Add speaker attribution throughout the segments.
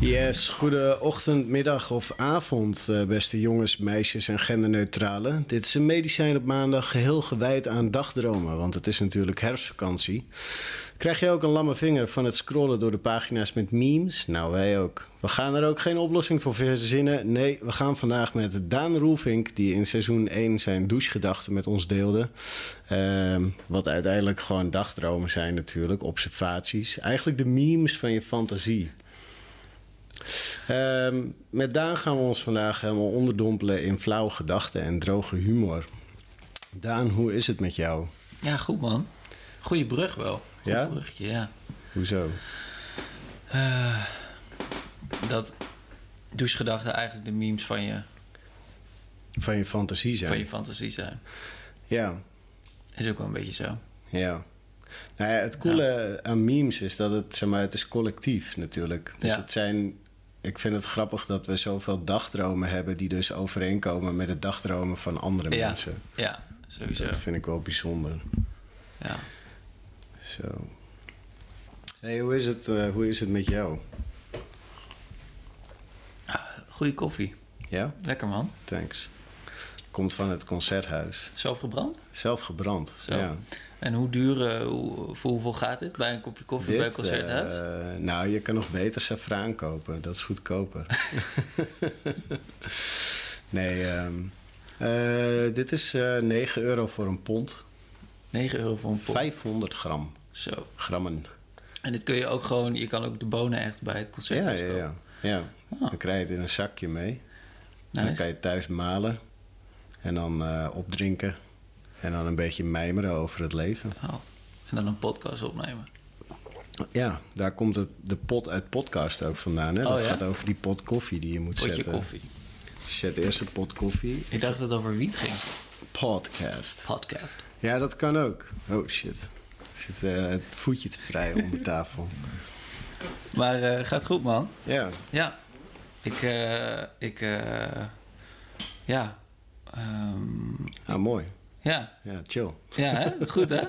Speaker 1: Yes, goede ochtend, middag of avond, eh, beste jongens, meisjes en genderneutrale. Dit is een medicijn op maandag geheel gewijd aan dagdromen, want het is natuurlijk herfstvakantie. Krijg je ook een lamme vinger van het scrollen door de pagina's met memes? Nou, wij ook. We gaan er ook geen oplossing voor verzinnen. Nee, we gaan vandaag met Daan Roelvink, die in seizoen 1 zijn douchegedachten met ons deelde. Ehm, wat uiteindelijk gewoon dagdromen zijn natuurlijk, observaties. Eigenlijk de memes van je fantasie. Ehm, met Daan gaan we ons vandaag helemaal onderdompelen in flauwe gedachten en droge humor. Daan, hoe is het met jou?
Speaker 2: Ja, goed man. Goeie brug wel. Goed
Speaker 1: Ja?
Speaker 2: bruggetje, ja.
Speaker 1: Hoezo?
Speaker 2: Eh, dat douchegedachten eigenlijk de memes van je,
Speaker 1: Van je fantasie zijn.
Speaker 2: van je fantasie zijn.
Speaker 1: Ja,
Speaker 2: Is ook wel een beetje zo.
Speaker 1: ja. Nou ja, het coole aan memes is dat het, zeg maar, het is collectief natuurlijk. Dus
Speaker 2: Ja.
Speaker 1: het zijn... Ik vind het grappig dat we zoveel dagdromen hebben... die dus overeenkomen met de dagdromen van andere
Speaker 2: Ja.
Speaker 1: mensen.
Speaker 2: Ja, sowieso.
Speaker 1: Dat vind ik wel bijzonder.
Speaker 2: Ja.
Speaker 1: Zo. Hey, hoe, is het, eh, hoe is het met jou?
Speaker 2: Ah, Goeie koffie.
Speaker 1: Ja?
Speaker 2: Lekker man.
Speaker 1: Thanks. Komt van het concerthuis.
Speaker 2: Zelf gebrand.
Speaker 1: Zelf gebrand.
Speaker 2: Zo.
Speaker 1: Ja.
Speaker 2: En hoe duur, eh, hoe, voor hoeveel gaat dit? Bij een kopje koffie, bij een concerthuis?
Speaker 1: eh, nou, je kan nog beter safraan kopen. Dat is goedkoper. nee, ehm, eh, dit is eh 9 euro voor een pond.
Speaker 2: 9 euro voor een pot.
Speaker 1: 500 gram.
Speaker 2: Zo.
Speaker 1: Grammen.
Speaker 2: En dit kun je ook gewoon, je kan ook de bonen echt bij het
Speaker 1: Ja,
Speaker 2: concerthuis
Speaker 1: ja, ja. ja.
Speaker 2: Ah.
Speaker 1: Dan krijg je het in een zakje mee. Dan kan
Speaker 2: Nice.
Speaker 1: je het thuis malen. En dan eh, opdrinken. En dan een beetje mijmeren over het leven.
Speaker 2: Oh. En dan een podcast opnemen.
Speaker 1: Ja, daar komt het, de pot uit podcast ook vandaan. Hè?
Speaker 2: Oh,
Speaker 1: dat
Speaker 2: ja?
Speaker 1: gaat over die pot koffie die je moet
Speaker 2: Potje
Speaker 1: zetten.
Speaker 2: koffie.
Speaker 1: Je zet eerst een pot koffie.
Speaker 2: Ik dacht dat het over wiet ging.
Speaker 1: Podcast.
Speaker 2: Podcast.
Speaker 1: Ja, dat kan ook. Oh shit. Er zit eh, het voetje te vrij onder de tafel.
Speaker 2: Maar eh, gaat goed, man.
Speaker 1: Ja,
Speaker 2: Ja. Ik, eh, ik, eh, ja. Ehm,
Speaker 1: ah, mooi.
Speaker 2: ja.
Speaker 1: Ja, chill.
Speaker 2: Ja, hè? Goed, hè?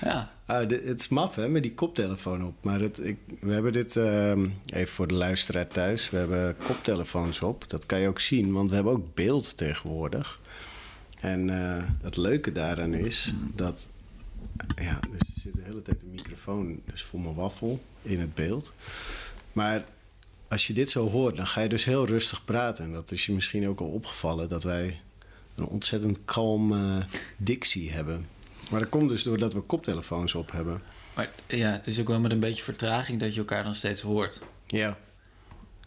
Speaker 2: Ja.
Speaker 1: Ah, dit- het is maf, hè, met die koptelefoon op. Maar het, ik, we hebben dit, ehm, even voor de luisteraar thuis, we hebben koptelefoons op. Dat kan je ook zien, want we hebben ook beeld tegenwoordig. En eh, het leuke daaraan is dat... Ja, dus er zit de hele tijd een microfoon dus voor mijn waffel in het beeld. Maar als je dit zo hoort, dan ga je dus heel rustig praten. En dat is je misschien ook al opgevallen, dat wij een ontzettend kalm eh, dictie hebben. Maar dat komt dus doordat we koptelefoons op hebben.
Speaker 2: Maar ja, het is ook wel met een beetje vertraging dat je elkaar dan steeds hoort.
Speaker 1: Ja.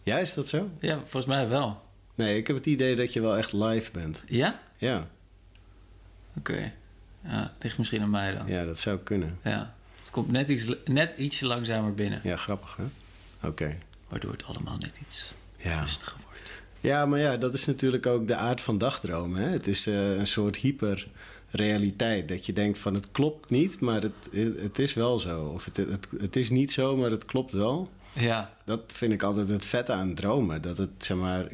Speaker 1: Ja, is dat zo?
Speaker 2: Ja, volgens mij wel.
Speaker 1: Nee, ik heb het idee dat je wel echt live bent.
Speaker 2: Ja?
Speaker 1: Ja,
Speaker 2: Oké. Ja, ligt misschien aan mij dan. Ja.
Speaker 1: ja dat zou kunnen.
Speaker 2: Het komt net iets, net iets langzamer binnen.
Speaker 1: Ja, grappig hè? Oké.
Speaker 2: Waardoor het allemaal net iets
Speaker 1: Ja.
Speaker 2: rustiger wordt.
Speaker 1: ja, maar ja, dat is natuurlijk ook de aard van dagdromen. Hè? Het is eh, een soort hyperrealiteit. Dat je denkt van het klopt niet, maar het, het is wel zo. Of het, het, het is niet zo, maar het klopt wel.
Speaker 2: Ja.
Speaker 1: Dat vind ik altijd het vette aan dromen. Dat het, zeg maar,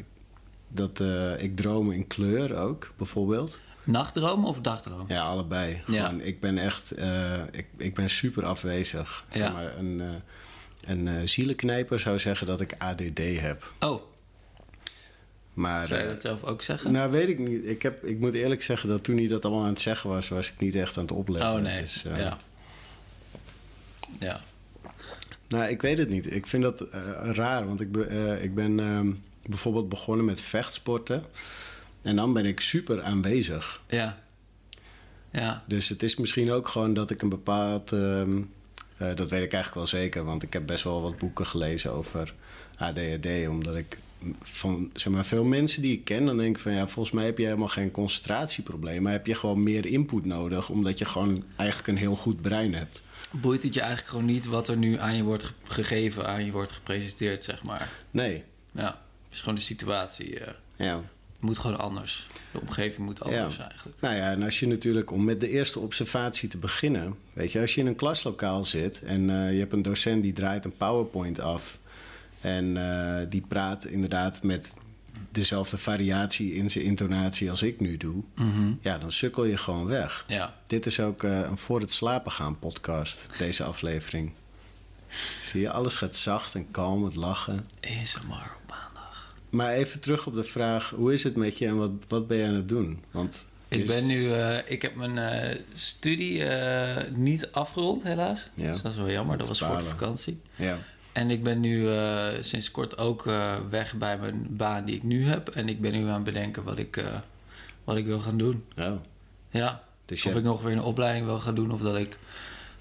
Speaker 1: dat eh, ik droom in kleur ook, bijvoorbeeld.
Speaker 2: Nachtdroom of dagdroom?
Speaker 1: Ja, allebei.
Speaker 2: Ja.
Speaker 1: Gewoon, ik ben echt, eh, ik, ik ben super afwezig. Zeg
Speaker 2: Ja.
Speaker 1: maar, een, eh, een eh, zielenknijper zou zeggen dat ik ADD heb.
Speaker 2: Oh,
Speaker 1: Maar,
Speaker 2: zou je
Speaker 1: eh,
Speaker 2: dat zelf ook zeggen?
Speaker 1: nou weet ik niet. Ik, heb, ik moet eerlijk zeggen dat toen hij dat allemaal aan het zeggen was, was ik niet echt aan het opletten.
Speaker 2: oh nee.
Speaker 1: Dus, eh,
Speaker 2: ja. Ja.
Speaker 1: Nou, ik weet het niet. Ik vind dat eh, raar, want ik, be- eh, ik ben ehm, bijvoorbeeld begonnen met vechtsporten. En dan ben ik super aanwezig.
Speaker 2: Ja. Ja.
Speaker 1: Dus het is misschien ook gewoon dat ik een bepaald. ehm, eh, dat weet ik eigenlijk wel zeker, want ik heb best wel wat boeken gelezen over ADHD. Omdat ik van zeg maar, veel mensen die ik ken, dan denk ik van ja, volgens mij heb je helemaal geen concentratieprobleem. Maar heb je gewoon meer input nodig, omdat je gewoon eigenlijk een heel goed brein hebt.
Speaker 2: Boeit het je eigenlijk gewoon niet wat er nu aan je wordt ge- gegeven, aan je wordt gepresenteerd, zeg maar.
Speaker 1: Nee,
Speaker 2: Ja. Het is gewoon de situatie. eh,
Speaker 1: ja.
Speaker 2: het moet gewoon anders. De omgeving moet anders
Speaker 1: Ja.
Speaker 2: eigenlijk.
Speaker 1: Nou ja, en als je natuurlijk, om met de eerste observatie te beginnen. Weet je, als je in een klaslokaal zit en eh, je hebt een docent die draait een PowerPoint af. En eh, die praat inderdaad met dezelfde variatie in zijn intonatie als ik nu doe.
Speaker 2: Mhm.
Speaker 1: Ja, dan sukkel je gewoon weg.
Speaker 2: Ja.
Speaker 1: Dit is ook eh, een voor het slapen gaan podcast, deze aflevering. Zie je, alles gaat zacht en kalm, het lachen.
Speaker 2: ASMR op maandag.
Speaker 1: Maar even terug op de vraag, hoe is het met je en wat, wat ben je aan het doen? Want
Speaker 2: Ik
Speaker 1: is-
Speaker 2: ben nu, eh, ik heb mijn eh, studie eh, niet afgerond helaas.
Speaker 1: Ja.
Speaker 2: Dus dat is wel jammer,
Speaker 1: Dat
Speaker 2: dat
Speaker 1: is
Speaker 2: was voor de
Speaker 1: balen.
Speaker 2: vakantie.
Speaker 1: Ja,
Speaker 2: En ik ben nu eh, sinds kort ook eh, weg bij mijn baan die ik nu heb. En ik ben nu aan het bedenken wat ik, eh, wat ik wil gaan doen.
Speaker 1: oh.
Speaker 2: Ja,
Speaker 1: Dus
Speaker 2: of
Speaker 1: je-
Speaker 2: ik nog weer een opleiding wil gaan doen of dat ik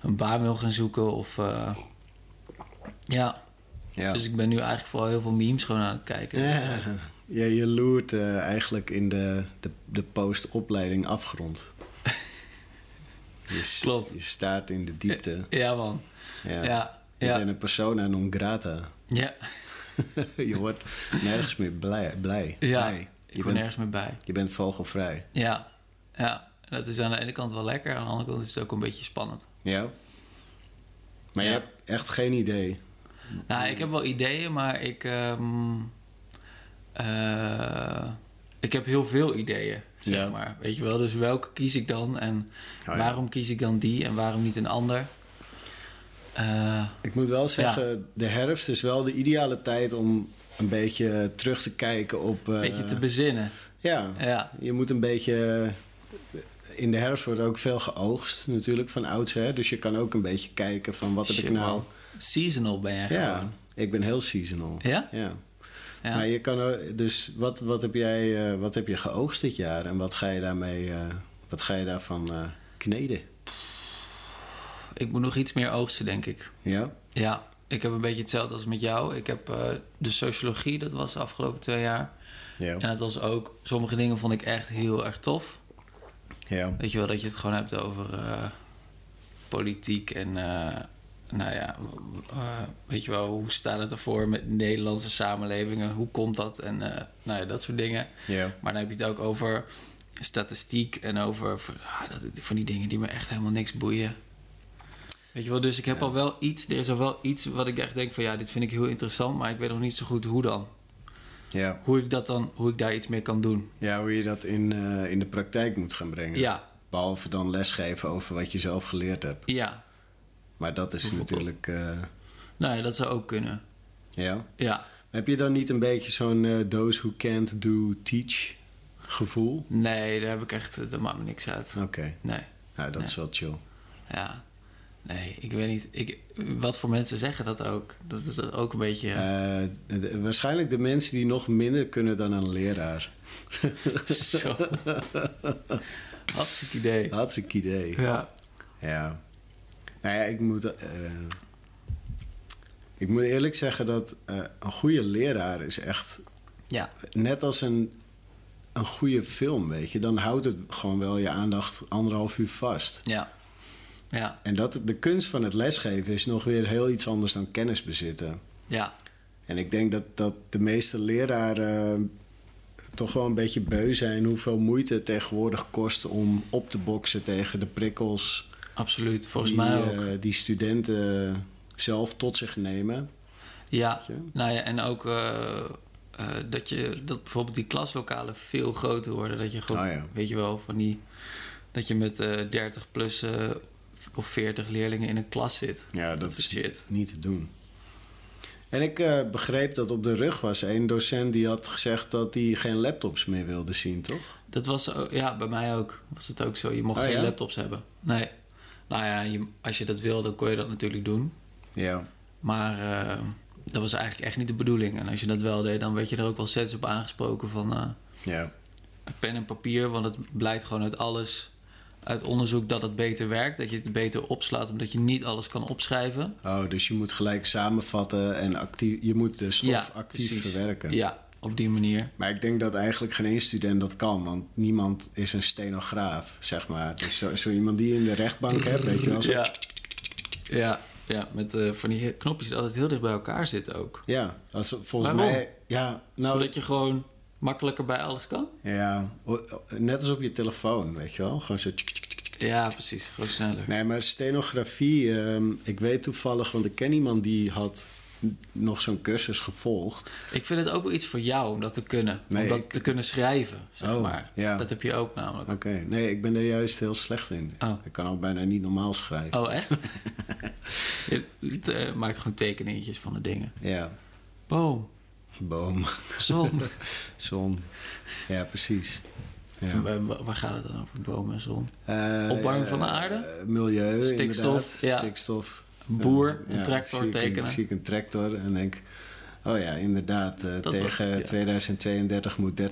Speaker 2: een baan wil gaan zoeken. Of, eh, ja.
Speaker 1: ja.
Speaker 2: dus ik ben nu eigenlijk vooral heel veel memes gewoon aan het kijken.
Speaker 1: Ja, ja, je loert eh, eigenlijk in de, de, de postopleiding afgrond. Je, s-
Speaker 2: Klopt.
Speaker 1: Je staat in de diepte.
Speaker 2: Ja, man.
Speaker 1: Ja.
Speaker 2: Ja, ja.
Speaker 1: Je
Speaker 2: ja.
Speaker 1: bent een persona non grata.
Speaker 2: ja.
Speaker 1: je wordt nergens meer blij. blij. blij. Je,
Speaker 2: ik ben
Speaker 1: bent,
Speaker 2: nergens meer bij.
Speaker 1: je bent vogelvrij.
Speaker 2: Ja, ja. En Dat is aan de ene kant wel lekker, aan de andere kant is het ook een beetje spannend.
Speaker 1: Ja? Maar je
Speaker 2: Ja.
Speaker 1: hebt echt geen idee.
Speaker 2: Nou, ik heb wel ideeën, maar ik. ehm, eh, ik heb heel veel ideeën, zeg
Speaker 1: Ja. Oh,
Speaker 2: maar. Weet je wel, dus welke kies ik dan en
Speaker 1: ja.
Speaker 2: waarom kies ik dan die en waarom niet een ander? Eh,
Speaker 1: Ik moet wel zeggen, de herfst is wel de ideale tijd om een beetje terug te kijken op... eh,
Speaker 2: een beetje te bezinnen.
Speaker 1: Ja,
Speaker 2: Ja,
Speaker 1: Je moet een beetje. eh, In de herfst wordt ook veel geoogst, natuurlijk, van oudsher. Dus je kan ook een beetje kijken van wat heb
Speaker 2: Shit,
Speaker 1: ik nou.
Speaker 2: man. Seasonal ben jij
Speaker 1: Ja,
Speaker 2: gewoon.
Speaker 1: ik ben heel seasonal.
Speaker 2: Ja?
Speaker 1: Ja.
Speaker 2: Ja.
Speaker 1: Maar je kan ook- dus wat, wat, heb jij, eh, wat heb je geoogst dit jaar en wat ga je daarmee, eh, wat ga je daarvan eh, kneden?
Speaker 2: Ik moet nog iets meer oogsten, denk ik.
Speaker 1: Ja?
Speaker 2: Ja, ik heb een beetje hetzelfde als met jou. Ik heb eh, de sociologie, dat was de afgelopen twee jaar. En
Speaker 1: Ja.
Speaker 2: dat was ook, sommige dingen vond ik echt heel erg tof.
Speaker 1: Ja.
Speaker 2: Weet je wel, dat je het gewoon hebt over eh, politiek en, eh, nou ja, eh, weet je wel, hoe staat het ervoor met Nederlandse samenlevingen? Hoe komt dat? En, eh, nou ja, dat soort dingen.
Speaker 1: Ja.
Speaker 2: Maar dan heb je het ook over statistiek en over v- ah, dat- van die dingen die me echt helemaal niks boeien. Weet je wel, dus ik heb al wel iets, er is al wel iets wat ik echt denk van ja, dit vind ik heel interessant, maar ik weet nog niet zo goed hoe dan.
Speaker 1: Ja.
Speaker 2: Hoe ik dat dan, hoe ik daar iets mee kan doen.
Speaker 1: ja, hoe je dat in, eh, in de praktijk moet gaan brengen.
Speaker 2: Ja,
Speaker 1: Behalve dan lesgeven over wat je zelf geleerd hebt.
Speaker 2: ja.
Speaker 1: Maar dat is natuurlijk. eh,
Speaker 2: Nou ja, dat zou ook kunnen.
Speaker 1: ja.
Speaker 2: Ja,
Speaker 1: Heb je dan niet een beetje zo'n eh those who can't do teach gevoel?
Speaker 2: nee, daar heb ik echt, eh, dat maakt me niks uit.
Speaker 1: Oké,
Speaker 2: Nee,
Speaker 1: nou dat is wel chill.
Speaker 2: ja. Nee, ik weet niet. Ik, wat voor mensen zeggen dat ook? Dat is dat ook een beetje.
Speaker 1: Eh, de- waarschijnlijk de mensen die nog minder kunnen dan een leraar.
Speaker 2: eh, Zo. Hartstikke idee.
Speaker 1: Hartstikke idee.
Speaker 2: Ja.
Speaker 1: Ja. Nou ja, ik moet, eh, ik moet eerlijk zeggen dat eh, een goede leraar is echt
Speaker 2: Ja.
Speaker 1: net als een, een goede film, weet je. Dan houdt het gewoon wel je aandacht anderhalf uur vast.
Speaker 2: Ja. Ja.
Speaker 1: En dat, de kunst van het lesgeven is nog weer heel iets anders dan kennis bezitten.
Speaker 2: Ja.
Speaker 1: En ik denk dat, dat de meeste leraren toch wel een beetje beu zijn hoeveel moeite het tegenwoordig kost om op te boksen tegen de prikkels
Speaker 2: Absoluut. Volgens
Speaker 1: die,
Speaker 2: mij ook.
Speaker 1: eh, die studenten zelf tot zich nemen.
Speaker 2: ja.
Speaker 1: weet je.
Speaker 2: Nou ja, en ook eh, eh, dat je dat bijvoorbeeld die klaslokalen veel groter worden. Dat je gewoon,
Speaker 1: Oh ja.
Speaker 2: weet je wel, van die dat je met eh 30 plus eh, of 40 leerlingen in een klas zit.
Speaker 1: Ja,
Speaker 2: Dat, is shit.
Speaker 1: niet te doen. En ik eh, begreep dat op de rug was een docent die had gezegd dat hij geen laptops meer wilde zien, toch?
Speaker 2: Dat was ook- ja, bij mij ook. Was het ook zo. Je mocht
Speaker 1: Oh
Speaker 2: geen
Speaker 1: ja?
Speaker 2: laptops hebben. Nee. Nou ja, je- als je dat wil, dan kon je dat natuurlijk doen.
Speaker 1: Ja.
Speaker 2: Maar eh, dat was eigenlijk echt niet de bedoeling. En als je dat wel deed, dan werd je er ook wel steeds op aangesproken van eh,
Speaker 1: Ja.
Speaker 2: pen en papier. Want het blijkt gewoon uit alles, uit onderzoek, dat het beter werkt. Dat je het beter opslaat, omdat je niet alles kan opschrijven.
Speaker 1: Oh, dus je moet gelijk samenvatten en actief, je moet de stof actief
Speaker 2: precies.
Speaker 1: verwerken.
Speaker 2: Ja, op die manier.
Speaker 1: Maar ik denk dat eigenlijk geen één student dat kan, want niemand is een stenograaf, zeg maar. Dus zo, zo iemand die je in de rechtbank hebt, weet je wel. Zo, ja.
Speaker 2: Ja, ja, ja met eh, van die knopjes die altijd heel dicht bij elkaar zitten ook.
Speaker 1: als, volgens
Speaker 2: Waarom?
Speaker 1: mij. Ja, nou,
Speaker 2: Zodat je gewoon makkelijker bij alles kan.
Speaker 1: ja, o- o- net als op je telefoon, weet je wel. Gewoon zo. tsk, tsk, tsk, tsk.
Speaker 2: Ja, precies. Gewoon sneller.
Speaker 1: Nee, maar stenografie, ehm, ik weet toevallig, want ik ken iemand die had nog zo'n cursus gevolgd.
Speaker 2: Ik vind het ook wel iets voor jou om dat te kunnen.
Speaker 1: Nee,
Speaker 2: om dat
Speaker 1: ik-
Speaker 2: te kunnen schrijven, zeg
Speaker 1: Oh,
Speaker 2: maar.
Speaker 1: ja.
Speaker 2: Dat heb je ook namelijk.
Speaker 1: Oké, nee, ik ben daar juist heel slecht in.
Speaker 2: Oh.
Speaker 1: Ik kan ook bijna niet normaal schrijven.
Speaker 2: Oh, echt? je het, eh, maakt gewoon tekeningetjes van de dingen.
Speaker 1: Ja,
Speaker 2: Boom,
Speaker 1: boom,
Speaker 2: zon.
Speaker 1: zon. Ja, precies. Ja.
Speaker 2: Wa- wa- Waar gaat het dan over? Boom en zon. Opwarming van de aarde?
Speaker 1: eh, milieu,
Speaker 2: Stikstof,
Speaker 1: stikstof.
Speaker 2: ja.
Speaker 1: Stikstof.
Speaker 2: Een boer,
Speaker 1: Ja,
Speaker 2: een tractor
Speaker 1: zie ik
Speaker 2: tekenen.
Speaker 1: Een, zie ik een tractor en denk... Oh ja, inderdaad. eh,
Speaker 2: Dat was
Speaker 1: tegen
Speaker 2: het, ja.
Speaker 1: 2032 moet 30%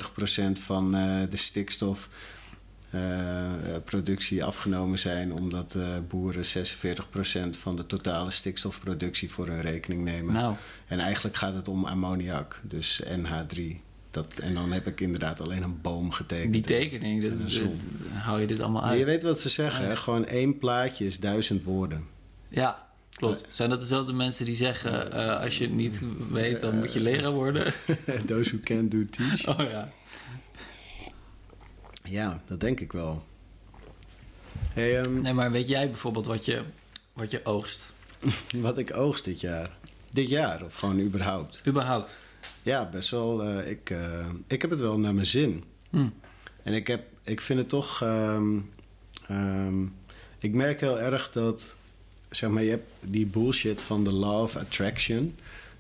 Speaker 1: van eh, de stikstofproductie afgenomen zijn... omdat eh, boeren 46% van de totale stikstofproductie voor hun rekening nemen.
Speaker 2: Nou,
Speaker 1: En eigenlijk gaat het om ammoniak, dus NH3. Dat, en dan heb ik inderdaad alleen een boom getekend.
Speaker 2: die tekening, dat,
Speaker 1: En een
Speaker 2: dat-
Speaker 1: zon.
Speaker 2: dan hou je dit allemaal
Speaker 1: Maar je
Speaker 2: uit.
Speaker 1: weet wat ze zeggen, hè?
Speaker 2: Uit.
Speaker 1: gewoon één plaatje is duizend woorden.
Speaker 2: Ja, klopt. Zijn dat dezelfde mensen die zeggen... eh, als je het niet weet, dan moet je leraar worden?
Speaker 1: Those who can do teach.
Speaker 2: Oh ja.
Speaker 1: Ja, dat denk ik wel. Hey, ehm,
Speaker 2: Nee, maar weet jij bijvoorbeeld wat je, wat je oogst?
Speaker 1: Wat ik oogst dit jaar. Dit jaar, of gewoon überhaupt?
Speaker 2: Überhaupt?
Speaker 1: Ja, best wel. eh, ik, eh, ik heb het wel naar mijn zin.
Speaker 2: Hm.
Speaker 1: En ik, heb, ik vind het toch. ehm, ehm, ik merk heel erg dat. Zeg maar, je hebt die bullshit van de law of attraction.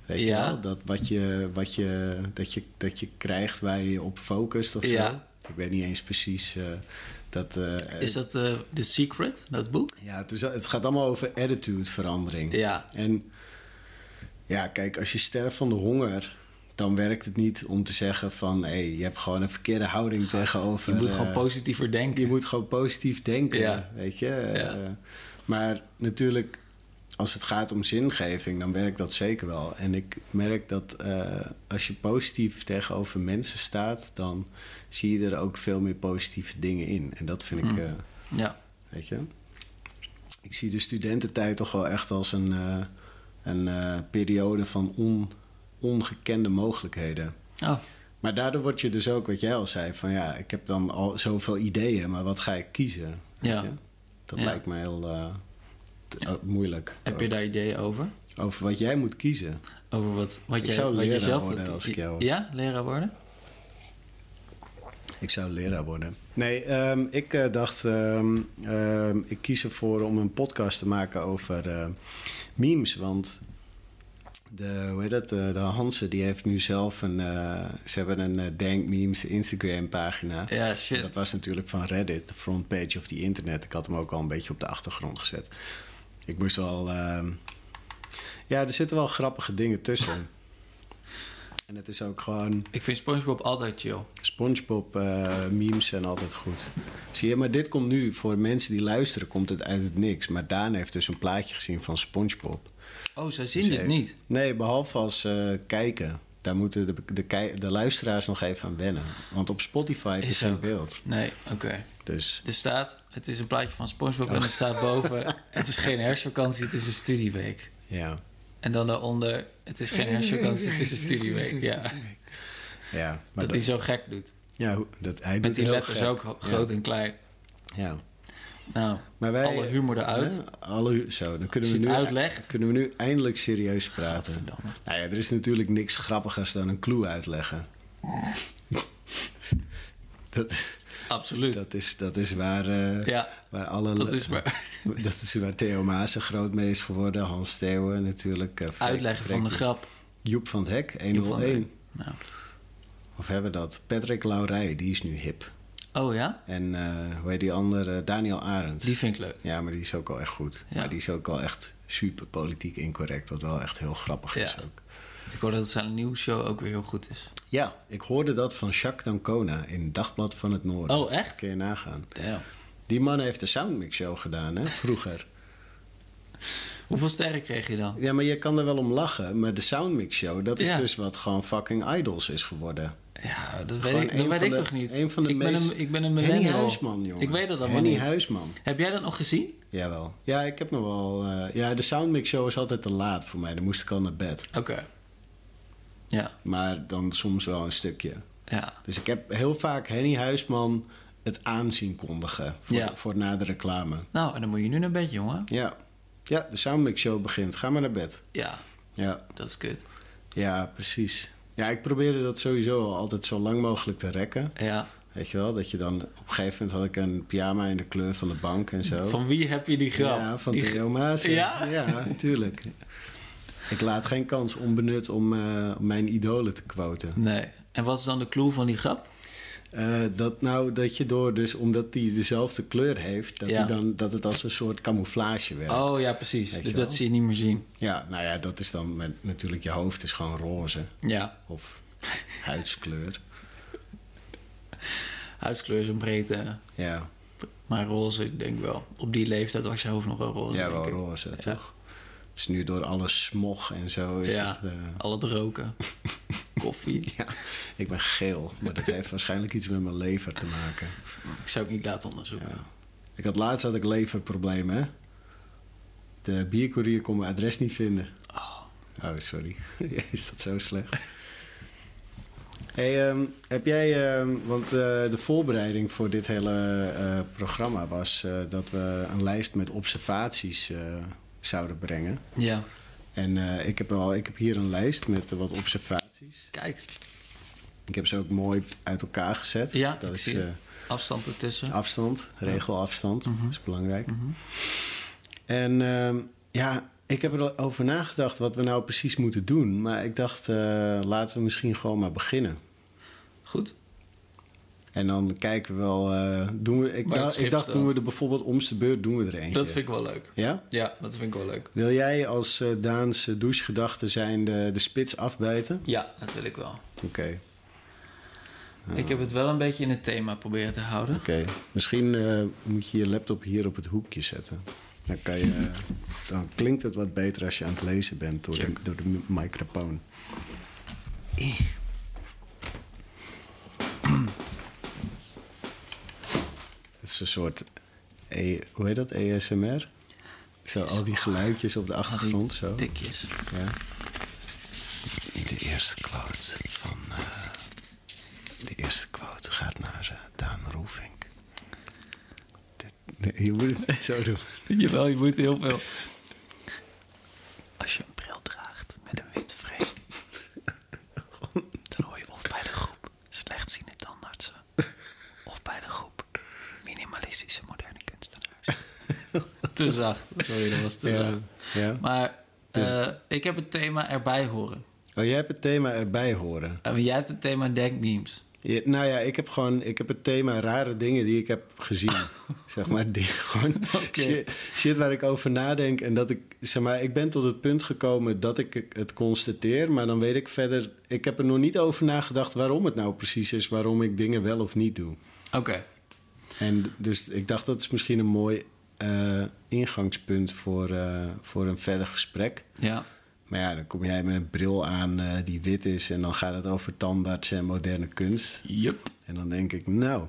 Speaker 1: Weet
Speaker 2: Ja.
Speaker 1: je wel? Dat wat je, wat je, dat je, dat je krijgt waar je je op focust of
Speaker 2: Ja.
Speaker 1: zo. Ik weet niet eens precies. eh, dat, eh,
Speaker 2: Is dat eh The Secret, dat boek?
Speaker 1: Ja, het, is, het gaat allemaal over attitude verandering.
Speaker 2: Ja.
Speaker 1: En ja, kijk, als je sterft van de honger, dan werkt het niet om te zeggen van hé, je hebt gewoon een verkeerde houding tegenover.
Speaker 2: Je moet
Speaker 1: eh,
Speaker 2: gewoon positiever denken.
Speaker 1: je moet gewoon positief denken,
Speaker 2: Ja.
Speaker 1: weet je. Eh,
Speaker 2: Ja.
Speaker 1: maar natuurlijk, als het gaat om zingeving, dan werkt dat zeker wel. En ik merk dat eh, als je positief tegenover mensen staat, dan zie je er ook veel meer positieve dingen in. En dat vind ik.
Speaker 2: Mm.
Speaker 1: eh,
Speaker 2: Ja.
Speaker 1: Weet je? Ik zie de studententijd toch wel echt als een, eh, een eh, periode van on, ongekende mogelijkheden.
Speaker 2: Oh,
Speaker 1: Maar daardoor word je dus ook, wat jij al zei, van ja, ik heb dan al zoveel ideeën, maar wat ga ik kiezen? Weet
Speaker 2: Ja.
Speaker 1: je? Dat
Speaker 2: Ja.
Speaker 1: lijkt me heel eh, t- eh, moeilijk.
Speaker 2: heb je daar ideeën over?
Speaker 1: Over wat jij moet kiezen.
Speaker 2: Over wat, wat
Speaker 1: Ik
Speaker 2: jij,
Speaker 1: zou
Speaker 2: wat jij
Speaker 1: leraar
Speaker 2: zelf
Speaker 1: worden
Speaker 2: wil-
Speaker 1: als ik jou was.
Speaker 2: Ja, leraar worden?
Speaker 1: Ik zou leraar worden. Nee, ehm, ik eh, dacht, ehm, ehm, ik kies ervoor om een podcast te maken over eh, memes. Want de, hoe heet dat, eh, de Hansen die heeft nu zelf een, eh, ze hebben een eh, Dank Memes Instagram pagina.
Speaker 2: Ja, shit.
Speaker 1: Dat was natuurlijk van Reddit, de frontpage of die internet. Ik had hem ook al een beetje op de achtergrond gezet. Ik moest wel... ehm, ja, er zitten wel grappige dingen tussen. en het is ook gewoon...
Speaker 2: Ik vind Spongebob altijd chill.
Speaker 1: SpongeBob eh, memes zijn altijd goed. Zie je, maar dit komt nu voor mensen die luisteren, komt het uit het niks. Maar Daan heeft dus een plaatje gezien van SpongeBob.
Speaker 2: Oh, zij zien
Speaker 1: Dus
Speaker 2: dit
Speaker 1: hij-
Speaker 2: niet.
Speaker 1: Nee, behalve als eh, kijken. Daar moeten de, de, kei- de luisteraars nog even aan wennen. Want op Spotify
Speaker 2: Is
Speaker 1: is geen
Speaker 2: ook.
Speaker 1: beeld.
Speaker 2: Nee, oké.
Speaker 1: Dus
Speaker 2: Er staat, het is een plaatje van Spongebob
Speaker 1: Oh.
Speaker 2: en er staat boven... het is geen herfstvakantie, het is een studieweek.
Speaker 1: ja.
Speaker 2: En dan daaronder, het is geen herfstvakantie, het is een studieweek. Ja,
Speaker 1: ja maar
Speaker 2: dat
Speaker 1: dat-
Speaker 2: hij zo gek doet.
Speaker 1: ja, hoe- dat, hij doet
Speaker 2: Met die
Speaker 1: heel
Speaker 2: letters
Speaker 1: gek.
Speaker 2: ook ho- groot en klein.
Speaker 1: Ja.
Speaker 2: Nou,
Speaker 1: Maar wij,
Speaker 2: alle humor eruit.
Speaker 1: Ja, alle hu- zo, dan kunnen
Speaker 2: Als
Speaker 1: we,
Speaker 2: je
Speaker 1: nu,
Speaker 2: het uitlegt.
Speaker 1: kunnen we nu eindelijk serieus praten.
Speaker 2: Gadverdamme.
Speaker 1: Nou ja, er is natuurlijk niks grappigers dan een clue uitleggen. dat, is-
Speaker 2: Absoluut.
Speaker 1: dat, is, dat is waar, eh,
Speaker 2: ja,
Speaker 1: waar alle...
Speaker 2: dat is maar
Speaker 1: dat is waar Theo Maassen groot mee is geworden. Hans Theeuwen natuurlijk. eh, Freek-
Speaker 2: uitleggen van de
Speaker 1: Freek-
Speaker 2: grap.
Speaker 1: Joep van het Hek,
Speaker 2: Joep van het
Speaker 1: 101.
Speaker 2: Nou.
Speaker 1: Of hebben we dat? Patrick Laurij, die is nu hip.
Speaker 2: Oh ja?
Speaker 1: En eh, hoe heet die andere? Daniel Arendt.
Speaker 2: Die vind ik leuk.
Speaker 1: Ja, maar die is ook wel echt goed.
Speaker 2: Ja.
Speaker 1: Maar die is ook wel echt super politiek incorrect. Wat wel echt heel grappig is
Speaker 2: Ja.
Speaker 1: ook.
Speaker 2: Ik hoorde dat zijn nieuwe show ook weer heel goed is.
Speaker 1: Ja, ik hoorde dat van Jacques Dancona in Dagblad van het Noorden.
Speaker 2: Oh, echt?
Speaker 1: Kun je nagaan.
Speaker 2: Damn.
Speaker 1: Die man heeft de Soundmix Show gedaan, hè, vroeger.
Speaker 2: Hoeveel sterren kreeg je dan?
Speaker 1: ja, maar je kan er wel om lachen. Maar de Soundmix Show, dat is
Speaker 2: Ja.
Speaker 1: dus wat gewoon fucking Idols is geworden.
Speaker 2: Ja, dat
Speaker 1: Gewoon
Speaker 2: weet ik, dat
Speaker 1: een
Speaker 2: weet
Speaker 1: van
Speaker 2: ik
Speaker 1: de-
Speaker 2: toch niet.
Speaker 1: een van de
Speaker 2: ik,
Speaker 1: meest-
Speaker 2: ben een, ik ben een
Speaker 1: Henny
Speaker 2: millennial.
Speaker 1: Huisman, jongen.
Speaker 2: Ik weet dat allemaal
Speaker 1: Henny
Speaker 2: niet.
Speaker 1: Huisman.
Speaker 2: Heb jij dat nog gezien?
Speaker 1: Jawel. Ja, ik heb nog wel... eh, ja, de Soundmix Show is altijd te laat voor mij. Dan moest ik al naar bed.
Speaker 2: Oké. Ja,
Speaker 1: Maar dan soms wel een stukje.
Speaker 2: ja.
Speaker 1: Dus ik heb heel vaak Henny Huisman het aanzien kondigen voor,
Speaker 2: Ja.
Speaker 1: voor na de reclame.
Speaker 2: Nou, en dan moet je nu naar bed, jongen.
Speaker 1: Ja. ja, de Soundmix Show begint. Ga maar naar bed.
Speaker 2: Ja.
Speaker 1: Ja.
Speaker 2: Dat is kut.
Speaker 1: ja, precies. Ja, ik probeerde dat sowieso al altijd zo lang mogelijk te rekken.
Speaker 2: Ja.
Speaker 1: Weet je wel, dat je dan... Op een gegeven moment had ik een pyjama in de kleur van de bank en zo.
Speaker 2: Van wie heb je die grap?
Speaker 1: Oh. Ja, van
Speaker 2: Die
Speaker 1: Theo Maas.
Speaker 2: Ja?
Speaker 1: ja, tuurlijk. Ik laat geen kans onbenut om eh, om mijn idolen te quoten.
Speaker 2: gra- Nee. En wat is dan de clue van die grap?
Speaker 1: Eh, dat nou, dat je door, dus omdat die dezelfde kleur heeft, dat,
Speaker 2: Ja.
Speaker 1: die dan, dat het als een soort camouflage werkt.
Speaker 2: Oh ja, precies.
Speaker 1: Weet
Speaker 2: dus
Speaker 1: je
Speaker 2: dat
Speaker 1: wel.
Speaker 2: zie je niet meer zien.
Speaker 1: Ja, nou ja, dat is dan met, natuurlijk, je hoofd is gewoon roze
Speaker 2: Ja.
Speaker 1: of huidskleur.
Speaker 2: Huidskleur is een breedte.
Speaker 1: Ja,
Speaker 2: Maar roze, ik denk wel. Op die leeftijd was je hoofd nog wel roze.
Speaker 1: ja
Speaker 2: denk
Speaker 1: wel
Speaker 2: ik.
Speaker 1: roze,
Speaker 2: Ja.
Speaker 1: toch? Het is nu door alle smog en zo. Is
Speaker 2: Ja.
Speaker 1: het, eh,
Speaker 2: Al het roken. Koffie.
Speaker 1: ja, ik ben geel, maar dat heeft waarschijnlijk iets met mijn lever te maken.
Speaker 2: Ik zou het niet laten onderzoeken.
Speaker 1: Ja. Ik had laatst had ik leverproblemen, hè? De biercourier kon mijn adres niet vinden.
Speaker 2: Oh.
Speaker 1: Oh, sorry. Is dat zo slecht? Hey, ehm, heb jij, ehm, want eh, de voorbereiding voor dit hele eh, programma was eh, dat we een lijst met observaties eh, zouden brengen.
Speaker 2: ja.
Speaker 1: En eh, ik, heb al, ik heb hier een lijst met eh, wat observaties.
Speaker 2: Kijk,
Speaker 1: Ik heb ze ook mooi uit elkaar gezet.
Speaker 2: Ja,
Speaker 1: dat
Speaker 2: ik
Speaker 1: is
Speaker 2: zie het.
Speaker 1: eh,
Speaker 2: afstand ertussen.
Speaker 1: afstand, regelafstand,
Speaker 2: Mhm.
Speaker 1: dat is belangrijk.
Speaker 2: Mhm.
Speaker 1: En ehm, ja, ik heb erover nagedacht wat we nou precies moeten doen. Maar ik dacht, eh, laten we misschien gewoon maar beginnen.
Speaker 2: Goed.
Speaker 1: En dan kijken we wel. eh, doen we, ik,
Speaker 2: Waar het
Speaker 1: dacht- ik
Speaker 2: schip
Speaker 1: dacht,
Speaker 2: staat.
Speaker 1: doen we er bijvoorbeeld omste beurt, doen we er eentje.
Speaker 2: Dat vind ik wel leuk.
Speaker 1: Ja?
Speaker 2: Ja, dat vind ik wel leuk.
Speaker 1: Wil jij als eh, Daanse douchegedachte zijn de, de spits afbijten?
Speaker 2: Ja, dat wil ik wel.
Speaker 1: Oké,
Speaker 2: Ik heb het wel een beetje in het thema proberen te houden.
Speaker 1: oké. Misschien eh, moet je je laptop hier op het hoekje zetten. Dan, kan je, eh, dan klinkt het wat beter als je aan het lezen bent door, de, door de microfoon. Eh. Het is een soort, E- hoe heet dat, ESMR? Zo, al die geluidjes op de
Speaker 2: Al die
Speaker 1: achtergrond, zo.
Speaker 2: tikjes.
Speaker 1: Ja. De eerste quote van... eh, de eerste quote gaat naar eh, Daan Roefink. Dit- nee, je moet het niet zo doen.
Speaker 2: Jawel, je moet heel veel. Als je een bril draagt met een wit frame, dan hoor je of bij de groep slechtziende tandartsen, of bij de groep minimalistische moderne kunstenaars. te zacht, sorry, dat was te
Speaker 1: Ja.
Speaker 2: zacht.
Speaker 1: ja.
Speaker 2: Maar
Speaker 1: Dus-
Speaker 2: eh, ik heb het thema erbij horen.
Speaker 1: Oh, jij hebt het thema erbij horen.
Speaker 2: En jij hebt het thema denkmemes.
Speaker 1: Je- nou ja, ik heb gewoon ik heb het thema rare dingen die ik heb gezien. zeg maar, die, gewoon shit, shit waar ik over nadenk. En dat ik, zeg maar, ik ben tot het punt gekomen dat ik het constateer. Maar dan weet ik verder, ik heb er nog niet over nagedacht waarom het nou precies is. Waarom ik dingen wel of niet doe.
Speaker 2: Oké,
Speaker 1: En dus ik dacht dat is misschien een mooi eh, ingangspunt voor, eh, voor een verder gesprek.
Speaker 2: ja.
Speaker 1: Maar ja, dan kom jij met een bril aan eh, die wit is en dan gaat het over tandartsen en moderne kunst.
Speaker 2: Yup.
Speaker 1: En dan denk ik, nou,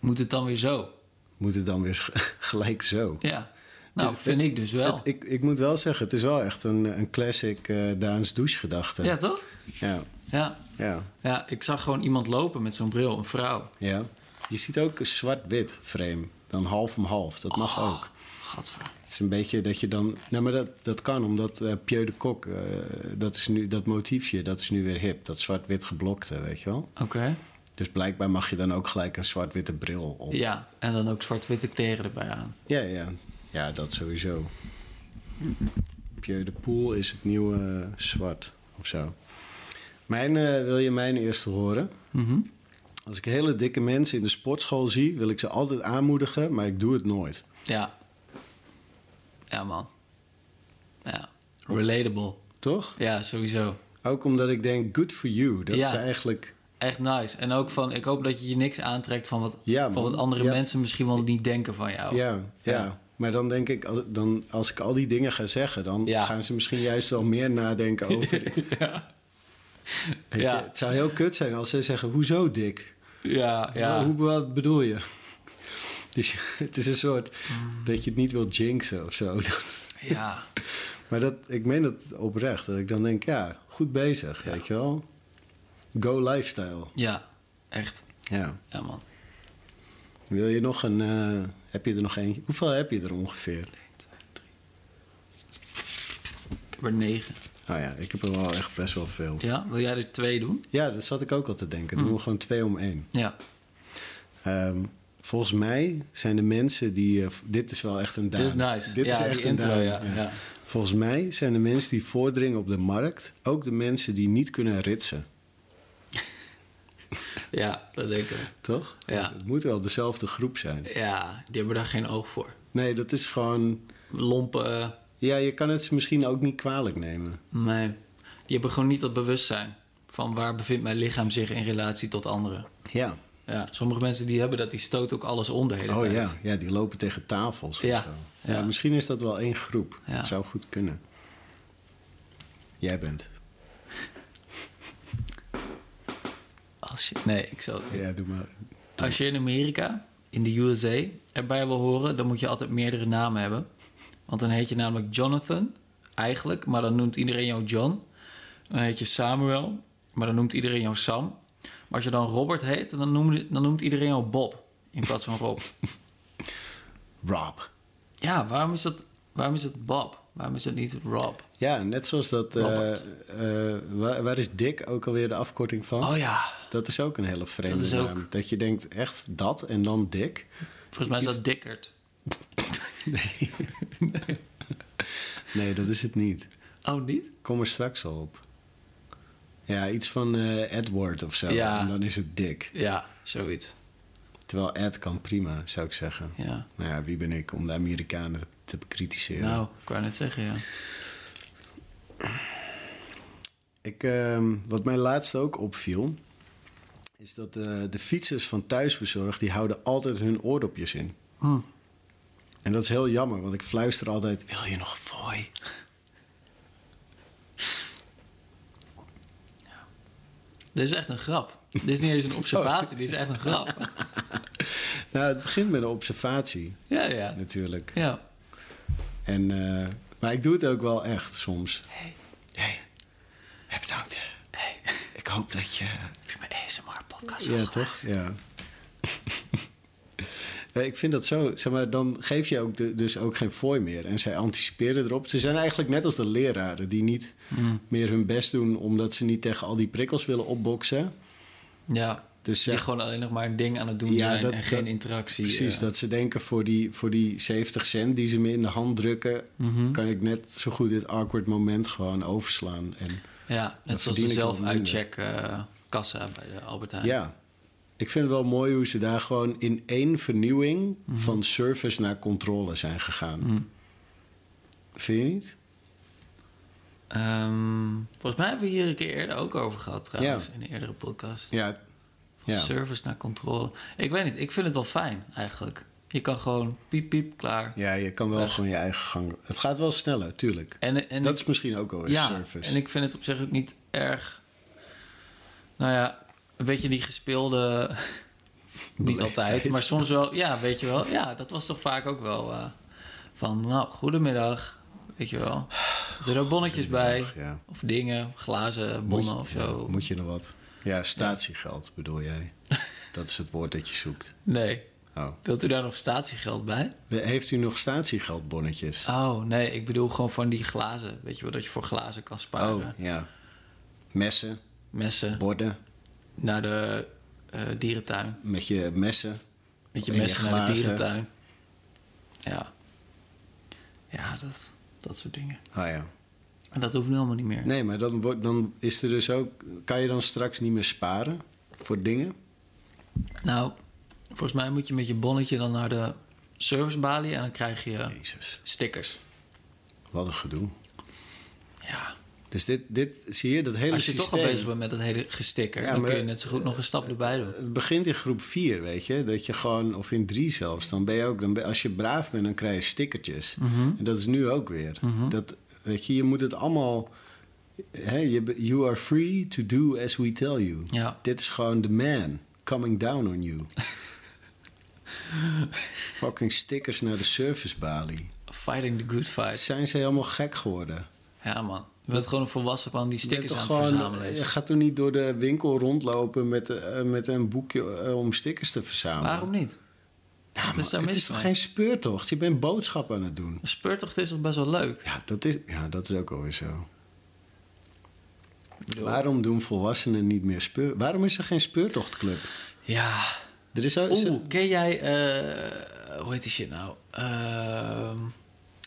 Speaker 2: Moet het dan weer zo?
Speaker 1: moet het dan weer g- gelijk zo?
Speaker 2: Ja. Nou,
Speaker 1: Dus
Speaker 2: vind ik dus wel.
Speaker 1: Het- ik, ik moet wel zeggen, het is wel echt een, een classic eh, Daans douchegedachte.
Speaker 2: ja, toch?
Speaker 1: ja,
Speaker 2: Ja.
Speaker 1: ja,
Speaker 2: Ja, ik zag gewoon iemand lopen met zo'n bril, een vrouw.
Speaker 1: ja. Je ziet ook een zwart-wit frame, dan half om half, dat mag
Speaker 2: Oh.
Speaker 1: ook.
Speaker 2: Gadver.
Speaker 1: Het is een beetje dat je dan... Nou, maar dat, dat kan, omdat eh Pieu de Kok, eh, dat, is nu, dat motiefje, dat is nu weer hip. Dat zwart-wit geblokte, weet je wel?
Speaker 2: Oké.
Speaker 1: Dus blijkbaar mag je dan ook gelijk een zwart-witte bril op. Ja.
Speaker 2: Ja, en dan ook zwart-witte kleren erbij aan.
Speaker 1: ja, ja. dat sowieso. Pieu de Poel is het nieuwe eh, zwart, of zo. Mijn, eh, wil je mijn eerste horen?
Speaker 2: Mhm.
Speaker 1: Als ik hele dikke mensen in de sportschool zie, wil ik ze altijd aanmoedigen, maar ik doe het nooit.
Speaker 2: Ja. Ja, man. Ja. Relatable.
Speaker 1: Toch?
Speaker 2: Ja, sowieso.
Speaker 1: Ook omdat ik denk, good for you. Dat
Speaker 2: Ja.
Speaker 1: is eigenlijk...
Speaker 2: Echt nice. En ook van, ik hoop dat je je niks aantrekt van wat,
Speaker 1: Ja,
Speaker 2: van
Speaker 1: man.
Speaker 2: wat andere
Speaker 1: Ja.
Speaker 2: mensen misschien wel niet denken van jou.
Speaker 1: Ja, ja.
Speaker 2: Oh. Ja.
Speaker 1: Maar dan denk ik, als, dan, als ik al die dingen ga zeggen, dan
Speaker 2: Ja.
Speaker 1: gaan ze misschien juist wel meer nadenken over. Weet je,
Speaker 2: Ja.
Speaker 1: Het zou heel kut zijn als ze zeggen: Hoezo dik?
Speaker 2: Ja, ja.
Speaker 1: Nou, hoe, wat bedoel je? Dus je- het is een soort dat je het niet wil jinxen of zo.
Speaker 2: ja.
Speaker 1: Maar dat, ik meen dat oprecht. Dat ik dan denk: Ja, goed bezig, weet je wel. Go lifestyle.
Speaker 2: Ja, echt.
Speaker 1: Ja.
Speaker 2: Ja, man.
Speaker 1: Wil je nog een. eh, heb je er nog eentje? Hoeveel heb je er ongeveer?
Speaker 2: Ik heb er negen.
Speaker 1: Nou ja, ik heb er wel echt best wel veel.
Speaker 2: Ja, wil jij er twee doen?
Speaker 1: Ja, dat zat ik ook al te denken. Doen we gewoon twee om één.
Speaker 2: Ja.
Speaker 1: Ehm, volgens mij zijn de mensen die... eh, v- dit is wel echt een
Speaker 2: Dit
Speaker 1: daad.
Speaker 2: is nice.
Speaker 1: Dit
Speaker 2: ja,
Speaker 1: is echt
Speaker 2: die
Speaker 1: een
Speaker 2: intro,
Speaker 1: daad,
Speaker 2: ja. ja.
Speaker 1: Volgens mij zijn de mensen die voordringen op de markt... ook de mensen die niet kunnen ritsen,
Speaker 2: Ja, dat denk ik.
Speaker 1: toch?
Speaker 2: Ja.
Speaker 1: Het moet wel dezelfde groep zijn.
Speaker 2: Ja, die hebben daar geen oog voor.
Speaker 1: Nee, dat is gewoon...
Speaker 2: Lompe, eh,
Speaker 1: Ja, je kan het ze misschien ook niet kwalijk nemen.
Speaker 2: nee. Die hebben gewoon niet dat bewustzijn van waar bevindt mijn lichaam zich in relatie tot anderen.
Speaker 1: Ja.
Speaker 2: Ja, sommige mensen die hebben dat, die stoten ook alles om de hele
Speaker 1: Oh
Speaker 2: tijd.
Speaker 1: ja. ja, die lopen tegen tafels
Speaker 2: Ja.
Speaker 1: of zo. Ja,
Speaker 2: Ja.
Speaker 1: Misschien is dat wel één groep.
Speaker 2: Ja.
Speaker 1: Dat zou goed kunnen. Jij bent.
Speaker 2: Als je, nee, ik zal het niet.
Speaker 1: Ja, doe maar.
Speaker 2: Als je in Amerika, in de USA, erbij wil horen, dan moet je altijd meerdere namen hebben. Want dan heet je namelijk Jonathan, eigenlijk, maar dan noemt iedereen jou John. Dan heet je Samuel, maar dan noemt iedereen jou Sam. Maar als je dan Robert heet, dan noemt, dan noemt iedereen jou Bob in plaats van Rob.
Speaker 1: Rob.
Speaker 2: ja, waarom is, dat, waarom is dat Bob? Waarom is dat niet Rob?
Speaker 1: Ja, net zoals dat... eh,
Speaker 2: Robert.
Speaker 1: eh, waar, waar is Dick ook alweer de afkorting van?
Speaker 2: Oh ja,
Speaker 1: Dat is ook een hele vreemde
Speaker 2: Dat is ook-
Speaker 1: naam. Dat je denkt, echt dat en dan Dick?
Speaker 2: volgens mij is dat Dickert.
Speaker 1: Nee, dat is het niet.
Speaker 2: Oh, niet?
Speaker 1: Kom er straks al op. Ja, iets van eh, Edward of zo.
Speaker 2: Ja.
Speaker 1: En dan is het Dick.
Speaker 2: Ja, zoiets.
Speaker 1: Terwijl Ed kan prima, zou ik zeggen.
Speaker 2: Ja.
Speaker 1: Nou ja, wie ben ik om de Amerikanen te bekritiseren?
Speaker 2: Nou, ik wou net zeggen, ja.
Speaker 1: Ik, ehm, wat mij laatst ook opviel, is dat eh, de fietsers van thuisbezorgd... die houden altijd hun oordopjes in.
Speaker 2: Hm.
Speaker 1: En dat is heel jammer, want ik fluister altijd... Wil je nog fooi?
Speaker 2: Dit is echt een grap. Dit is niet eens
Speaker 1: Oh.
Speaker 2: een observatie, dit is echt een grap.
Speaker 1: Nou, het begint met een observatie
Speaker 2: Ja, ja.
Speaker 1: natuurlijk.
Speaker 2: Ja.
Speaker 1: En, eh, maar ik doe het ook wel echt soms.
Speaker 2: Hey.
Speaker 1: Hey, hey, bedankt.
Speaker 2: Hey.
Speaker 1: Ik hoop dat je...
Speaker 2: Heb je mijn ASMR-podcast
Speaker 1: Ja, toch? Ja. Ja, ik vind dat zo, zeg maar, dan geef je ook de- dus ook geen fooi meer. En zij anticiperen erop. Ze zijn eigenlijk net als de leraren die niet meer hun best doen... omdat ze niet tegen al die prikkels willen opboksen.
Speaker 2: Ja.
Speaker 1: Dus
Speaker 2: Die
Speaker 1: zeg,
Speaker 2: gewoon alleen nog maar een ding aan het doen
Speaker 1: Ja,
Speaker 2: zijn
Speaker 1: dat-
Speaker 2: en geen
Speaker 1: dat-
Speaker 2: interactie.
Speaker 1: precies,
Speaker 2: eh.
Speaker 1: dat ze denken voor die, voor die 70 cent die ze me in de hand drukken...
Speaker 2: Mhm.
Speaker 1: kan ik net zo goed dit awkward moment gewoon overslaan. En
Speaker 2: Ja, net
Speaker 1: dat
Speaker 2: zoals
Speaker 1: verdien
Speaker 2: de
Speaker 1: ik wel minder.
Speaker 2: zelf-uitcheck eh, kassa bij de Albert Heijn.
Speaker 1: Ja. Ik vind het wel mooi hoe ze daar gewoon in één vernieuwing
Speaker 2: Mhm.
Speaker 1: van service naar controle zijn gegaan. Vind je niet?
Speaker 2: Ehm, volgens mij hebben we hier een keer eerder ook over gehad trouwens,
Speaker 1: Ja.
Speaker 2: in een eerdere podcast.
Speaker 1: Ja.
Speaker 2: Van
Speaker 1: ja.
Speaker 2: service naar controle. Ik weet niet, ik vind het wel fijn eigenlijk. Je kan gewoon piep piep, klaar.
Speaker 1: ja, je kan wel
Speaker 2: Echt.
Speaker 1: gewoon je eigen gang. Het gaat wel sneller, tuurlijk.
Speaker 2: En, en
Speaker 1: dat
Speaker 2: ik-
Speaker 1: is misschien ook alweer
Speaker 2: ja,
Speaker 1: service.
Speaker 2: en ik vind het op zich ook niet erg... Nou ja, een beetje die gespeelde... niet
Speaker 1: Beleefdheid.
Speaker 2: altijd, maar soms wel... Ja, weet je wel. Ja, dat was toch vaak ook wel eh, van... Nou, goedemiddag, weet je wel. Er zijn ook bonnetjes bij.
Speaker 1: Ja.
Speaker 2: Of dingen, glazen, bonnen of zo.
Speaker 1: Moet je nog wat? Ja, statiegeld bedoel jij. dat is het woord dat je zoekt.
Speaker 2: Nee.
Speaker 1: Oh.
Speaker 2: Wilt u daar nog statiegeld bij?
Speaker 1: Heeft u nog statiegeldbonnetjes?
Speaker 2: Oh, nee, ik bedoel gewoon van die glazen. Weet je wel, dat je voor glazen kan sparen.
Speaker 1: Oh, ja. Messen,
Speaker 2: Messen
Speaker 1: borden,
Speaker 2: naar de eh, dierentuin.
Speaker 1: met je messen.
Speaker 2: Met je
Speaker 1: En je
Speaker 2: messen naar de
Speaker 1: glazen.
Speaker 2: dierentuin. Ja. Ja, dat, dat soort dingen.
Speaker 1: Oh ja.
Speaker 2: En dat hoeft nu allemaal niet meer.
Speaker 1: Nee, maar dan, wordt, dan is er dus ook. Kan je dan straks niet meer sparen voor dingen?
Speaker 2: Nou, volgens mij moet je met je bonnetje dan naar de servicebalie en dan krijg je
Speaker 1: Jezus,
Speaker 2: stickers.
Speaker 1: wat een gedoe.
Speaker 2: Ja.
Speaker 1: Dus dit, dit zie je, dat hele
Speaker 2: Als je
Speaker 1: systeem.
Speaker 2: toch al bezig bent met dat hele gestikker,
Speaker 1: Ja,
Speaker 2: dan
Speaker 1: maar- eh,
Speaker 2: kun je net zo goed nog een stap erbij doen.
Speaker 1: Het begint in groep 4, weet je. Dat je gewoon, of in 3 zelfs. Dan ben je ook, dan ben- als je braaf bent, dan krijg je stickertjes.
Speaker 2: Mhm.
Speaker 1: En dat is nu ook weer. dat, weet je, je moet het allemaal. Hè, je, be- you are free to do as we tell you.
Speaker 2: Ja.
Speaker 1: Dit is gewoon the man coming down on you. Fucking stickers naar de servicebalie.
Speaker 2: Fighting the good fight.
Speaker 1: Zijn ze helemaal gek geworden?
Speaker 2: Ja, man. Je bent gewoon een volwassen man die
Speaker 1: Je bent
Speaker 2: stickers
Speaker 1: toch
Speaker 2: aan het
Speaker 1: gewoon- eh,
Speaker 2: verzamelen is.
Speaker 1: Je gaat toch niet door de winkel rondlopen met, eh, met een boekje eh, om stickers te verzamelen?
Speaker 2: Waarom niet?
Speaker 1: Ja,
Speaker 2: Wat
Speaker 1: maar
Speaker 2: is daar
Speaker 1: het
Speaker 2: mis
Speaker 1: is toch
Speaker 2: mee?
Speaker 1: geen speurtocht? Je bent boodschap aan het doen.
Speaker 2: Een speurtocht is toch best wel leuk?
Speaker 1: Ja, dat is, ja, dat is ook alweer zo.
Speaker 2: Ik bedoel,
Speaker 1: Waarom doen volwassenen niet meer speur? Waarom is er geen speurtochtclub?
Speaker 2: Ja.
Speaker 1: Er is al, is er-
Speaker 2: Oeh, ken jij... eh, hoe heet die shit nou? Ehm,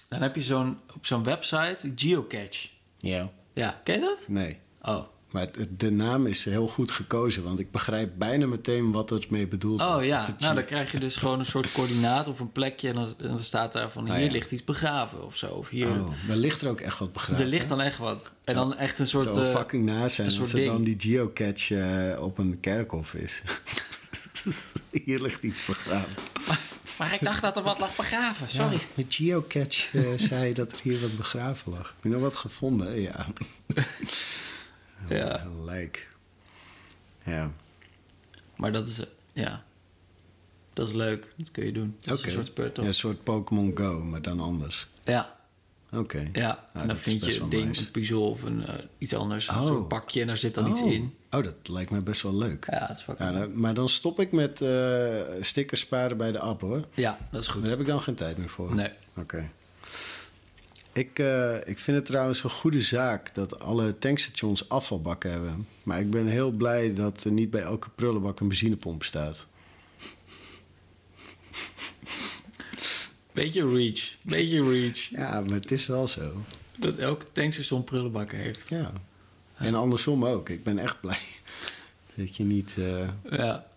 Speaker 2: dan heb je zo'n, op zo'n website, Geocache.
Speaker 1: Ja.
Speaker 2: Ja, ken je dat?
Speaker 1: Nee.
Speaker 2: Oh.
Speaker 1: Maar het- het- de naam is heel goed gekozen, want ik begrijp bijna meteen wat het mee bedoeld
Speaker 2: Oh
Speaker 1: wordt.
Speaker 2: ja, nou dan krijg je dus gewoon een soort coördinaat of een plekje... en dan, dan staat daar van hier
Speaker 1: Ah, ja.
Speaker 2: ligt iets begraven of zo. Of hier,
Speaker 1: Oh, daar ligt er ook echt wat begrijp.
Speaker 2: er ligt dan echt wat. En
Speaker 1: Zo-
Speaker 2: dan echt een
Speaker 1: Het
Speaker 2: soort...
Speaker 1: zou
Speaker 2: eh,
Speaker 1: fucking naar zijn
Speaker 2: een
Speaker 1: als
Speaker 2: soort
Speaker 1: er dan die
Speaker 2: ding.
Speaker 1: geocache eh, op een kerkhof is. Hier ligt iets begraven.
Speaker 2: maar ik dacht dat er wat lag begraven, sorry.
Speaker 1: Ja, met geocache eh, zei je dat er hier wat begraven lag. Heb je nog wat gevonden? Ja.
Speaker 2: Ja.
Speaker 1: Een lijk. Ja.
Speaker 2: Maar dat is, eh, ja, dat is leuk. Dat kun je doen. Dat is
Speaker 1: Oké.
Speaker 2: een soort
Speaker 1: Ja,
Speaker 2: speurtocht.
Speaker 1: een soort Pokémon Go, maar dan anders.
Speaker 2: Ja,
Speaker 1: Oké.
Speaker 2: ja.
Speaker 1: Ah, dat
Speaker 2: en dan
Speaker 1: is
Speaker 2: vind
Speaker 1: best
Speaker 2: je
Speaker 1: wel
Speaker 2: een ding,
Speaker 1: nice.
Speaker 2: een puzzel of een, eh, iets anders.
Speaker 1: Oh.
Speaker 2: Een soort pakje en daar zit dan iets
Speaker 1: Oh.
Speaker 2: in.
Speaker 1: Oh, dat lijkt mij best wel leuk.
Speaker 2: Ja, dat is fucking
Speaker 1: Ja,
Speaker 2: leuk.
Speaker 1: dan- maar dan stop ik met eh stickers sparen bij de app hoor.
Speaker 2: Ja, dat is
Speaker 1: Daar
Speaker 2: goed.
Speaker 1: heb ik dan geen tijd meer voor.
Speaker 2: Nee.
Speaker 1: Oké. Ik, eh, ik vind het trouwens een goede zaak dat alle tankstations afvalbakken hebben. Maar ik ben heel blij dat er niet bij elke prullenbak een benzinepomp staat.
Speaker 2: Beetje reach. Beetje reach.
Speaker 1: Ja, maar het is wel zo.
Speaker 2: Dat elk tankstation prullenbakken heeft.
Speaker 1: Ja. En andersom ook. Ik ben echt blij dat je niet... eh,
Speaker 2: Ja.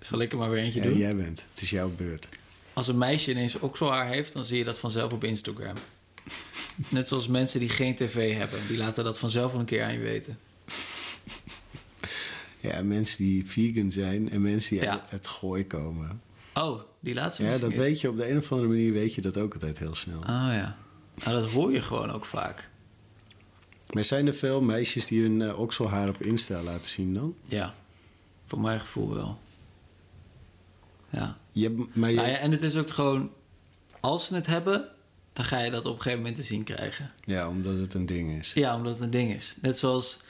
Speaker 2: Zal ik er maar weer eentje
Speaker 1: ja,
Speaker 2: doen?
Speaker 1: jij bent. Het is jouw beurt.
Speaker 2: Als een meisje ineens okselhaar heeft, dan zie je dat vanzelf op Instagram. Net zoals mensen die geen tv hebben. Die laten dat vanzelf wel een keer aan je weten.
Speaker 1: Ja, mensen die vegan zijn en mensen die
Speaker 2: Ja.
Speaker 1: uit het gooi komen.
Speaker 2: Oh, die laatste
Speaker 1: Ja,
Speaker 2: wist ik
Speaker 1: dat
Speaker 2: niet.
Speaker 1: weet je op de een of andere manier weet je dat ook altijd heel snel.
Speaker 2: Oh ja. Nou, dat hoor je gewoon ook vaak.
Speaker 1: Maar zijn er veel meisjes die hun eh, okselhaar op Insta laten zien dan?
Speaker 2: Ja. Voor mijn gevoel wel. Ja.
Speaker 1: Je, hebt- maar je,
Speaker 2: Nou ja, en het is ook gewoon... Als ze het hebben, dan ga je dat op een gegeven moment te zien krijgen.
Speaker 1: ja, omdat het een ding is.
Speaker 2: Ja, omdat het een ding is. Net zoals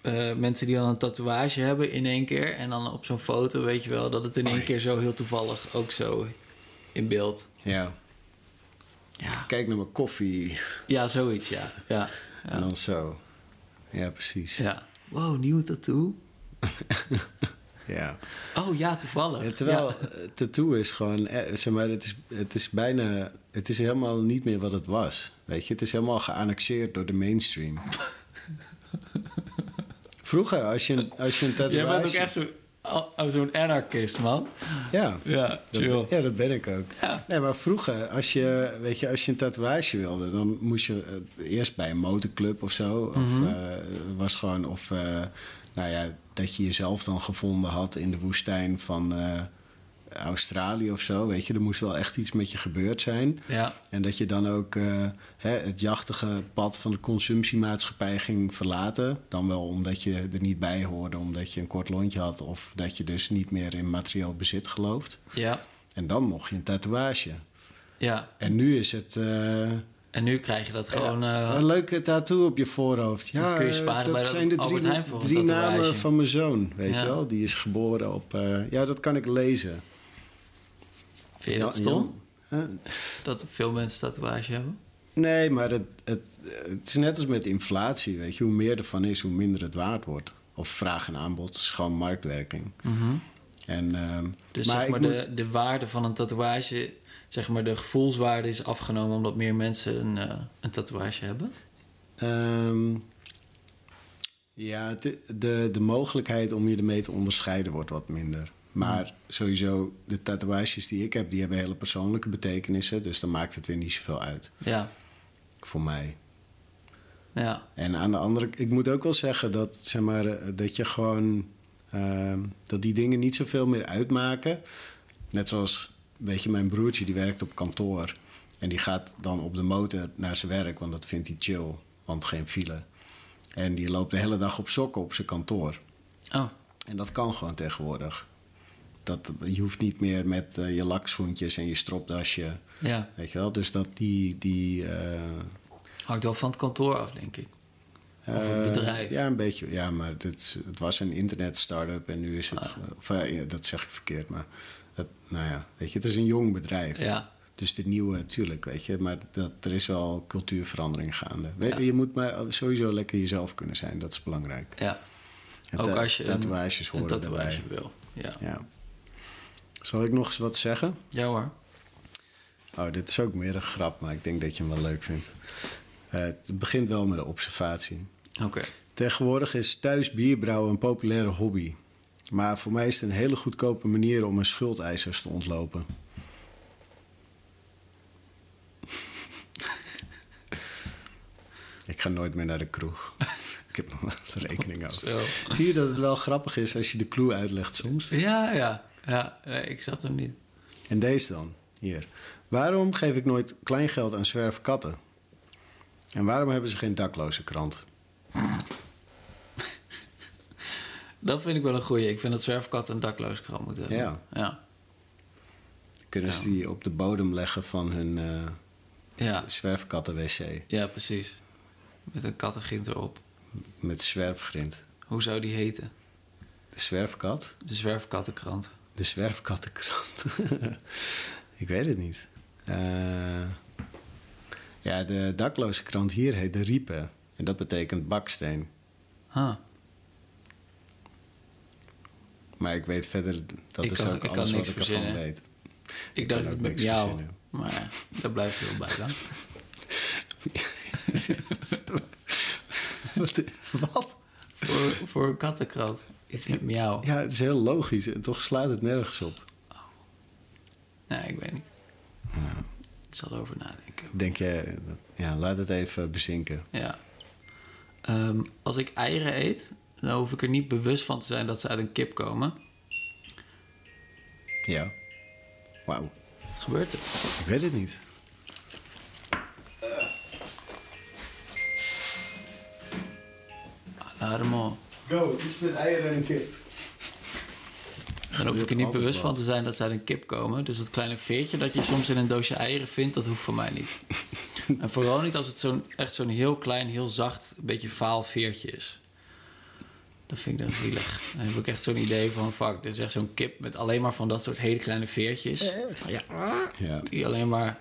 Speaker 2: eh, mensen die dan een tatoeage hebben in één keer... en dan op zo'n foto weet je wel dat het in één
Speaker 1: Oei.
Speaker 2: keer zo heel toevallig ook zo in beeld.
Speaker 1: Ja.
Speaker 2: Ja,
Speaker 1: Kijk naar mijn koffie
Speaker 2: ja zoiets, ja. Ja. Ja.
Speaker 1: en dan zo. Ja, precies. Ja.
Speaker 2: ja. Wow, nieuwe tattoo. Oh ja, toevallig.
Speaker 1: Ja, terwijl
Speaker 2: Ja.
Speaker 1: eh, tattoo is gewoon, eh, zeg maar, het is, het is bijna, het is helemaal niet meer wat het was. Weet je, het is helemaal geannexeerd door de mainstream. Vroeger, als je, een- als je een tatoeage...
Speaker 2: Jij bent ook echt zo'n oh, zo'n anarchist, man.
Speaker 1: Ja.
Speaker 2: Ja,
Speaker 1: Dat-
Speaker 2: chill.
Speaker 1: ja, dat ben ik ook.
Speaker 2: Ja.
Speaker 1: Nee, maar vroeger, als je, weet je, als je een tatoeage wilde, dan moest je eh, eerst bij een motorclub of zo.
Speaker 2: Mhm.
Speaker 1: Of eh, was gewoon, of eh, nou ja, dat je jezelf dan gevonden had in de woestijn van eh, Australië of zo. Weet je, er moest wel echt iets met je gebeurd zijn.
Speaker 2: Ja.
Speaker 1: En dat je dan ook eh, hè, het jachtige pad van de consumptiemaatschappij ging verlaten. Dan wel omdat je er niet bij hoorde, omdat je een kort lontje had. Of dat je dus niet meer in materieel bezit gelooft.
Speaker 2: Ja.
Speaker 1: En dan mocht je een tatoeage.
Speaker 2: Ja.
Speaker 1: En nu is het eh,
Speaker 2: En nu krijg je dat gewoon... eh,
Speaker 1: een leuke tattoo op je voorhoofd. Ja,
Speaker 2: Dan kun je
Speaker 1: eh,
Speaker 2: sparen
Speaker 1: dat
Speaker 2: bij de
Speaker 1: zijn de
Speaker 2: Albert
Speaker 1: drie,
Speaker 2: Heijn voor een
Speaker 1: drie
Speaker 2: tatoeage.
Speaker 1: namen van mijn zoon, weet
Speaker 2: Ja.
Speaker 1: je wel. Die is geboren op... eh, ja, dat kan ik lezen.
Speaker 2: vind je dat
Speaker 1: Ja,
Speaker 2: stom?
Speaker 1: ja. Huh?
Speaker 2: Dat veel mensen tatoeage hebben?
Speaker 1: Nee, maar het, het, het is net als met inflatie, weet je. Hoe meer ervan is, hoe minder het waard wordt. Of vraag en aanbod, het is gewoon marktwerking. En, ehm,
Speaker 2: Mhm. Dus
Speaker 1: maar
Speaker 2: zeg
Speaker 1: ik
Speaker 2: maar
Speaker 1: moet-
Speaker 2: de, de waarde van een tatoeage... Zeg maar de gevoelswaarde is afgenomen... omdat meer mensen een, eh, een tatoeage hebben?
Speaker 1: Ehm, ja, het- de, de mogelijkheid om je ermee te onderscheiden wordt wat minder. Maar sowieso, de tatoeages die ik heb, die hebben hele persoonlijke betekenissen. Dus dan maakt het weer niet zoveel uit
Speaker 2: Ja.
Speaker 1: voor mij.
Speaker 2: Ja.
Speaker 1: En aan de andere ik moet ook wel zeggen dat, zeg maar, eh, dat je gewoon, ehm, dat die dingen niet zoveel meer uitmaken. Net zoals, weet je, mijn broertje die werkt op kantoor. En die gaat dan op de motor naar zijn werk, want dat vindt hij chill, want geen file. En die loopt de hele dag op sokken op zijn kantoor.
Speaker 2: Oh.
Speaker 1: En dat kan gewoon tegenwoordig. Dat, je hoeft niet meer met eh, je lakschoentjes en je stropdasje,
Speaker 2: Ja.
Speaker 1: weet je wel. Dus dat die, die eh,
Speaker 2: Hangt wel van het kantoor af, denk ik. Of het
Speaker 1: eh,
Speaker 2: bedrijf.
Speaker 1: ja, een beetje. Ja, maar dit, het was een internet-startup en nu
Speaker 2: Ah.
Speaker 1: is het... Of, eh, ja, dat zeg ik verkeerd, maar... Het, nou ja, weet je, het is een jong bedrijf.
Speaker 2: Ja.
Speaker 1: Dus dit nieuwe, natuurlijk, weet je. Maar dat, er is wel cultuurverandering gaande. Weet je, je moet maar sowieso lekker jezelf kunnen zijn. Dat is belangrijk.
Speaker 2: Ja,
Speaker 1: En
Speaker 2: ook
Speaker 1: ta-
Speaker 2: als je een-
Speaker 1: tatoeages
Speaker 2: een
Speaker 1: horen
Speaker 2: tatoeage wil. Ja.
Speaker 1: daarbij. Ja. Zal ik nog eens wat zeggen?
Speaker 2: ja hoor.
Speaker 1: Oh, dit is ook meer een grap, maar ik denk dat je hem wel leuk vindt. Eh, het begint wel met een observatie.
Speaker 2: Oké.
Speaker 1: Tegenwoordig is thuis bierbrouwen een populaire hobby. Maar voor mij is het een hele goedkope manier om mijn schuldeisers te ontlopen. ik ga nooit meer naar de kroeg. ik heb nog wat rekening over.
Speaker 2: Zo.
Speaker 1: Zie je dat het wel grappig is als je de clue uitlegt soms?
Speaker 2: Ja, ja. Ja, nee, ik zat hem niet.
Speaker 1: En deze dan, hier. Waarom geef ik nooit kleingeld aan zwerfkatten? En waarom hebben ze geen dakloze krant?
Speaker 2: Dat vind ik wel een goeie. Ik vind dat zwerfkatten een dakloos krant moeten hebben.
Speaker 1: Ja.
Speaker 2: Ja.
Speaker 1: Kunnen ze die op de bodem leggen van hun eh
Speaker 2: Ja,
Speaker 1: zwerfkatten-wc?
Speaker 2: ja precies. Met een kattengint erop.
Speaker 1: Met zwerfgrind.
Speaker 2: Hoe zou die heten?
Speaker 1: De zwerfkat?
Speaker 2: De zwerfkattenkrant.
Speaker 1: De zwerfkattenkrant. ik weet het niet. Eh, ja, de dakloze krant hier heet de Riepen. En dat betekent baksteen.
Speaker 2: Huh.
Speaker 1: Maar ik weet verder, dat
Speaker 2: Ik
Speaker 1: is
Speaker 2: kan- ik
Speaker 1: ook
Speaker 2: kan
Speaker 1: alles wat
Speaker 2: niks
Speaker 1: ik ervan
Speaker 2: verzinnen.
Speaker 1: weet.
Speaker 2: Ik dacht
Speaker 1: kan
Speaker 2: het
Speaker 1: ook
Speaker 2: met
Speaker 1: niks
Speaker 2: jou.
Speaker 1: verzinnen.
Speaker 2: Maar daar blijft veel bij dan.
Speaker 1: Wat? wat?
Speaker 2: voor, voor een kattenkrant. Iets met miauw.
Speaker 1: Ja, het is heel logisch en toch slaat het nergens op.
Speaker 2: Nee, ik weet niet. Ik zal erover nadenken.
Speaker 1: Denk je, ja, laat het even bezinken.
Speaker 2: Ja. Ehm, als ik eieren eet, dan hoef ik er niet bewust van te zijn dat ze uit een kip komen.
Speaker 1: Ja. Wauw,
Speaker 2: Wat gebeurt er?
Speaker 1: ik weet het niet.
Speaker 2: Alarmo.
Speaker 1: Go, iets met eieren en een kip.
Speaker 2: Dan hoef ik er niet
Speaker 1: altijd
Speaker 2: bewust
Speaker 1: wel.
Speaker 2: van te zijn dat ze uit een kip komen. Dus dat kleine veertje dat je soms in een doosje eieren vindt, dat hoeft voor mij niet. en vooral niet als het zo'n, echt zo'n heel klein, heel zacht, een beetje vaal veertje is. Dat vind ik dan zielig. Dan heb ik echt zo'n idee van, fuck, dit is echt zo'n kip met alleen maar van dat soort hele kleine veertjes. Ja,
Speaker 1: Ja.
Speaker 2: die alleen maar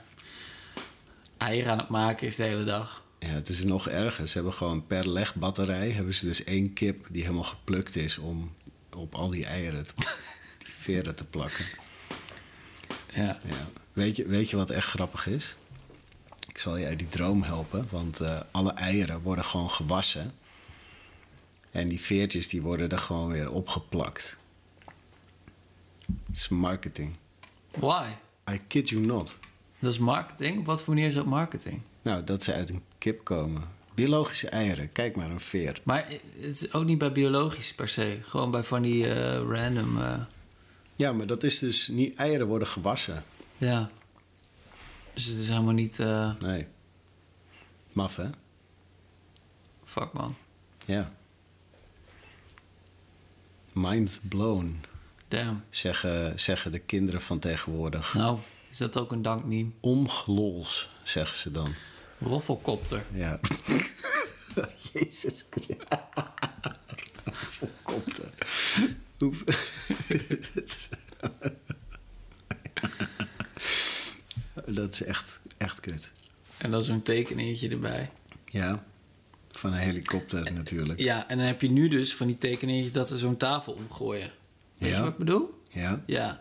Speaker 2: eieren aan het maken is de hele dag.
Speaker 1: ja, het is nog erger. Ze hebben gewoon per legbatterij hebben ze dus één kip die helemaal geplukt is om op al die eieren, te, die veren te plakken.
Speaker 2: Ja.
Speaker 1: Ja. Weet, je, weet je wat echt grappig is? Ik zal je uit die droom helpen, want eh, alle eieren worden gewoon gewassen. En die veertjes die worden er gewoon weer opgeplakt. Het is marketing.
Speaker 2: Why?
Speaker 1: I kid you not.
Speaker 2: Dat is marketing? Op wat voor manier is dat marketing?
Speaker 1: Nou, dat ze uit een kip komen. Biologische eieren, kijk maar een veer.
Speaker 2: Maar het is ook niet bij biologisch per se. Gewoon bij van die eh, random. eh,
Speaker 1: Ja, maar dat is dus niet eieren worden gewassen.
Speaker 2: ja. Dus het is helemaal niet. eh,
Speaker 1: Nee. Maf, hè?
Speaker 2: fuck man.
Speaker 1: Ja. Mind blown,
Speaker 2: Damn.
Speaker 1: zeggen, zeggen de kinderen van tegenwoordig.
Speaker 2: Nou, is dat ook een dankmeme?
Speaker 1: Omgelols, zeggen ze dan.
Speaker 2: Roffelkopter.
Speaker 1: Ja. Jezus Christus. Volkomt. Dat is echt, echt kut.
Speaker 2: En dan zo'n tekeningetje erbij.
Speaker 1: Ja. Van een helikopter natuurlijk.
Speaker 2: Ja, en dan heb je nu dus van die tekeningetjes dat ze zo'n tafel omgooien. Weet
Speaker 1: Ja.
Speaker 2: je wat ik bedoel?
Speaker 1: Ja.
Speaker 2: Ja.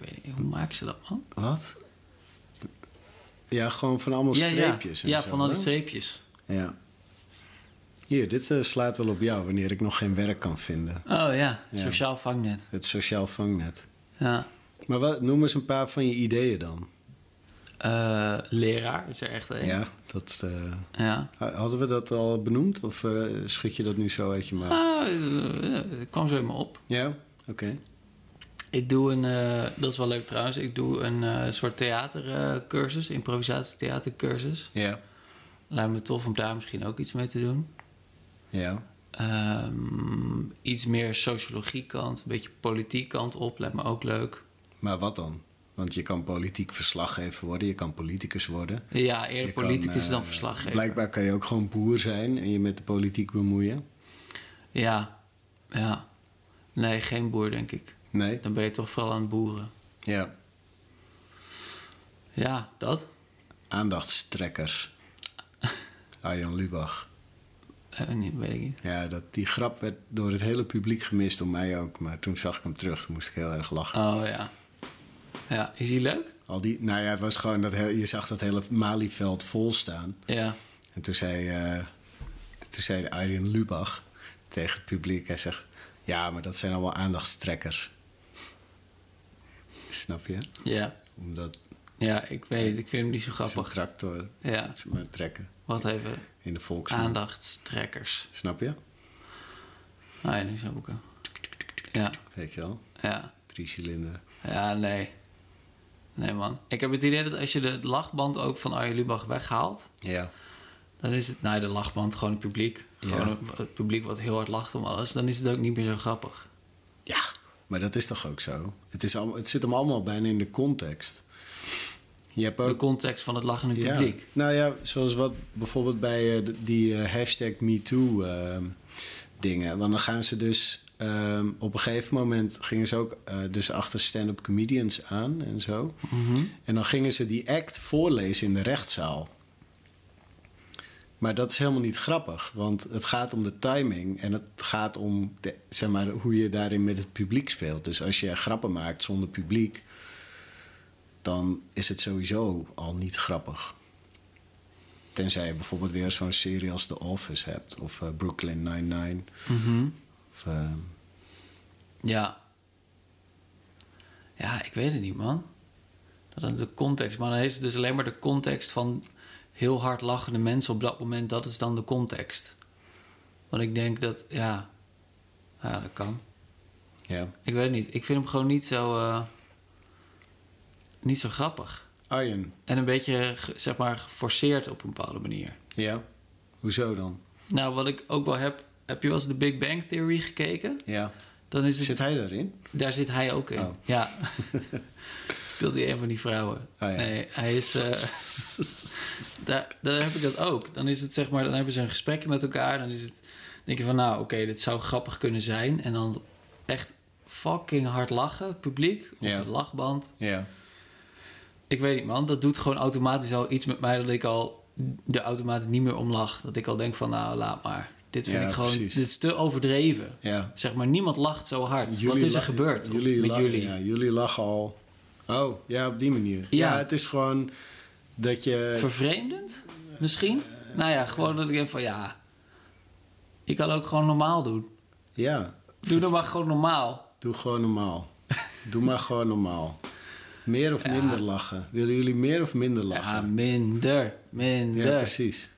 Speaker 2: Ik weet niet, hoe maken ze dat man?
Speaker 1: Wat? Ja, gewoon van allemaal
Speaker 2: ja, ja.
Speaker 1: streepjes. en
Speaker 2: ja,
Speaker 1: zo,
Speaker 2: van al die
Speaker 1: hè?
Speaker 2: streepjes.
Speaker 1: Ja. Hier, dit eh, slaat wel op jou wanneer ik nog geen werk kan vinden.
Speaker 2: Oh ja,
Speaker 1: Ja.
Speaker 2: sociaal vangnet.
Speaker 1: Het sociaal vangnet.
Speaker 2: Ja.
Speaker 1: Maar wat, noem eens een paar van je ideeën dan.
Speaker 2: Eh, leraar is er echt een.
Speaker 1: Ja, dat, eh,
Speaker 2: ja.
Speaker 1: hadden we dat al benoemd? Of eh, schud je dat nu zo uit je maag?
Speaker 2: Ah, eh, eh, het kwam zo in me op.
Speaker 1: Ja, oké.
Speaker 2: Ik doe een, eh, dat is wel leuk trouwens, ik doe een eh, soort theatercursus, improvisatietheatercursus.
Speaker 1: Ja.
Speaker 2: Lijkt me tof om daar misschien ook iets mee te doen.
Speaker 1: Ja.
Speaker 2: Ehm, iets meer sociologie kant, een beetje politiek kant op, lijkt me ook leuk.
Speaker 1: Maar wat dan? Want je kan politiek verslaggever worden, je kan politicus worden.
Speaker 2: Ja, eerder
Speaker 1: Je kan,
Speaker 2: politicus
Speaker 1: eh,
Speaker 2: dan verslaggever.
Speaker 1: Blijkbaar kan je ook gewoon boer zijn en je met de politiek bemoeien.
Speaker 2: Ja, ja. Nee, geen boer denk ik.
Speaker 1: Nee?
Speaker 2: Dan ben je toch vooral aan het boeren.
Speaker 1: Ja.
Speaker 2: Ja, dat.
Speaker 1: Aandachtstrekkers. Arjan Lubach.
Speaker 2: Eh, nee, weet ik niet.
Speaker 1: Ja, dat, die grap werd door het hele publiek gemist, door mij ook. Maar toen zag ik hem terug, toen moest ik heel erg lachen.
Speaker 2: Oh ja. Ja, is die leuk?
Speaker 1: Al die, nou ja, het was gewoon dat he- je zag dat hele Malieveld vol staan.
Speaker 2: Ja.
Speaker 1: En toen zei, eh toen zei Arjen Lubach tegen het publiek, hij zegt, ja, maar dat zijn allemaal aandachtstrekkers. Snap je?
Speaker 2: Ja.
Speaker 1: Omdat
Speaker 2: Ja, ik weet het. Ik vind hem niet zo
Speaker 1: het is een
Speaker 2: grappig.
Speaker 1: tractor,
Speaker 2: Ja.
Speaker 1: het is maar trekken
Speaker 2: Wat even.
Speaker 1: in de volksmond.
Speaker 2: Aandachtstrekkers.
Speaker 1: Snap je?
Speaker 2: Nou ja, nu snap ik hem. Ja.
Speaker 1: Weet je wel?
Speaker 2: Ja.
Speaker 1: Drie cilinder.
Speaker 2: Ja, nee. Nee, man. Ik heb het idee dat als je de lachband ook van Arjen Lubach weghaalt...
Speaker 1: Ja.
Speaker 2: dan is het... Nou, de lachband, gewoon het publiek. Gewoon het- het publiek wat heel hard lacht om alles. Dan is het ook niet meer zo grappig.
Speaker 1: Ja, maar dat is toch ook zo? Het, is al, het zit hem allemaal bijna in de context. Je hebt ook...
Speaker 2: De context van het lachende
Speaker 1: Ja.
Speaker 2: publiek.
Speaker 1: Nou ja, zoals wat bijvoorbeeld bij eh, d- die eh, hashtag MeToo ehm, dingen. Want dan gaan ze dus... ehm, op een gegeven moment gingen ze ook eh, dus achter stand-up comedians aan en zo. En dan gingen ze die act voorlezen in de rechtszaal. Maar dat is helemaal niet grappig, want het gaat om de timing en het gaat om de, zeg maar, hoe je daarin met het publiek speelt. Dus als je grappen maakt zonder publiek, dan is het sowieso al niet grappig. Tenzij je bijvoorbeeld weer zo'n serie als The Office hebt, of eh, Brooklyn Nine-Nine.
Speaker 2: Mhm.
Speaker 1: Of, eh,
Speaker 2: Ja. Ja, ik weet het niet, man. Dat is de context. Maar dan is het dus alleen maar de context van heel hard lachende mensen op dat moment. Dat is dan de context. Want ik denk dat, ja. Ja, dat kan.
Speaker 1: ja.
Speaker 2: Ik weet het niet. Ik vind hem gewoon niet zo. eh, niet zo grappig.
Speaker 1: Arjen,
Speaker 2: En een beetje, ge- zeg maar, geforceerd op een bepaalde manier.
Speaker 1: ja. Hoezo dan?
Speaker 2: Nou, wat ik ook wel heb. Heb je wel eens de Big Bang Theory gekeken?
Speaker 1: Ja.
Speaker 2: Dan is het
Speaker 1: Zit hij daarin?
Speaker 2: Daar zit hij ook in.
Speaker 1: Oh.
Speaker 2: Ja. Speelt hij een van die vrouwen?
Speaker 1: Oh, ja.
Speaker 2: Nee, hij is. eh, daar, daar heb ik dat ook. Dan is het zeg maar, dan hebben ze een gesprekje met elkaar. Dan is het. Denk je van, nou, oké, dit zou grappig kunnen zijn. En dan echt fucking hard lachen, publiek of
Speaker 1: Ja.
Speaker 2: een lachband.
Speaker 1: Ja.
Speaker 2: Ik weet niet, man. Dat doet gewoon automatisch al iets met mij dat ik al de automaat niet meer om lach. Dat ik al denk van, nou, laat maar. Dit vind
Speaker 1: Ja,
Speaker 2: ik gewoon.
Speaker 1: precies.
Speaker 2: Dit is te overdreven.
Speaker 1: Ja.
Speaker 2: Zeg maar, niemand lacht zo hard. Wat is er
Speaker 1: la-
Speaker 2: gebeurd
Speaker 1: jullie
Speaker 2: met
Speaker 1: la-
Speaker 2: jullie?
Speaker 1: Ja, jullie lachen al. Oh, ja, op die manier. Ja,
Speaker 2: Ja.
Speaker 1: het is gewoon dat je...
Speaker 2: Vervreemdend? Misschien? nou ja, gewoon dat ik denk van ja. Je kan ook gewoon normaal doen.
Speaker 1: ja,
Speaker 2: Doe dan maar gewoon normaal.
Speaker 1: doe gewoon normaal. doe maar gewoon normaal. Meer of minder lachen. Willen jullie meer of minder
Speaker 2: Ja,
Speaker 1: lachen?
Speaker 2: minder.
Speaker 1: Ja,
Speaker 2: Minder.
Speaker 1: precies.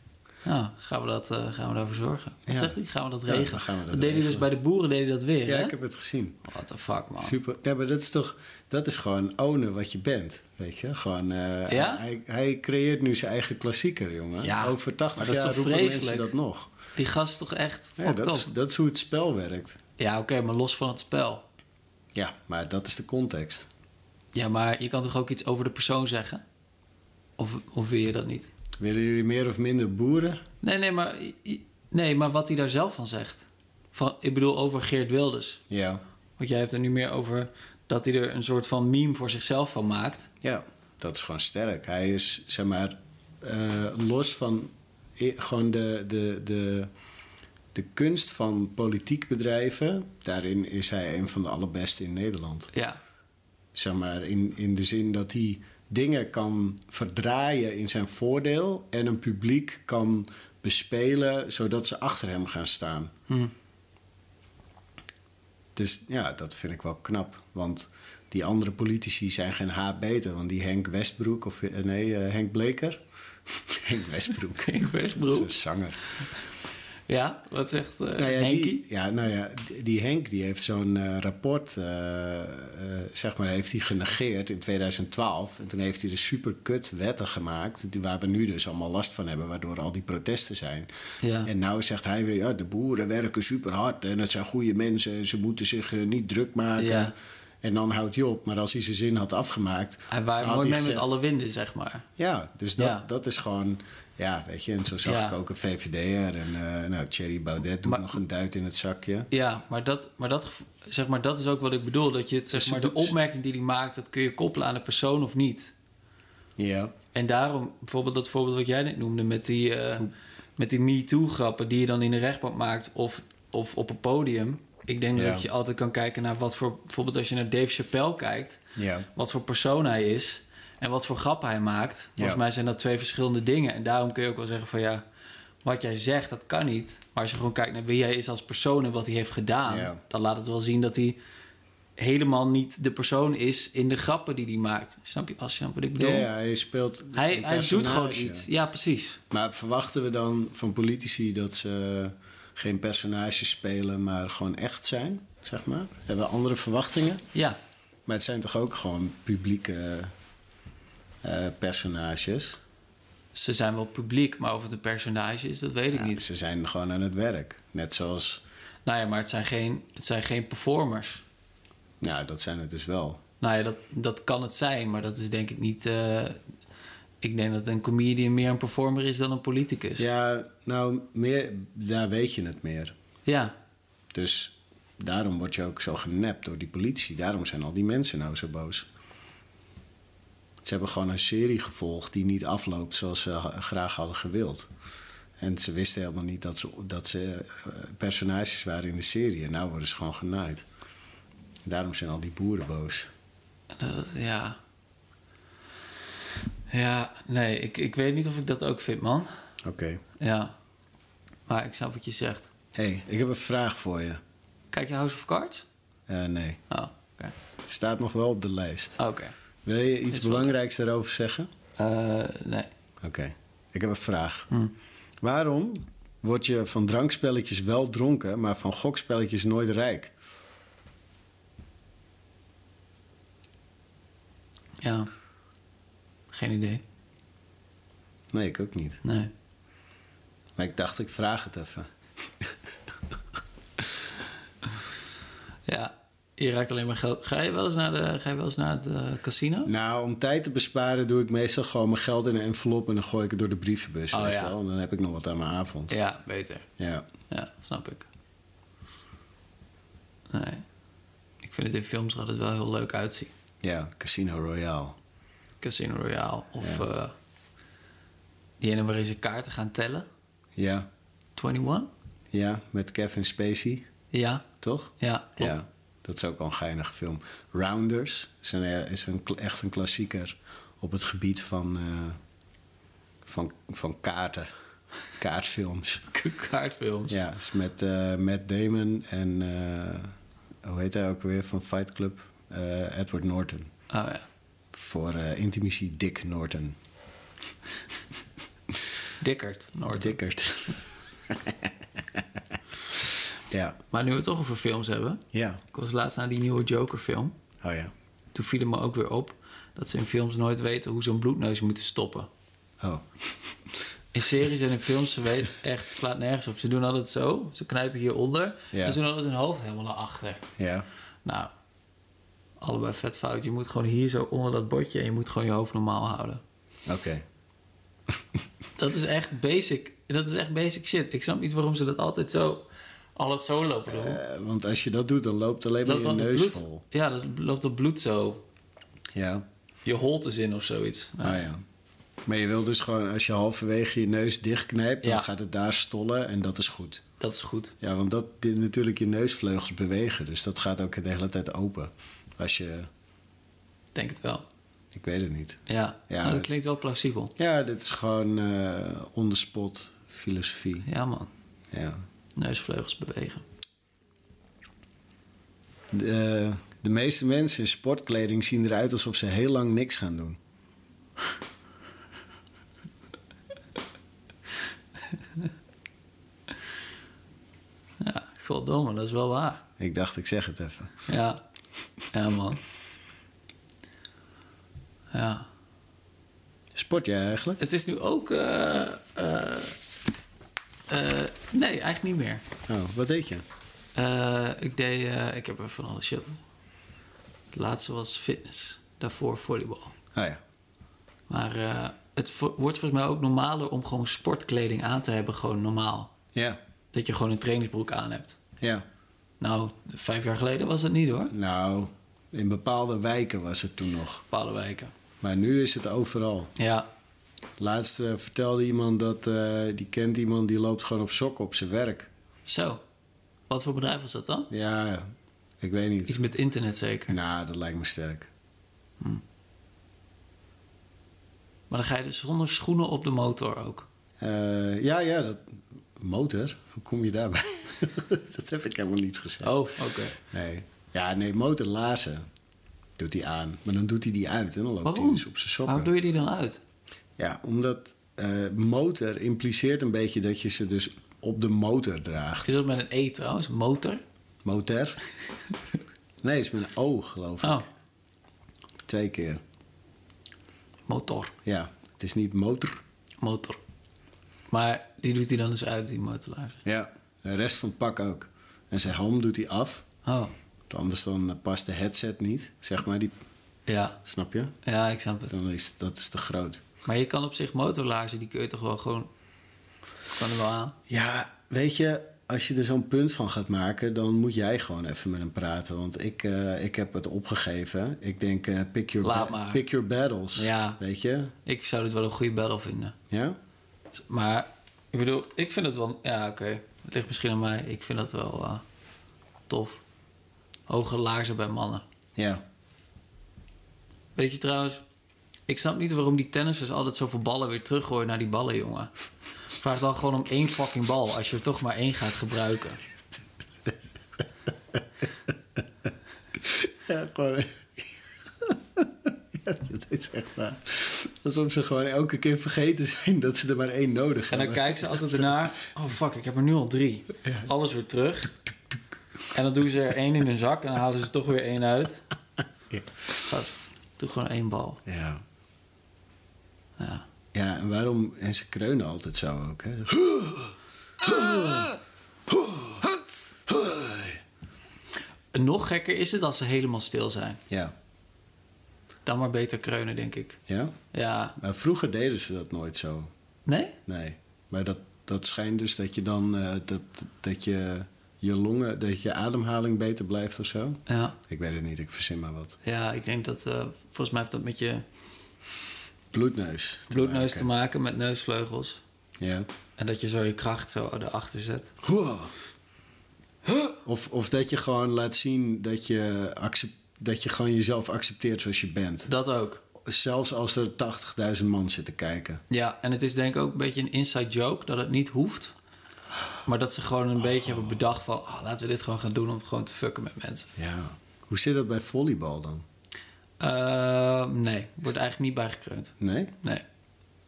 Speaker 2: nou, gaan we, dat, eh, gaan we daarvoor zorgen? Wat
Speaker 1: Ja.
Speaker 2: zegt hij? Gaan we dat
Speaker 1: Ja,
Speaker 2: regelen?
Speaker 1: dan gaan we dat
Speaker 2: deden
Speaker 1: regelen.
Speaker 2: dus bij de boeren deden dat weer,
Speaker 1: Ja,
Speaker 2: hè?
Speaker 1: ik heb het gezien.
Speaker 2: What the fuck, man.
Speaker 1: Super. Nee, maar dat is toch... Dat is gewoon ownen wat je bent, weet je? Gewoon... eh,
Speaker 2: Ja?
Speaker 1: hij, hij creëert nu zijn eigen klassieker, jongen.
Speaker 2: Ja,
Speaker 1: Over 80
Speaker 2: maar dat is
Speaker 1: jaar
Speaker 2: toch
Speaker 1: roepen mensen
Speaker 2: vreselijk?
Speaker 1: dat nog.
Speaker 2: Die gast toch echt
Speaker 1: Ja,
Speaker 2: fucked
Speaker 1: dat, is,
Speaker 2: up.
Speaker 1: dat is hoe het spel werkt.
Speaker 2: Ja, oké, maar los van het spel.
Speaker 1: Ja, maar dat is de context.
Speaker 2: Ja, maar je kan toch ook iets over de persoon zeggen? Of, of wil je dat niet?
Speaker 1: Willen jullie meer of minder boeren?
Speaker 2: Nee, nee, maar, i- i- nee, maar wat hij daar zelf van zegt. Van, ik bedoel over Geert Wilders.
Speaker 1: Ja.
Speaker 2: Want jij hebt er nu meer over dat hij er een soort van meme voor zichzelf van maakt.
Speaker 1: Ja, dat is gewoon sterk. Hij is, zeg maar, eh, los van i- gewoon de, de, de, de kunst van politiek bedrijven. Daarin is hij een van de allerbeste in Nederland.
Speaker 2: Ja,
Speaker 1: Zeg maar, in, in de zin dat hij dingen kan verdraaien in zijn voordeel... en een publiek kan bespelen zodat ze achter hem gaan staan.
Speaker 2: Hm.
Speaker 1: Dus ja, dat vind ik wel knap. Want die andere politici zijn geen haat beter. Want die Henk Westbroek, of eh, nee, eh, Henk Bleker. Henk Westbroek.
Speaker 2: Henk Westbroek.
Speaker 1: Dat is een zanger.
Speaker 2: ja wat zegt eh
Speaker 1: Nou ja,
Speaker 2: Henkie?
Speaker 1: Die, ja, nou ja, die- die Henk die heeft zo'n eh, rapport, eh, eh, zeg maar, heeft hij genegeerd in 2012. En toen heeft hij de superkut wetten gemaakt, die, waar we nu dus allemaal last van hebben, waardoor al die protesten zijn.
Speaker 2: Ja.
Speaker 1: En nou zegt hij weer, ja, de boeren werken super hard en het zijn goede mensen en ze moeten zich eh, niet druk maken.
Speaker 2: Ja.
Speaker 1: En dan houdt hij op. Maar als hij zijn zin had afgemaakt...
Speaker 2: Hij
Speaker 1: dan
Speaker 2: waait
Speaker 1: had
Speaker 2: mooi mee
Speaker 1: gezegd-
Speaker 2: met alle winden, zeg maar.
Speaker 1: ja, dus dat,
Speaker 2: Ja.
Speaker 1: dat is gewoon... Ja, weet je, en zo zag
Speaker 2: Ja.
Speaker 1: ik ook een VVD'er. En eh nou, Thierry Baudet doet
Speaker 2: Maar-
Speaker 1: nog een duit in het zakje.
Speaker 2: Ja, maar dat, maar, dat, gevo- zeg maar dat is ook wat ik bedoel. Dat je het, zeg
Speaker 1: Dus
Speaker 2: maar,
Speaker 1: het
Speaker 2: de
Speaker 1: doet-
Speaker 2: opmerking die hij maakt, dat kun je koppelen aan de persoon of niet.
Speaker 1: Ja.
Speaker 2: En daarom, bijvoorbeeld dat voorbeeld wat jij net noemde met die, eh, met die MeToo-grappen die je dan in de rechtbank maakt of, of op een podium. Ik denk
Speaker 1: Ja.
Speaker 2: dat je altijd kan kijken naar wat voor, bijvoorbeeld als je naar Dave Chappelle kijkt,
Speaker 1: Ja.
Speaker 2: wat voor persoon hij is en wat voor grappen hij maakt. Volgens
Speaker 1: Ja.
Speaker 2: mij zijn dat twee verschillende dingen. En daarom kun je ook wel zeggen van ja, wat jij zegt, dat kan niet. Maar als je gewoon kijkt naar wie hij is als persoon en wat hij heeft gedaan,
Speaker 1: Ja.
Speaker 2: dan laat het wel zien dat hij helemaal niet de persoon is in de grappen die hij maakt. Snap je, als je wat ik bedoel?
Speaker 1: Ja, ja, hij speelt.
Speaker 2: Hij,
Speaker 1: een
Speaker 2: hij doet gewoon
Speaker 1: personage.
Speaker 2: iets. Ja, precies.
Speaker 1: Maar verwachten we dan van politici dat ze geen personages spelen, maar gewoon echt zijn? Zeg maar. Hebben we andere verwachtingen?
Speaker 2: Ja,
Speaker 1: Maar het zijn toch ook gewoon publieke eh, personages?
Speaker 2: ze zijn wel publiek, maar of het een personage is, dat weet ik
Speaker 1: Ja,
Speaker 2: niet.
Speaker 1: Ze zijn gewoon aan het werk. Net zoals,
Speaker 2: Nou ja, maar het zijn geen, het zijn geen performers.
Speaker 1: nou, dat zijn het dus wel.
Speaker 2: Nou ja, dat, dat kan het zijn, maar dat is denk ik niet... eh, ik denk dat een comedian meer een performer is dan een politicus.
Speaker 1: Ja, nou, meer, daar weet je het meer.
Speaker 2: Ja,
Speaker 1: Dus daarom word je ook zo genept door die politie. Daarom zijn al die mensen nou zo boos. Ze hebben gewoon een serie gevolgd die niet afloopt zoals ze ha- graag hadden gewild. En ze wisten helemaal niet dat ze, dat ze eh, personages waren in de serie. En nou worden ze gewoon genaaid. Daarom zijn al die boeren boos.
Speaker 2: Nou, dat- ja. Ja, nee, ik, ik weet niet of ik dat ook vind, man.
Speaker 1: Oké.
Speaker 2: Ja, maar ik snap wat je zegt.
Speaker 1: hey, ik heb een vraag voor je.
Speaker 2: Kijk je House of Cards?
Speaker 1: Eh, nee,
Speaker 2: Oh, oké.
Speaker 1: het staat nog wel op de lijst.
Speaker 2: Oké.
Speaker 1: Wil je
Speaker 2: Is
Speaker 1: iets
Speaker 2: wel-
Speaker 1: belangrijks daarover zeggen?
Speaker 2: Eh, nee.
Speaker 1: Oké, ik heb een vraag.
Speaker 2: Hm.
Speaker 1: Waarom word je van drankspelletjes wel dronken, maar van gokspelletjes nooit rijk?
Speaker 2: Ja. Geen idee.
Speaker 1: Nee, ik ook niet.
Speaker 2: Nee.
Speaker 1: Maar ik dacht, ik vraag het even.
Speaker 2: Ja, je raakt alleen maar geld. Ga je wel eens naar, de, ga je wel eens naar het eh, casino?
Speaker 1: Nou, om tijd te besparen doe ik meestal gewoon mijn geld in een envelop en dan gooi ik het door de brievenbus.
Speaker 2: Oh,
Speaker 1: weet je
Speaker 2: ja.
Speaker 1: wel. En dan heb ik nog wat aan mijn avond.
Speaker 2: Ja, beter.
Speaker 1: Ja.
Speaker 2: Ja, snap ik. Nee. Ik vind het in films er altijd wel heel leuk uitzien.
Speaker 1: ja, Casino Royale.
Speaker 2: Casino Royale of
Speaker 1: Ja.
Speaker 2: eh, die ene waarin ze kaarten gaan tellen.
Speaker 1: Ja,
Speaker 2: 21?
Speaker 1: ja, met Kevin Spacey,
Speaker 2: Ja,
Speaker 1: toch?
Speaker 2: ja, klopt.
Speaker 1: Ja, dat is ook wel een geinige film. Rounders is, een, eh, is een, kla- echt een klassieker op het gebied van, eh, van, van kaarten. Kaartfilms.
Speaker 2: Kaartfilms.
Speaker 1: Ja, is met eh Matt Damon en eh, hoe heet hij ook weer van Fight Club? Eh, Edward Norton.
Speaker 2: Oh ja.
Speaker 1: Voor eh, intimacy Dick Norton.
Speaker 2: Dickert, Noord.
Speaker 1: Dickert. ja.
Speaker 2: Maar nu we het toch over films hebben.
Speaker 1: Ja.
Speaker 2: Ik was laatst naar die nieuwe Joker film.
Speaker 1: Oh ja.
Speaker 2: Toen viel het me ook weer op dat ze in films nooit weten hoe ze een bloedneus moeten stoppen.
Speaker 1: Oh.
Speaker 2: In series en in films, ze weten echt, het slaat nergens op. Ze doen altijd zo, ze knijpen hieronder
Speaker 1: Ja.
Speaker 2: en ze doen altijd hun hoofd helemaal naar achter.
Speaker 1: Ja.
Speaker 2: Nou, allebei vet fout. Je moet gewoon hier zo onder dat bordje en je moet gewoon je hoofd normaal houden.
Speaker 1: Oké.
Speaker 2: Dat is echt basic. Dat is echt basic shit. Ik snap niet waarom ze dat altijd zo, alles zo lopen doen.
Speaker 1: Eh, want als je dat doet, dan loopt alleen maar
Speaker 2: loopt
Speaker 1: je
Speaker 2: dan het
Speaker 1: neus
Speaker 2: bloed,
Speaker 1: vol.
Speaker 2: ja, dat loopt dat bloed zo
Speaker 1: Ja.
Speaker 2: je holtes in of zoiets. Nou,
Speaker 1: Ah, ja. Maar je wil dus gewoon, als je halverwege je neus dichtknijpt, dan
Speaker 2: Ja.
Speaker 1: gaat het daar stollen en dat is goed.
Speaker 2: Dat is goed.
Speaker 1: Ja, want dat die- natuurlijk je neusvleugels bewegen, dus dat gaat ook de hele tijd open. Als je,
Speaker 2: Ik Denk het wel.
Speaker 1: ik weet het niet.
Speaker 2: Ja,
Speaker 1: Ja,
Speaker 2: Nou, dat
Speaker 1: het-
Speaker 2: klinkt wel plausibel.
Speaker 1: Ja, dit is gewoon eh on the spot filosofie.
Speaker 2: Ja man,
Speaker 1: Ja.
Speaker 2: neusvleugels bewegen.
Speaker 1: De, eh, de meeste mensen in sportkleding zien eruit alsof ze heel lang niks gaan doen.
Speaker 2: Ja, goddomme, dat is wel waar.
Speaker 1: Ik dacht, ik zeg het even.
Speaker 2: Ja, ja man. Ja.
Speaker 1: Sport jij eigenlijk?
Speaker 2: Het is nu ook... eh, eh, eh, nee, eigenlijk niet meer.
Speaker 1: Oh, wat deed je?
Speaker 2: Eh, ik deed... eh, ik heb er van alles shit. Het laatste was fitness. Daarvoor volleybal.
Speaker 1: Oh ja.
Speaker 2: Maar eh, het vo- wordt volgens mij ook normaler om gewoon sportkleding aan te hebben. Gewoon normaal.
Speaker 1: Ja,
Speaker 2: Dat je gewoon een trainingsbroek aan hebt.
Speaker 1: ja.
Speaker 2: Nou, vijf jaar geleden was dat niet hoor.
Speaker 1: Nou, in bepaalde wijken was het toen nog.
Speaker 2: Bepaalde wijken.
Speaker 1: Maar nu is het overal.
Speaker 2: Ja,
Speaker 1: Laatst eh, vertelde iemand dat eh, die kent iemand die loopt gewoon op sokken op zijn werk.
Speaker 2: zo. Wat voor bedrijf was dat dan?
Speaker 1: Ja, ik weet niet.
Speaker 2: Iets met internet zeker.
Speaker 1: Nou, dat lijkt me sterk.
Speaker 2: Maar dan ga je dus zonder schoenen op de motor ook.
Speaker 1: Eh, ja, ja, dat. Motor? Hoe kom je daarbij? dat heb ik helemaal niet gezegd.
Speaker 2: Oh, oké.
Speaker 1: Nee. Ja, nee, motorlaarzen doet hij aan. Maar dan doet hij die uit en dan loopt
Speaker 2: Waarom?
Speaker 1: hij dus op zijn sokken.
Speaker 2: Waarom doe je die dan uit?
Speaker 1: Ja, omdat eh, motor impliceert een beetje dat je ze dus op de motor draagt.
Speaker 2: Is dat met een E trouwens? Motor?
Speaker 1: Motor? nee, is met een O, geloof ik.
Speaker 2: Oh,
Speaker 1: Twee keer.
Speaker 2: motor.
Speaker 1: Ja, het is niet motor.
Speaker 2: Motor. Maar die doet hij dan dus uit, die motorlaars.
Speaker 1: Ja, de rest van het pak ook. En zijn helm doet hij af.
Speaker 2: Oh,
Speaker 1: Want anders dan eh, past de headset niet, zeg maar. Die,
Speaker 2: ja.
Speaker 1: snap je?
Speaker 2: Ja, ik snap het.
Speaker 1: Dan is dat is te groot.
Speaker 2: Maar je kan op zich motorlaarzen, die kun je toch wel gewoon... Kan er wel aan.
Speaker 1: Ja, weet je, als je er zo'n punt van gaat maken, dan moet jij gewoon even met hem praten. Want ik, eh, ik heb het opgegeven. Ik denk, eh, pick, your
Speaker 2: Laat
Speaker 1: ba-
Speaker 2: maar.
Speaker 1: pick your battles.
Speaker 2: Ja.
Speaker 1: Weet je?
Speaker 2: Ik zou dit wel een goede battle vinden.
Speaker 1: Ja?
Speaker 2: Maar ik bedoel, ik vind het wel. Ja, oké. Het ligt misschien aan mij. Ik vind dat wel eh, tof. Hoge laarzen bij mannen.
Speaker 1: Ja.
Speaker 2: Weet je trouwens, ik snap niet waarom die tennissers altijd zoveel ballen weer teruggooien naar die ballen, jongen. Vraag dan gewoon om één fucking bal als je er toch maar één gaat gebruiken.
Speaker 1: Ja, gewoon. ja, dat is echt waar. Alsof ze gewoon elke keer vergeten zijn dat ze er maar één nodig
Speaker 2: En dan
Speaker 1: hebben.
Speaker 2: kijken ze altijd ernaar. Oh fuck, ik heb er nu al drie. Alles weer terug. En dan doen ze er één in hun zak en dan halen ze er toch weer één uit.
Speaker 1: Ja.
Speaker 2: Gast, doe gewoon één bal.
Speaker 1: Ja.
Speaker 2: Ja.
Speaker 1: Ja, en waarom? En ze kreunen altijd zo ook, hè?
Speaker 2: En Nog gekker is het als ze helemaal stil zijn.
Speaker 1: Ja.
Speaker 2: Dan maar beter kreunen, denk ik.
Speaker 1: Ja?
Speaker 2: Ja.
Speaker 1: Maar vroeger deden ze dat nooit zo.
Speaker 2: Nee?
Speaker 1: Nee. Maar dat, dat schijnt dus dat je dan eh, dat, dat je je longen, dat je ademhaling beter blijft of zo.
Speaker 2: Ja.
Speaker 1: Ik weet het niet, ik verzin maar wat.
Speaker 2: Ja, ik denk dat... eh, volgens mij heeft dat met je
Speaker 1: Bloedneus. te
Speaker 2: bloedneus te
Speaker 1: maken.
Speaker 2: maken, met neusvleugels.
Speaker 1: Ja.
Speaker 2: En dat je zo je kracht zo erachter zet.
Speaker 1: Wow. Of, of dat je gewoon laat zien dat je, accep- dat je gewoon jezelf accepteert zoals je bent.
Speaker 2: Dat ook.
Speaker 1: Zelfs als er 80.000 man zitten kijken.
Speaker 2: Ja, en het is denk ik ook een beetje een inside joke dat het niet hoeft. Maar dat ze gewoon een beetje hebben bedacht van... ah, laten we dit gewoon gaan doen om gewoon te fucken met mensen.
Speaker 1: Ja. Hoe zit dat bij volleybal dan?
Speaker 2: Eh, nee, wordt eigenlijk niet bijgekreund.
Speaker 1: Nee?
Speaker 2: Nee.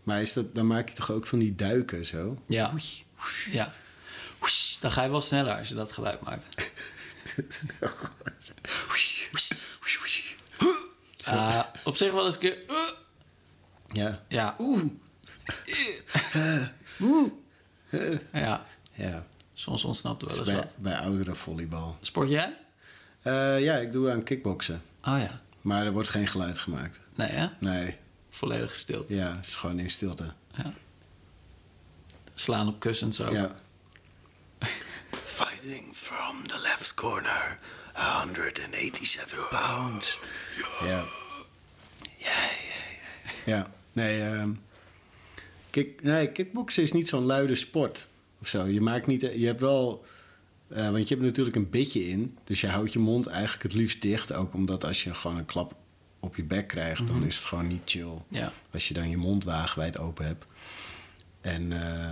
Speaker 1: Maar is dat, dan maak je toch ook van die duiken zo?
Speaker 2: Ja. Ja. Woesh, Dan ga je wel sneller als je dat geluid maakt. Eh, op zich wel eens een keer... eh,
Speaker 1: Ja.
Speaker 2: ja. Oeh.
Speaker 1: Eh.
Speaker 2: Ja,
Speaker 1: Ja.
Speaker 2: soms ontsnapt er wel eens
Speaker 1: Eh. bij,
Speaker 2: wat.
Speaker 1: bij oudere volleybal.
Speaker 2: Sport jij?
Speaker 1: Eh, ja, ik doe aan kickboksen.
Speaker 2: Oh ja.
Speaker 1: Maar er wordt geen geluid gemaakt.
Speaker 2: Nee, hè?
Speaker 1: Nee.
Speaker 2: Volledig gestild.
Speaker 1: Ja, het is gewoon in stilte.
Speaker 2: Ja. Slaan op kussens ook.
Speaker 1: Ja. Fighting from the left corner. 187 pounds. Ja. Ja, ja, ja. Ja. Nee, ehm kick, nee, kickboksen is niet zo'n luide sport. Of zo. Je maakt niet... Je hebt wel... eh, want je hebt natuurlijk een bitje in. Dus je houdt je mond eigenlijk het liefst dicht. Ook omdat als je gewoon een klap op je bek krijgt... dan is het gewoon niet chill.
Speaker 2: Ja.
Speaker 1: Als je dan je mond waagwijd open hebt. En, eh,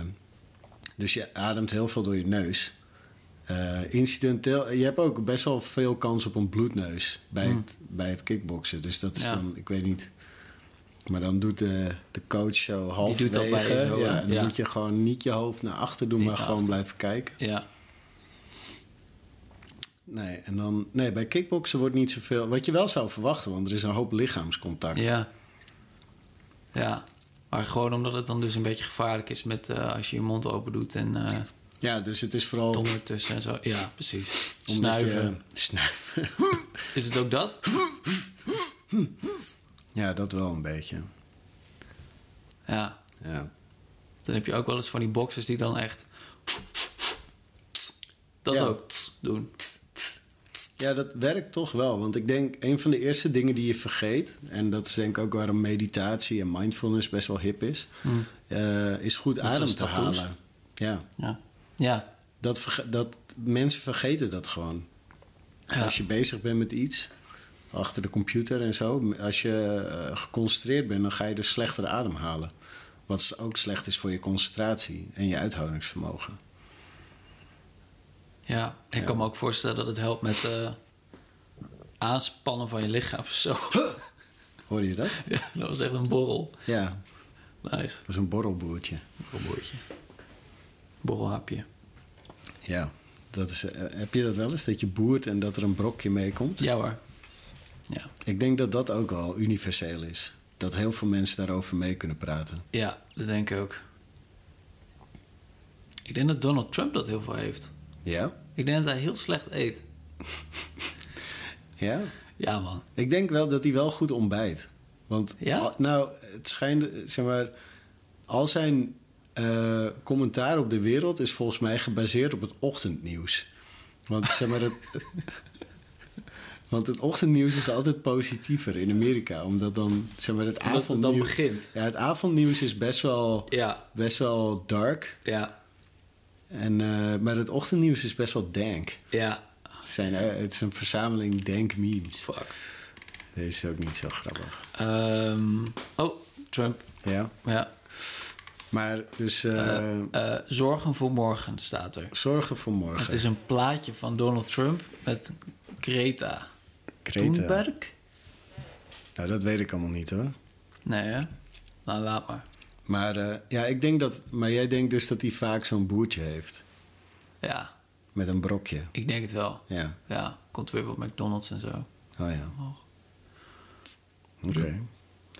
Speaker 1: dus je ademt heel veel door je neus. Eh, incidenteel, je hebt ook best wel veel kans op een bloedneus bij, het, bij het kickboksen. Dus dat is
Speaker 2: Hmm. Ja.
Speaker 1: dan, ik weet niet. Maar dan doet de, de coach zo half.
Speaker 2: doet dat bij je zo,
Speaker 1: Ja,
Speaker 2: hè?
Speaker 1: en dan
Speaker 2: Ja.
Speaker 1: moet je gewoon niet je hoofd naar achter doen,
Speaker 2: Niet
Speaker 1: maar
Speaker 2: naar
Speaker 1: gewoon
Speaker 2: achter.
Speaker 1: blijven kijken.
Speaker 2: Ja.
Speaker 1: Nee, en dan, nee, bij kickboksen wordt niet zoveel. Wat je wel zou verwachten, want er is een hoop lichaamscontact.
Speaker 2: Ja. Ja. Maar gewoon omdat het dan dus een beetje gevaarlijk is met eh, als je je mond open doet en eh
Speaker 1: Ja, dus het is vooral.
Speaker 2: tong ertussen en zo. Ja, precies.
Speaker 1: omdat
Speaker 2: Snuiven.
Speaker 1: je- snuiven.
Speaker 2: Is het ook dat?
Speaker 1: Ja, dat wel een beetje.
Speaker 2: Ja.
Speaker 1: Ja.
Speaker 2: Dan heb je ook wel eens van die boxers die dan echt... Dat
Speaker 1: Ja.
Speaker 2: ook doen.
Speaker 1: Ja, dat werkt toch wel. Want ik denk, een van de eerste dingen die je vergeet... en dat is denk ik ook waarom meditatie en mindfulness best wel hip is...
Speaker 2: Hm.
Speaker 1: eh, is goed
Speaker 2: Dat
Speaker 1: adem te
Speaker 2: was tattoos.
Speaker 1: halen. Ja,
Speaker 2: Ja. Ja.
Speaker 1: dat, verge- dat, mensen vergeten dat gewoon.
Speaker 2: ja.
Speaker 1: Als je bezig bent met iets, achter de computer en zo... als je eh, geconcentreerd bent, dan ga je dus slechter ademhalen. Wat ook slecht is voor je concentratie en je uithoudingsvermogen.
Speaker 2: Ja, ik
Speaker 1: Ja.
Speaker 2: kan me ook voorstellen dat het helpt met eh, aanspannen van je lichaam. of Zo.
Speaker 1: Hoor je dat?
Speaker 2: ja, dat was echt een borrel.
Speaker 1: Ja, dat
Speaker 2: Nice.
Speaker 1: is een borrelboertje.
Speaker 2: Borrelboertje. Borrelhapje.
Speaker 1: Ja, dat is, eh, heb je dat wel eens? Dat je boert en dat er een brokje meekomt?
Speaker 2: Ja hoor. Ja.
Speaker 1: Ik denk dat dat ook wel universeel is. Dat heel veel mensen daarover mee kunnen praten.
Speaker 2: ja, dat denk ik ook. Ik denk dat Donald Trump dat heel veel heeft.
Speaker 1: Ja?
Speaker 2: Ik denk dat hij heel slecht eet.
Speaker 1: Ja?
Speaker 2: Ja man.
Speaker 1: Ik denk wel dat hij wel goed ontbijt. Want,
Speaker 2: Ja?
Speaker 1: al- nou, het schijnt, eh, zeg maar, al zijn eh, commentaar op de wereld is volgens mij gebaseerd op het ochtendnieuws. Want, zeg maar, het, want het ochtendnieuws is altijd positiever in Amerika. Omdat dan, zeg maar, het
Speaker 2: Omdat het dan
Speaker 1: avondnieuws...
Speaker 2: begint.
Speaker 1: Ja, het avondnieuws is best wel,
Speaker 2: Ja,
Speaker 1: best wel dark.
Speaker 2: ja,
Speaker 1: En, eh, maar het ochtendnieuws is best wel dank.
Speaker 2: ja.
Speaker 1: Het, zijn, eh, het is een verzameling dank memes.
Speaker 2: Fuck.
Speaker 1: Deze is ook niet zo grappig.
Speaker 2: Ehm, oh, Trump.
Speaker 1: Ja.
Speaker 2: Ja.
Speaker 1: Maar dus eh,
Speaker 2: Eh, zorgen voor morgen staat er.
Speaker 1: zorgen voor morgen.
Speaker 2: Het is een plaatje van Donald Trump met Greta,
Speaker 1: Greta.
Speaker 2: Thunberg.
Speaker 1: Nou, dat weet ik allemaal niet hoor.
Speaker 2: Nee, hè? Nou, laat maar.
Speaker 1: Maar eh, ja, ik denk dat. Maar jij denkt dus dat hij vaak zo'n boertje heeft.
Speaker 2: Ja,
Speaker 1: Met een brokje.
Speaker 2: ik denk het wel.
Speaker 1: Ja.
Speaker 2: Ja, komt weer wat McDonald's en zo.
Speaker 1: Oh ja.
Speaker 2: Oh.
Speaker 1: Oké.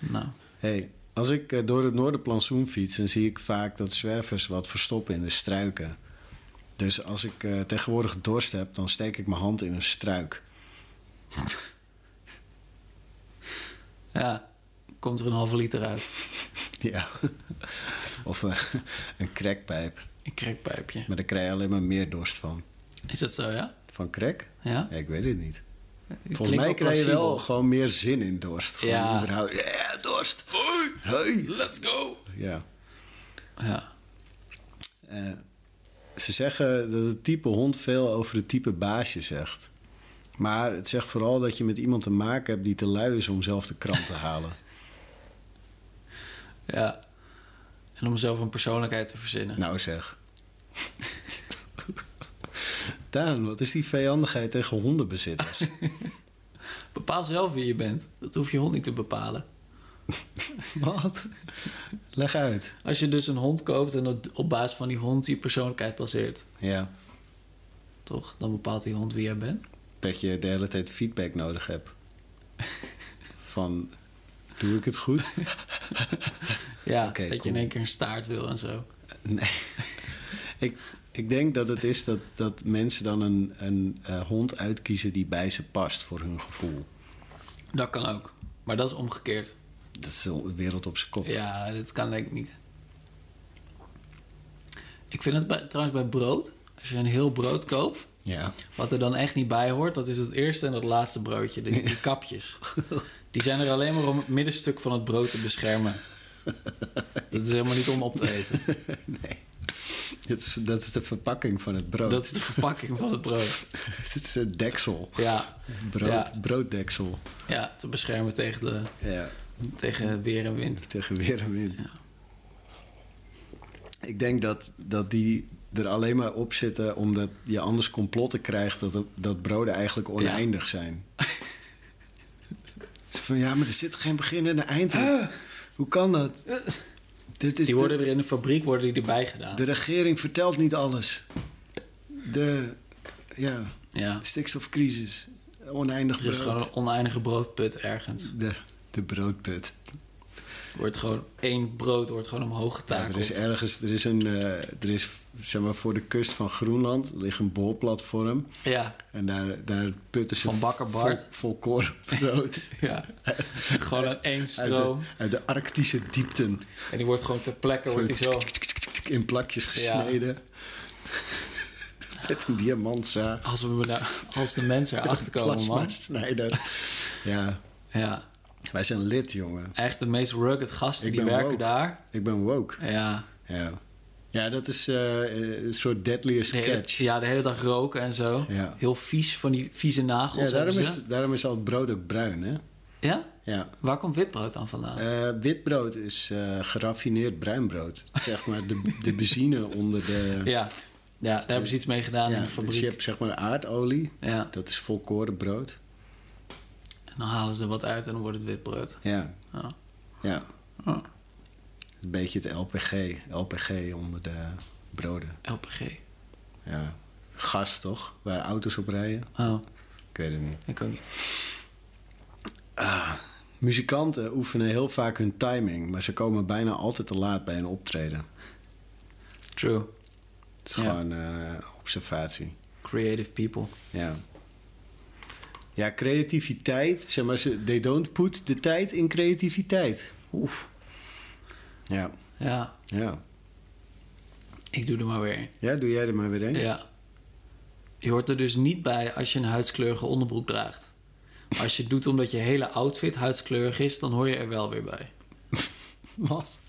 Speaker 2: Nou,
Speaker 1: Hey, als ik eh, door het Noorderplantsoen fiets, dan zie ik vaak dat zwervers wat verstoppen in de struiken. Dus als ik eh, tegenwoordig dorst heb, dan steek ik mijn hand in een struik.
Speaker 2: ja, komt er een halve liter uit.
Speaker 1: Ja. of eh, een crackpijp.
Speaker 2: Een crackpijpje.
Speaker 1: Maar daar krijg je alleen maar meer dorst van.
Speaker 2: Is dat zo, ja?
Speaker 1: Van crack?
Speaker 2: Ja?
Speaker 1: Ja, ik weet het niet.
Speaker 2: Klinkt
Speaker 1: Volgens mij krijg je
Speaker 2: plausibel.
Speaker 1: wel gewoon meer zin in dorst. Gewoon
Speaker 2: Ja.
Speaker 1: überhaupt- Ja, dorst. Hey.
Speaker 2: Let's go!
Speaker 1: Ja.
Speaker 2: Ja,
Speaker 1: Eh, ze zeggen dat het type hond veel over het type baasje zegt. Maar het zegt vooral dat je met iemand te maken hebt die te lui is om zelf de krant te halen.
Speaker 2: ja. En om zelf een persoonlijkheid te verzinnen.
Speaker 1: nou zeg. Daan, wat is die vijandigheid tegen hondenbezitters?
Speaker 2: Bepaal zelf wie je bent. Dat hoeft je hond niet te bepalen.
Speaker 1: wat? Leg uit.
Speaker 2: Als je dus een hond koopt en op- op basis van die hond je persoonlijkheid baseert,
Speaker 1: Ja,
Speaker 2: toch? Dan bepaalt die hond wie jij bent.
Speaker 1: dat je de hele tijd feedback nodig hebt. Van, doe ik het goed?
Speaker 2: Ja,
Speaker 1: Oké,
Speaker 2: dat je
Speaker 1: cool.
Speaker 2: in één keer een staart wil en zo.
Speaker 1: Nee. ik, ik denk dat het is dat, dat mensen dan een, een eh, hond uitkiezen die bij ze past voor hun gevoel.
Speaker 2: Dat kan ook. Maar dat is omgekeerd.
Speaker 1: Dat is de wereld op zijn kop.
Speaker 2: Ja, dat kan denk ik niet. Ik vind het bij, trouwens bij brood. Als je een heel brood koopt,
Speaker 1: Ja.
Speaker 2: wat er dan echt niet bij hoort, dat is het eerste en het laatste broodje. Die, die kapjes. Die zijn er alleen maar om het middenstuk van het brood te beschermen. Dat is helemaal niet om op te eten.
Speaker 1: Oh. Dat, is, dat is de verpakking van het brood.
Speaker 2: Dat is de verpakking van het brood.
Speaker 1: Het is een deksel.
Speaker 2: Ja,
Speaker 1: Brood,
Speaker 2: Ja.
Speaker 1: Brooddeksel.
Speaker 2: ja te beschermen tegen, de,
Speaker 1: Ja.
Speaker 2: tegen weer en wind.
Speaker 1: Tegen weer en wind. Ik denk dat, dat die er alleen maar op zitten omdat je anders complotten krijgt dat, dat broden eigenlijk oneindig zijn. Zo van ja, maar er zit geen begin en een eind aan. Hoe kan dat? Dit is
Speaker 2: Ah. Die worden er in de fabriek worden die erbij gedaan.
Speaker 1: de, de regering vertelt niet alles. De ja,
Speaker 2: ja.
Speaker 1: stikstofcrisis, oneindig
Speaker 2: Er is
Speaker 1: brood.
Speaker 2: gewoon een oneindige broodput ergens.
Speaker 1: De, de broodput.
Speaker 2: Wordt gewoon één brood wordt gewoon omhoog
Speaker 1: Ja, er
Speaker 2: getakeld.
Speaker 1: is ergens, er is een, eh, er is, zeg maar, voor de kust van Groenland ligt een bolplatform.
Speaker 2: Ja,
Speaker 1: En daar, daar putten ze
Speaker 2: Van Bakker Bart.
Speaker 1: vol- volkoren brood
Speaker 2: ja. gewoon een één
Speaker 1: uit de,
Speaker 2: stroom.
Speaker 1: uit de arctische diepten.
Speaker 2: En die wordt gewoon ter plekke wordt die zo
Speaker 1: In plakjes gesneden. Met een diamantzaag.
Speaker 2: Als, we, nou- als de mensen erachter komen, man.
Speaker 1: Plasmasnijder. Ja,
Speaker 2: Ja.
Speaker 1: wij zijn lid, jongen.
Speaker 2: Echt de meest rugged gasten
Speaker 1: Ik
Speaker 2: die
Speaker 1: ben
Speaker 2: werken
Speaker 1: woke.
Speaker 2: daar.
Speaker 1: Ik ben woke.
Speaker 2: Ja.
Speaker 1: Ja, ja dat is eh, een soort deadliest
Speaker 2: De hele,
Speaker 1: catch.
Speaker 2: ja, de hele dag roken en zo.
Speaker 1: Ja.
Speaker 2: Heel vies van die vieze nagels.
Speaker 1: Ja, daarom,
Speaker 2: hebben
Speaker 1: is,
Speaker 2: ze.
Speaker 1: daarom is al het brood ook bruin, hè?
Speaker 2: ja?
Speaker 1: Ja.
Speaker 2: Waar komt witbrood dan vandaan?
Speaker 1: Eh, wit brood is eh, geraffineerd bruin brood. Zeg maar de, de benzine onder de...
Speaker 2: ja. ja, daar hebben ze iets mee gedaan in
Speaker 1: Ja,
Speaker 2: de
Speaker 1: dus
Speaker 2: fabriek.
Speaker 1: je hebt zeg maar aardolie.
Speaker 2: Ja.
Speaker 1: Dat is volkoren brood.
Speaker 2: En dan halen ze er wat uit en dan wordt het witbrood.
Speaker 1: Ja,
Speaker 2: Ja.
Speaker 1: ja.
Speaker 2: Ah,
Speaker 1: Een beetje het LPG. LPG onder de broden.
Speaker 2: LPG.
Speaker 1: Ja. Gas toch? Waar auto's op rijden?
Speaker 2: Oh,
Speaker 1: Ik weet het niet. Ah,
Speaker 2: ik ook niet.
Speaker 1: Muzikanten oefenen heel vaak hun timing, maar ze komen bijna altijd te laat bij een optreden.
Speaker 2: True.
Speaker 1: Het is
Speaker 2: Ja.
Speaker 1: gewoon eh, observatie.
Speaker 2: Creative people.
Speaker 1: Ja. Ja, creativiteit. Zeg maar, ze, they don't put de tijd in creativiteit.
Speaker 2: Oef.
Speaker 1: Ja,
Speaker 2: Ja,
Speaker 1: ja.
Speaker 2: ik doe er maar weer een.
Speaker 1: Ja, doe jij er maar weer een.
Speaker 2: Ja. Je hoort er dus niet bij als je een huidskleurige onderbroek draagt. Maar als je het doet omdat je hele outfit huidskleurig is, dan hoor je er wel weer bij.
Speaker 1: Wat?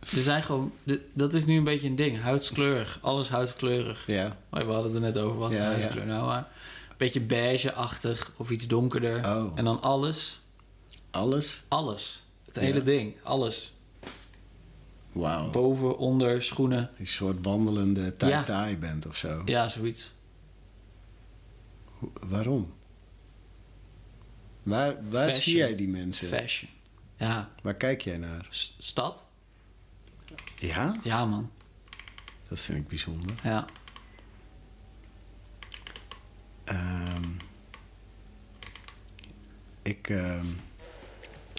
Speaker 2: Er zijn gewoon, de- dat is nu een beetje een ding. Huidskleurig, alles huidskleurig.
Speaker 1: Ja.
Speaker 2: Maar Oh, we hadden het er net over, wat is
Speaker 1: Ja,
Speaker 2: de
Speaker 1: ja.
Speaker 2: huidskleur nou? Maar een beetje beige-achtig of iets donkerder.
Speaker 1: Oh.
Speaker 2: En dan alles,
Speaker 1: Alles?
Speaker 2: alles. Het
Speaker 1: Ja. Oh.
Speaker 2: hele ding, alles.
Speaker 1: Wauw.
Speaker 2: Boven, onder, schoenen.
Speaker 1: Een soort wandelende
Speaker 2: Ja.
Speaker 1: tai-tai bent of zo.
Speaker 2: Ja, zoiets.
Speaker 1: Ho- Waarom? Waar, waar
Speaker 2: Fashion.
Speaker 1: zie jij die mensen?
Speaker 2: Fashion. Ja,
Speaker 1: Waar kijk jij naar?
Speaker 2: S- stad?
Speaker 1: Ja?
Speaker 2: Ja, man.
Speaker 1: Dat vind ik bijzonder.
Speaker 2: Ja.
Speaker 1: Ehm, ik, ehm,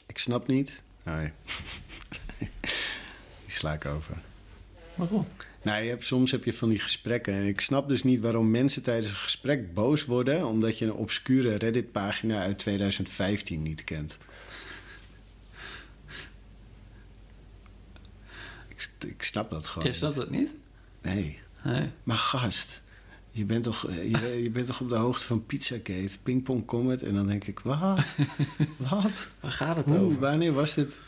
Speaker 1: ik snap niet. Nee. Die sla ik over.
Speaker 2: Waarom?
Speaker 1: Nou, je hebt, soms heb je van die gesprekken. En ik snap dus niet waarom mensen tijdens een gesprek boos worden. omdat je een obscure Reddit-pagina uit 2015 niet kent. Ik, s- ik snap dat gewoon.
Speaker 2: Is dat het niet?
Speaker 1: Nee.
Speaker 2: Nee.
Speaker 1: Maar gast, je bent toch, eh, je, je bent toch op de hoogte van Pizzagate, Pingpong Comet. En dan denk ik, wat? wat?
Speaker 2: Waar gaat het
Speaker 1: Hoe,
Speaker 2: over?
Speaker 1: wanneer was dit?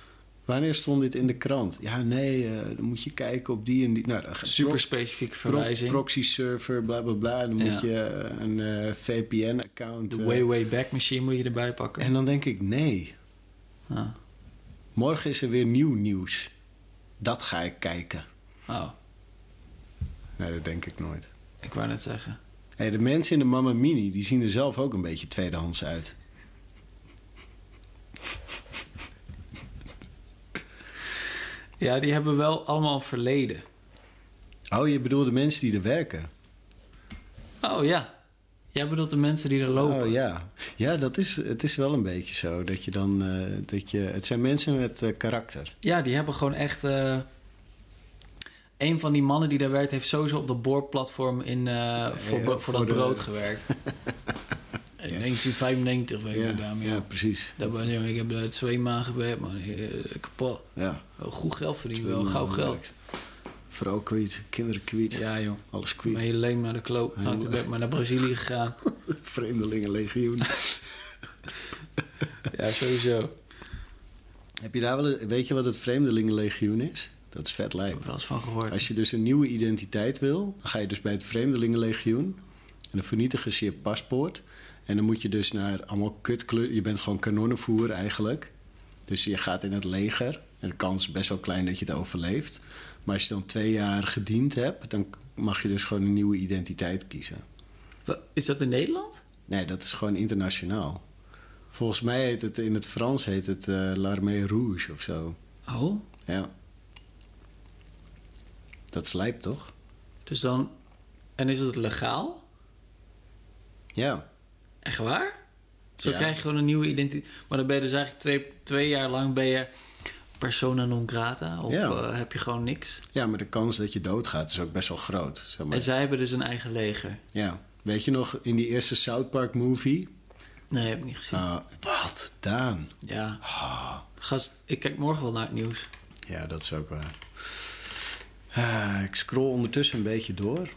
Speaker 1: Wanneer stond dit in de krant? Ja, nee, eh, dan moet je kijken op die en die. Nou, dan ga-
Speaker 2: Super specifieke
Speaker 1: pro- pro-
Speaker 2: verwijzing.
Speaker 1: proxy server, bla bla bla. En Dan
Speaker 2: Ja.
Speaker 1: moet je eh, een VPN-account.
Speaker 2: de way, way back machine moet je erbij pakken.
Speaker 1: eh. en dan denk ik, nee,
Speaker 2: Ah.
Speaker 1: morgen is er weer nieuw nieuws. Dat ga ik kijken.
Speaker 2: Oh,
Speaker 1: Nee, dat denk ik nooit.
Speaker 2: ik wou net zeggen.
Speaker 1: Hey, de mensen in de Mamma Mini, die zien er zelf ook een beetje tweedehands uit.
Speaker 2: Ja, die hebben wel allemaal een verleden.
Speaker 1: Oh, je bedoelt de mensen die er werken?
Speaker 2: Oh ja. Jij bedoelt de mensen die er lopen.
Speaker 1: Oh, ja, ja dat is, het is wel een beetje zo. Dat je dan, eh, dat je, het zijn mensen met eh, karakter.
Speaker 2: Ja, die hebben gewoon echt. eh, een van die mannen die daar werkt, heeft sowieso op dat boorplatform in, eh, voor,
Speaker 1: ja,
Speaker 2: bro- voor,
Speaker 1: voor
Speaker 2: dat
Speaker 1: de-
Speaker 2: brood gewerkt. In 1995 weet je daarmee.
Speaker 1: ja, precies.
Speaker 2: Daar ben ik, ik heb daar twee maanden gewerkt, man. Eh, Kapot.
Speaker 1: Ja.
Speaker 2: Oh, goed geld verdienen wel, gauw geld.
Speaker 1: Vooral kwiet, kinderen kwiet,
Speaker 2: Ja, joh.
Speaker 1: alles
Speaker 2: Mijn
Speaker 1: kwiet.
Speaker 2: hele leven naar de kloot.
Speaker 1: Ja,
Speaker 2: Nou,
Speaker 1: joh.
Speaker 2: toen ben ik maar naar Brazilië gegaan.
Speaker 1: Vreemdelingenlegioen.
Speaker 2: ja, sowieso. Ik
Speaker 1: Heb je daar wel, een- weet je wat het Vreemdelingenlegioen is? Dat is vet
Speaker 2: heb
Speaker 1: lijp.
Speaker 2: er wel eens van gehoord.
Speaker 1: Als je dus een nieuwe identiteit wil, dan ga je dus bij het Vreemdelingenlegioen. En dan vernietigen ze je paspoort. En dan moet je dus naar allemaal kutkle. Je bent gewoon kanonnenvoer eigenlijk. Dus je gaat in het leger. En de kans is best wel klein dat je het overleeft. Maar als je dan twee jaar gediend hebt, dan mag je dus gewoon een nieuwe identiteit kiezen.
Speaker 2: Wa- Is dat in Nederland?
Speaker 1: Nee, dat is gewoon internationaal. Volgens mij heet het in het Frans heet het eh, L'Armée Rouge of zo.
Speaker 2: Oh.
Speaker 1: Ja. Dat slijpt toch?
Speaker 2: Dus dan... En is het legaal?
Speaker 1: Ja.
Speaker 2: Echt waar? Zo
Speaker 1: Ja.
Speaker 2: krijg je gewoon een nieuwe identiteit. Maar dan ben je dus eigenlijk twee, twee jaar lang ben je persona non grata. Of
Speaker 1: Ja.
Speaker 2: eh, heb je gewoon niks.
Speaker 1: Ja, maar de kans dat je doodgaat is ook best wel groot. Zeg maar.
Speaker 2: En zij hebben dus een eigen leger.
Speaker 1: Ja. Weet je nog, in die eerste South Park movie?
Speaker 2: Nee, heb ik niet gezien.
Speaker 1: Ah, wat? Daan.
Speaker 2: Ja.
Speaker 1: Ah.
Speaker 2: Gast, ik kijk morgen wel naar het nieuws.
Speaker 1: Ja, dat is ook waar. Ah, ik scroll ondertussen een beetje door.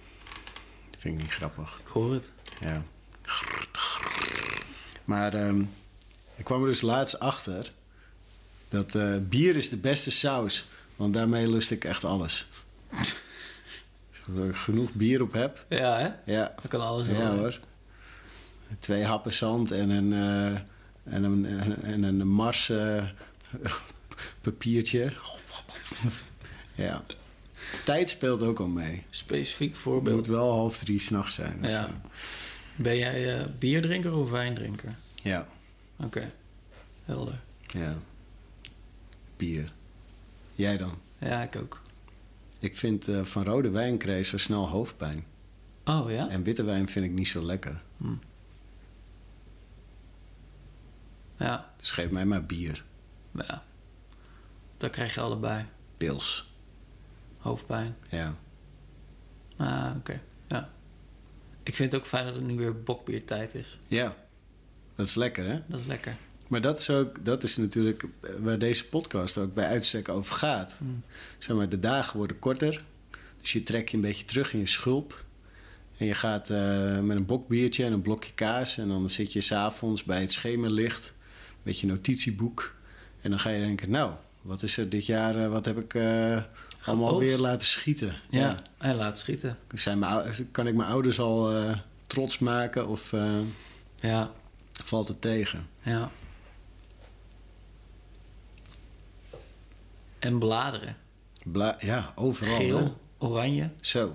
Speaker 1: vind ik niet grappig.
Speaker 2: Ik hoor het.
Speaker 1: Ja. Maar ehm, ik kwam er dus laatst achter dat eh, bier is de beste saus. Want daarmee lust ik echt alles. Als ik genoeg bier op heb.
Speaker 2: Ja, hè?
Speaker 1: Ja,
Speaker 2: Dat kan alles
Speaker 1: ja
Speaker 2: wel.
Speaker 1: hoor. Twee happen zand en een, eh, en een, en een mars eh, papiertje. ja. Tijd speelt ook al mee.
Speaker 2: Specifiek
Speaker 1: Het moet
Speaker 2: voorbeeld.
Speaker 1: wel half drie s'nachts zijn. of
Speaker 2: Ja.
Speaker 1: zo.
Speaker 2: Ben jij eh, bierdrinker of wijndrinker?
Speaker 1: ja.
Speaker 2: Oké. Helder.
Speaker 1: Ja. Bier. Jij dan?
Speaker 2: Ja, ik ook.
Speaker 1: Ik vind eh, van rode wijn krijg je zo snel hoofdpijn.
Speaker 2: Oh ja?
Speaker 1: En witte wijn vind ik niet zo lekker.
Speaker 2: Ja.
Speaker 1: Dus geef mij maar bier.
Speaker 2: ja. Dan krijg je allebei.
Speaker 1: Pils.
Speaker 2: Hoofdpijn.
Speaker 1: Ja.
Speaker 2: Ah, oké. Ja. Ik vind het ook fijn dat het nu weer bokbiertijd is.
Speaker 1: Ja. Dat is lekker, hè?
Speaker 2: Dat is lekker.
Speaker 1: Maar dat is, ook, dat is natuurlijk eh, waar deze podcast ook bij uitstek over gaat.
Speaker 2: Hmm.
Speaker 1: Zeg maar, de dagen worden korter. Dus je trekt je een beetje terug in je schulp. En je gaat eh, met een bokbiertje en een blokje kaas. En dan zit je s'avonds bij het schemerlicht met je notitieboek. En dan ga je denken, nou, wat is er dit jaar, eh, wat heb ik eh, allemaal
Speaker 2: Geoogst.
Speaker 1: weer laten schieten?
Speaker 2: Ja. En laat schieten.
Speaker 1: Zijn mijn, ou- kan ik mijn ouders al eh, trots maken of eh,
Speaker 2: Ja.
Speaker 1: valt het tegen?
Speaker 2: Ja. En bladeren.
Speaker 1: Bla- ja, overal.
Speaker 2: Geel,
Speaker 1: hè?
Speaker 2: oranje.
Speaker 1: Zo.
Speaker 2: Op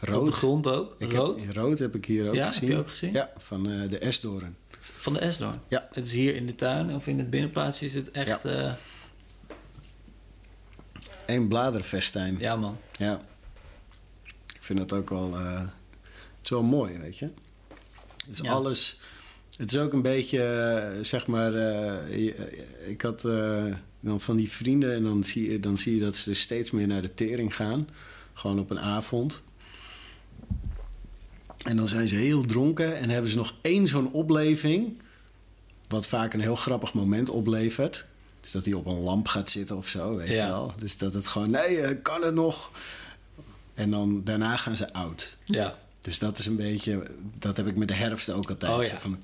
Speaker 2: de
Speaker 1: Rood.
Speaker 2: grond ook.
Speaker 1: Ik heb-
Speaker 2: Rood.
Speaker 1: rood heb ik hier ook
Speaker 2: Ja, heb
Speaker 1: gezien.
Speaker 2: je ook gezien?
Speaker 1: Ja, van eh, de Esdoorn.
Speaker 2: Van de Esdoorn.
Speaker 1: Ja.
Speaker 2: Het is hier in de tuin of in het binnenplaatsje is het echt... eh, Ja,
Speaker 1: Eén bladerfestijn. Ja.
Speaker 2: ja man.
Speaker 1: Ik vind dat ook wel... eh, het is wel mooi, weet je. Het is
Speaker 2: Ja.
Speaker 1: alles... Het is ook een beetje, eh, zeg maar... eh, je- eh, ik had eh, dan van die vrienden... en dan zie, je, dan zie je dat ze dus steeds meer naar de tering gaan. Gewoon op een avond. En dan zijn ze heel dronken en hebben ze nog één zo'n opleving. Wat vaak een heel grappig moment oplevert. Dus dat hij op een lamp gaat zitten of zo, weet
Speaker 2: Ja.
Speaker 1: je wel. Dus dat het gewoon, nee, eh, kan het nog. En dan daarna gaan ze oud.
Speaker 2: Ja.
Speaker 1: Dus dat is een beetje, dat heb ik met de herfst ook altijd.
Speaker 2: Oh ja.
Speaker 1: Zo Van,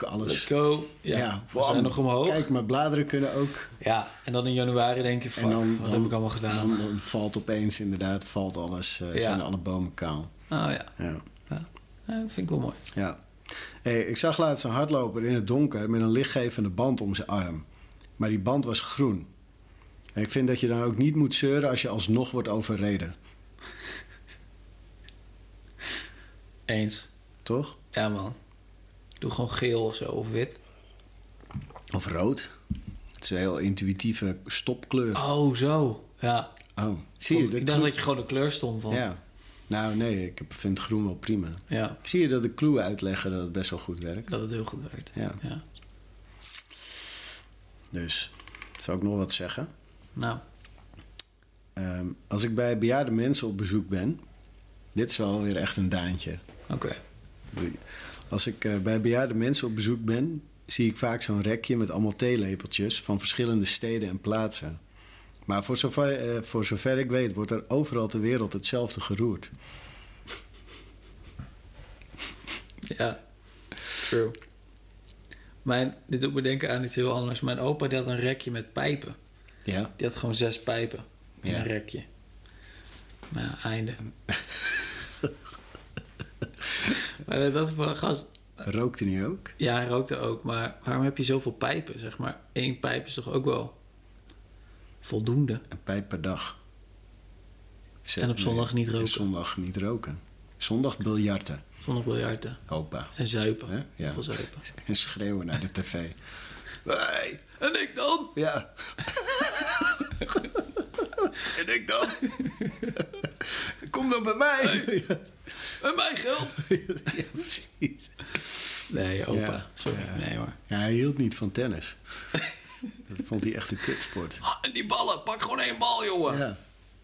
Speaker 2: Let's
Speaker 1: alles.
Speaker 2: go. Ja. we
Speaker 1: Dus- wam.
Speaker 2: zijn nog omhoog.
Speaker 1: Kijk, mijn bladeren kunnen ook.
Speaker 2: Ja. En dan in januari denk je, fuck,
Speaker 1: en dan,
Speaker 2: wat
Speaker 1: dan-
Speaker 2: heb ik allemaal gedaan?
Speaker 1: Dan, dan valt opeens inderdaad, valt alles, eh,
Speaker 2: Ja.
Speaker 1: zijn alle bomen kaal.
Speaker 2: Oh ja.
Speaker 1: Ja.
Speaker 2: ja. Ja, dat vind ik wel mooi.
Speaker 1: Ja. Hey, ik zag laatst een hardloper in het donker met een lichtgevende band om zijn arm. Maar die band was groen. En ik vind dat je dan ook niet moet zeuren als je alsnog wordt overreden.
Speaker 2: Eens.
Speaker 1: Toch?
Speaker 2: Ja man. Doe gewoon geel of zo of wit.
Speaker 1: Of rood. Het is een heel intuïtieve stopkleur.
Speaker 2: Oh zo. Ja.
Speaker 1: Oh, zie je?
Speaker 2: ik
Speaker 1: de
Speaker 2: dacht
Speaker 1: clue-
Speaker 2: dat je gewoon de kleur stond van.
Speaker 1: Ja. Nou nee, ik vind groen wel prima.
Speaker 2: ja.
Speaker 1: Ik zie je dat de clue uitleggen dat het best wel goed werkt.
Speaker 2: Dat het heel goed werkt.
Speaker 1: Ja.
Speaker 2: ja.
Speaker 1: Dus, zou ik nog wat zeggen?
Speaker 2: Nou.
Speaker 1: Ehm, als ik bij bejaarde mensen op bezoek ben... Dit is wel weer echt een daantje.
Speaker 2: Oké.
Speaker 1: Als ik eh, bij bejaarde mensen op bezoek ben, zie ik vaak zo'n rekje met allemaal theelepeltjes van verschillende steden en plaatsen. Maar voor zover, eh, voor zover ik weet, wordt er overal ter wereld hetzelfde geroerd.
Speaker 2: Ja, true. Mijn, dit doet me denken aan iets heel anders. Mijn opa die had een rekje met pijpen.
Speaker 1: Ja.
Speaker 2: Die had gewoon zes pijpen in
Speaker 1: Ja.
Speaker 2: een rekje. Nou, einde. maar dat van, gast,
Speaker 1: Rookte niet ook?
Speaker 2: ja, hij rookte ook. Maar waarom heb je zoveel pijpen, zeg maar? Eén pijp is toch ook wel voldoende?
Speaker 1: Een pijp per dag. Zet-
Speaker 2: En op zondag niet roken.
Speaker 1: Zondag niet roken. Zondag biljarten,
Speaker 2: Zonder biljarten.
Speaker 1: opa.
Speaker 2: En zuipen.
Speaker 1: Hè? Ja.
Speaker 2: Heel veel zuipen.
Speaker 1: En schreeuwen naar de tv. Hey,
Speaker 2: En ik dan?
Speaker 1: Ja. en ik dan? Kom dan bij mij.
Speaker 2: En mijn geld?
Speaker 1: ja, precies.
Speaker 2: Nee, opa.
Speaker 1: Ja.
Speaker 2: Sorry. Nee hoor.
Speaker 1: Ja, hij hield niet van tennis. Dat vond hij echt een kutsport.
Speaker 2: Ah, En die ballen, pak gewoon één bal, jongen.
Speaker 1: Ja.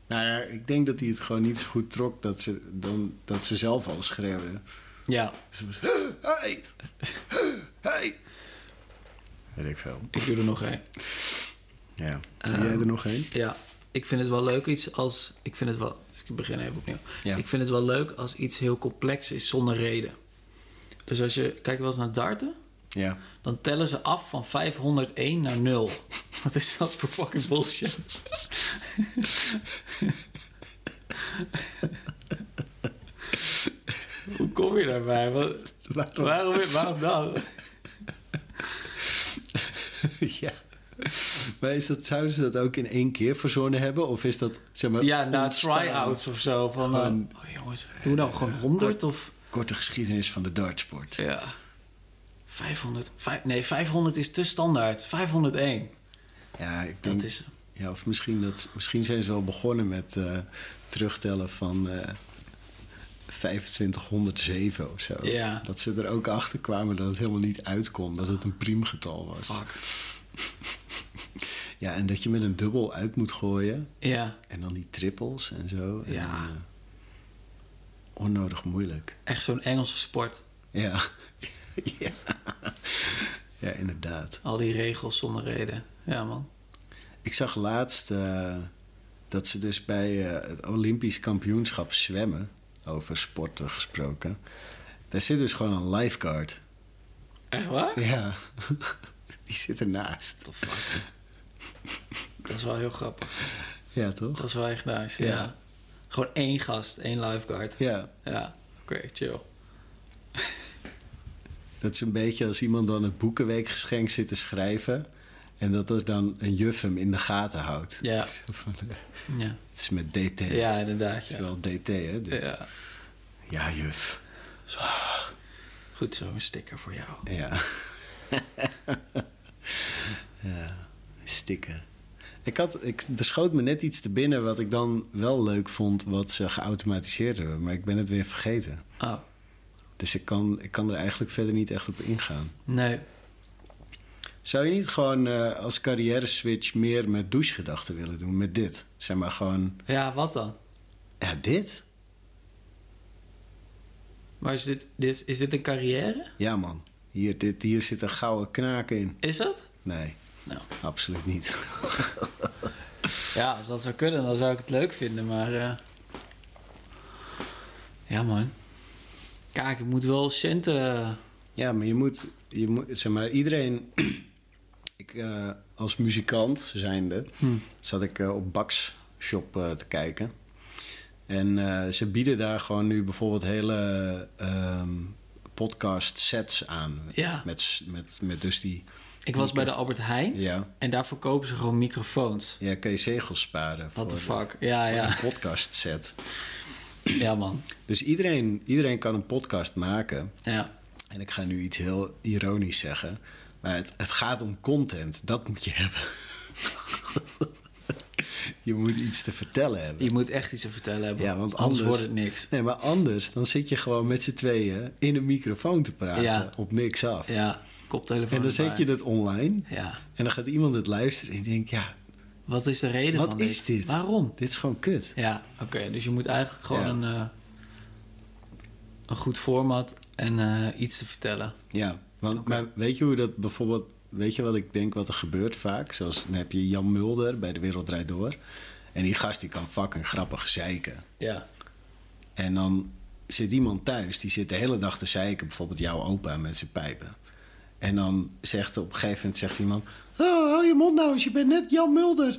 Speaker 1: Nou ja, ik denk dat hij het gewoon niet zo goed trok dat ze, dan, dat ze zelf al schreeuwden.
Speaker 2: Ja,
Speaker 1: Ze was, hey, hey. Weet ik veel.
Speaker 2: ik doe er nog één.
Speaker 1: Ja. Heb jij er nog één?
Speaker 2: Ehm. Ja, ik vind het wel leuk iets als... Ik vind het wel... Dus ik begin even opnieuw.
Speaker 1: Ja.
Speaker 2: Ik vind het wel leuk als iets heel complex is zonder reden. Dus als je kijkt wel eens naar darten,
Speaker 1: Ja.
Speaker 2: dan tellen ze af van 501 naar 0. Wat is dat voor fucking bullshit? Hoe kom je daarbij? Wat,
Speaker 1: Waarom?
Speaker 2: waarom, waarom dan?
Speaker 1: ja. Maar is dat, zouden ze dat ook in één keer verzonnen hebben? Of is dat, zeg maar...
Speaker 2: Ja, na
Speaker 1: ontstaan?
Speaker 2: try-outs of zo. Van, eh,
Speaker 1: Gewoon-
Speaker 2: oh jongens, doe nou gewoon 100 of...
Speaker 1: Korte geschiedenis van de dartsport.
Speaker 2: Ja. 500. vijf- nee, 500 is te standaard. 501.
Speaker 1: Ja, ik denk,
Speaker 2: Dat is...
Speaker 1: ja of misschien, dat, misschien zijn ze wel begonnen met eh, terugtellen van eh 2507 of zo.
Speaker 2: Ja.
Speaker 1: Dat ze er ook achter kwamen dat het helemaal niet uitkomt, dat het een priemgetal was.
Speaker 2: Fuck.
Speaker 1: Ja, en dat je met een dubbel uit moet gooien.
Speaker 2: Ja,
Speaker 1: En dan die trippels en zo. En,
Speaker 2: Ja.
Speaker 1: eh, onnodig moeilijk.
Speaker 2: echt zo'n Engelse sport.
Speaker 1: Ja. ja. Ja, inderdaad.
Speaker 2: Al die regels zonder reden. Ja, man.
Speaker 1: Ik zag laatst eh, dat ze dus bij eh, het Olympisch kampioenschap zwemmen, over sporten gesproken, daar zit dus gewoon een lifeguard.
Speaker 2: Echt waar?
Speaker 1: Ja. Die zit ernaast.
Speaker 2: the fuck? Dat is wel heel grappig.
Speaker 1: Ja, toch?
Speaker 2: Dat is wel echt nice, ja.
Speaker 1: Ja.
Speaker 2: Gewoon één gast, één lifeguard.
Speaker 1: Ja.
Speaker 2: Ja, oké, chill.
Speaker 1: Dat is een beetje als iemand dan het boekenweekgeschenk zit te schrijven. En dat er dan een juf hem in de gaten houdt.
Speaker 2: Ja.
Speaker 1: Zo van, eh,
Speaker 2: Ja,
Speaker 1: Het is met DT.
Speaker 2: ja inderdaad.
Speaker 1: Het is
Speaker 2: Ja.
Speaker 1: wel DT, hè? dit?
Speaker 2: Ja.
Speaker 1: ja juf.
Speaker 2: Goed zo, een sticker voor jou.
Speaker 1: Ja. ja, stikken. Ik had, ik, er schoot me net iets te binnen wat ik dan wel leuk vond, wat ze geautomatiseerd hebben. Maar ik ben het weer vergeten.
Speaker 2: Oh,
Speaker 1: Dus ik kan, ik kan er eigenlijk verder niet echt op ingaan.
Speaker 2: nee.
Speaker 1: Zou je niet gewoon eh, als carrière switch meer met douchegedachten willen doen? Met dit? Zeg maar gewoon,
Speaker 2: Ja, wat dan?
Speaker 1: ja, dit?
Speaker 2: Maar is dit, dit, is dit een carrière?
Speaker 1: Ja, man. Hier, dit, hier zit een gouden knaak in.
Speaker 2: Is dat?
Speaker 1: Nee,
Speaker 2: Nou.
Speaker 1: absoluut niet.
Speaker 2: Ja, als dat zou kunnen, dan zou ik het leuk vinden, maar... eh, Ja, man. Kijk, ik moet wel centen... eh,
Speaker 1: Ja, maar je moet, je moet zeg maar, iedereen. ik, eh, als muzikant zijnde
Speaker 2: Hm.
Speaker 1: zat ik eh, op Bax Shop eh, te kijken. En eh, ze bieden daar gewoon nu bijvoorbeeld hele ehm, podcast sets aan.
Speaker 2: Ja,
Speaker 1: Met, s- met, met dus die.
Speaker 2: ik was bij de Albert Heijn
Speaker 1: Ja,
Speaker 2: en daar verkopen ze gewoon microfoons.
Speaker 1: ja kan je zegels sparen.
Speaker 2: What the
Speaker 1: voor de-
Speaker 2: fuck? Ja,
Speaker 1: voor
Speaker 2: ja.
Speaker 1: Een podcast set.
Speaker 2: Ja, man.
Speaker 1: Dus iedereen, iedereen kan een podcast maken.
Speaker 2: Ja.
Speaker 1: En ik ga nu iets heel ironisch zeggen. Maar het, het gaat om content. Dat moet je hebben. je moet iets te vertellen hebben.
Speaker 2: Je moet echt iets te vertellen hebben.
Speaker 1: Ja, want
Speaker 2: anders
Speaker 1: anders-
Speaker 2: wordt het niks.
Speaker 1: Nee, maar anders dan zit je gewoon met z'n tweeën in een microfoon te praten.
Speaker 2: Ja.
Speaker 1: Op niks af.
Speaker 2: Ja, koptelefoon.
Speaker 1: En dan
Speaker 2: erbij.
Speaker 1: zet je dat online.
Speaker 2: Ja.
Speaker 1: En dan gaat iemand het luisteren. En je denkt, ja,
Speaker 2: Wat is de reden
Speaker 1: Wat
Speaker 2: van dit?
Speaker 1: is dit?
Speaker 2: Waarom?
Speaker 1: dit is gewoon kut.
Speaker 2: Ja, oké. Dus je moet eigenlijk gewoon
Speaker 1: Ja.
Speaker 2: een, eh, een goed format en eh, iets te vertellen.
Speaker 1: Ja, want
Speaker 2: Oké.
Speaker 1: maar weet je hoe dat bijvoorbeeld... Weet je wat ik denk wat er gebeurt vaak? Zoals dan heb je Jan Mulder bij De Wereld Draait Door. En die gast die kan fucking grappig zeiken.
Speaker 2: Ja.
Speaker 1: En dan zit iemand thuis, die zit de hele dag te zeiken. Bijvoorbeeld jouw opa met zijn pijpen. En dan zegt op een gegeven moment zegt iemand... Oh, hou je mond nou eens, je bent net Jan Mulder.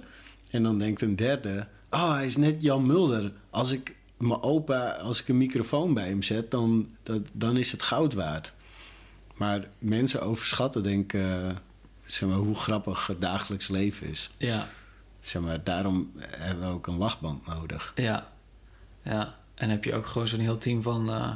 Speaker 1: En dan denkt een derde... Oh, hij is net Jan Mulder. Als ik mijn opa, als ik een microfoon bij hem zet... dan, dat, dan is het goud waard. Maar mensen overschatten denk ik... eh, zeg maar, hoe grappig het dagelijks leven is.
Speaker 2: Ja.
Speaker 1: Zeg maar, daarom hebben we ook een lachband nodig.
Speaker 2: Ja. Ja. En heb je ook gewoon zo'n heel team van, eh,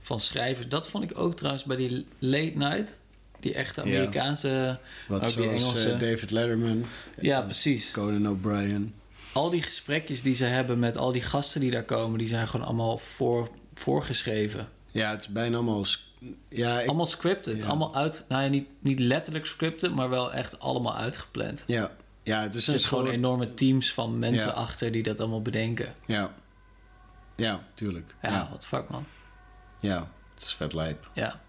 Speaker 2: van schrijvers. Dat vond ik ook trouwens bij die late night. Die echte
Speaker 1: Ja.
Speaker 2: Amerikaanse...
Speaker 1: Wat
Speaker 2: ook die
Speaker 1: zoals
Speaker 2: Engelse-
Speaker 1: eh, David Letterman...
Speaker 2: ja, precies.
Speaker 1: Conan O'Brien.
Speaker 2: al die gesprekjes die ze hebben met al die gasten die daar komen, die zijn gewoon allemaal voor, voorgeschreven.
Speaker 1: Ja, het is bijna allemaal... s- Ja, ik-
Speaker 2: allemaal scripted.
Speaker 1: ja.
Speaker 2: Allemaal uit. Nou ja, niet, niet letterlijk scripted, maar wel echt allemaal uitgepland.
Speaker 1: ja, ja Dus het is
Speaker 2: er
Speaker 1: een
Speaker 2: zitten gewoon
Speaker 1: soort-
Speaker 2: enorme teams van mensen
Speaker 1: Ja.
Speaker 2: achter die dat allemaal bedenken.
Speaker 1: Ja. ja, tuurlijk.
Speaker 2: Ja,
Speaker 1: Ja. Ja.
Speaker 2: wat fuck man.
Speaker 1: het is vet lijp.
Speaker 2: Ja.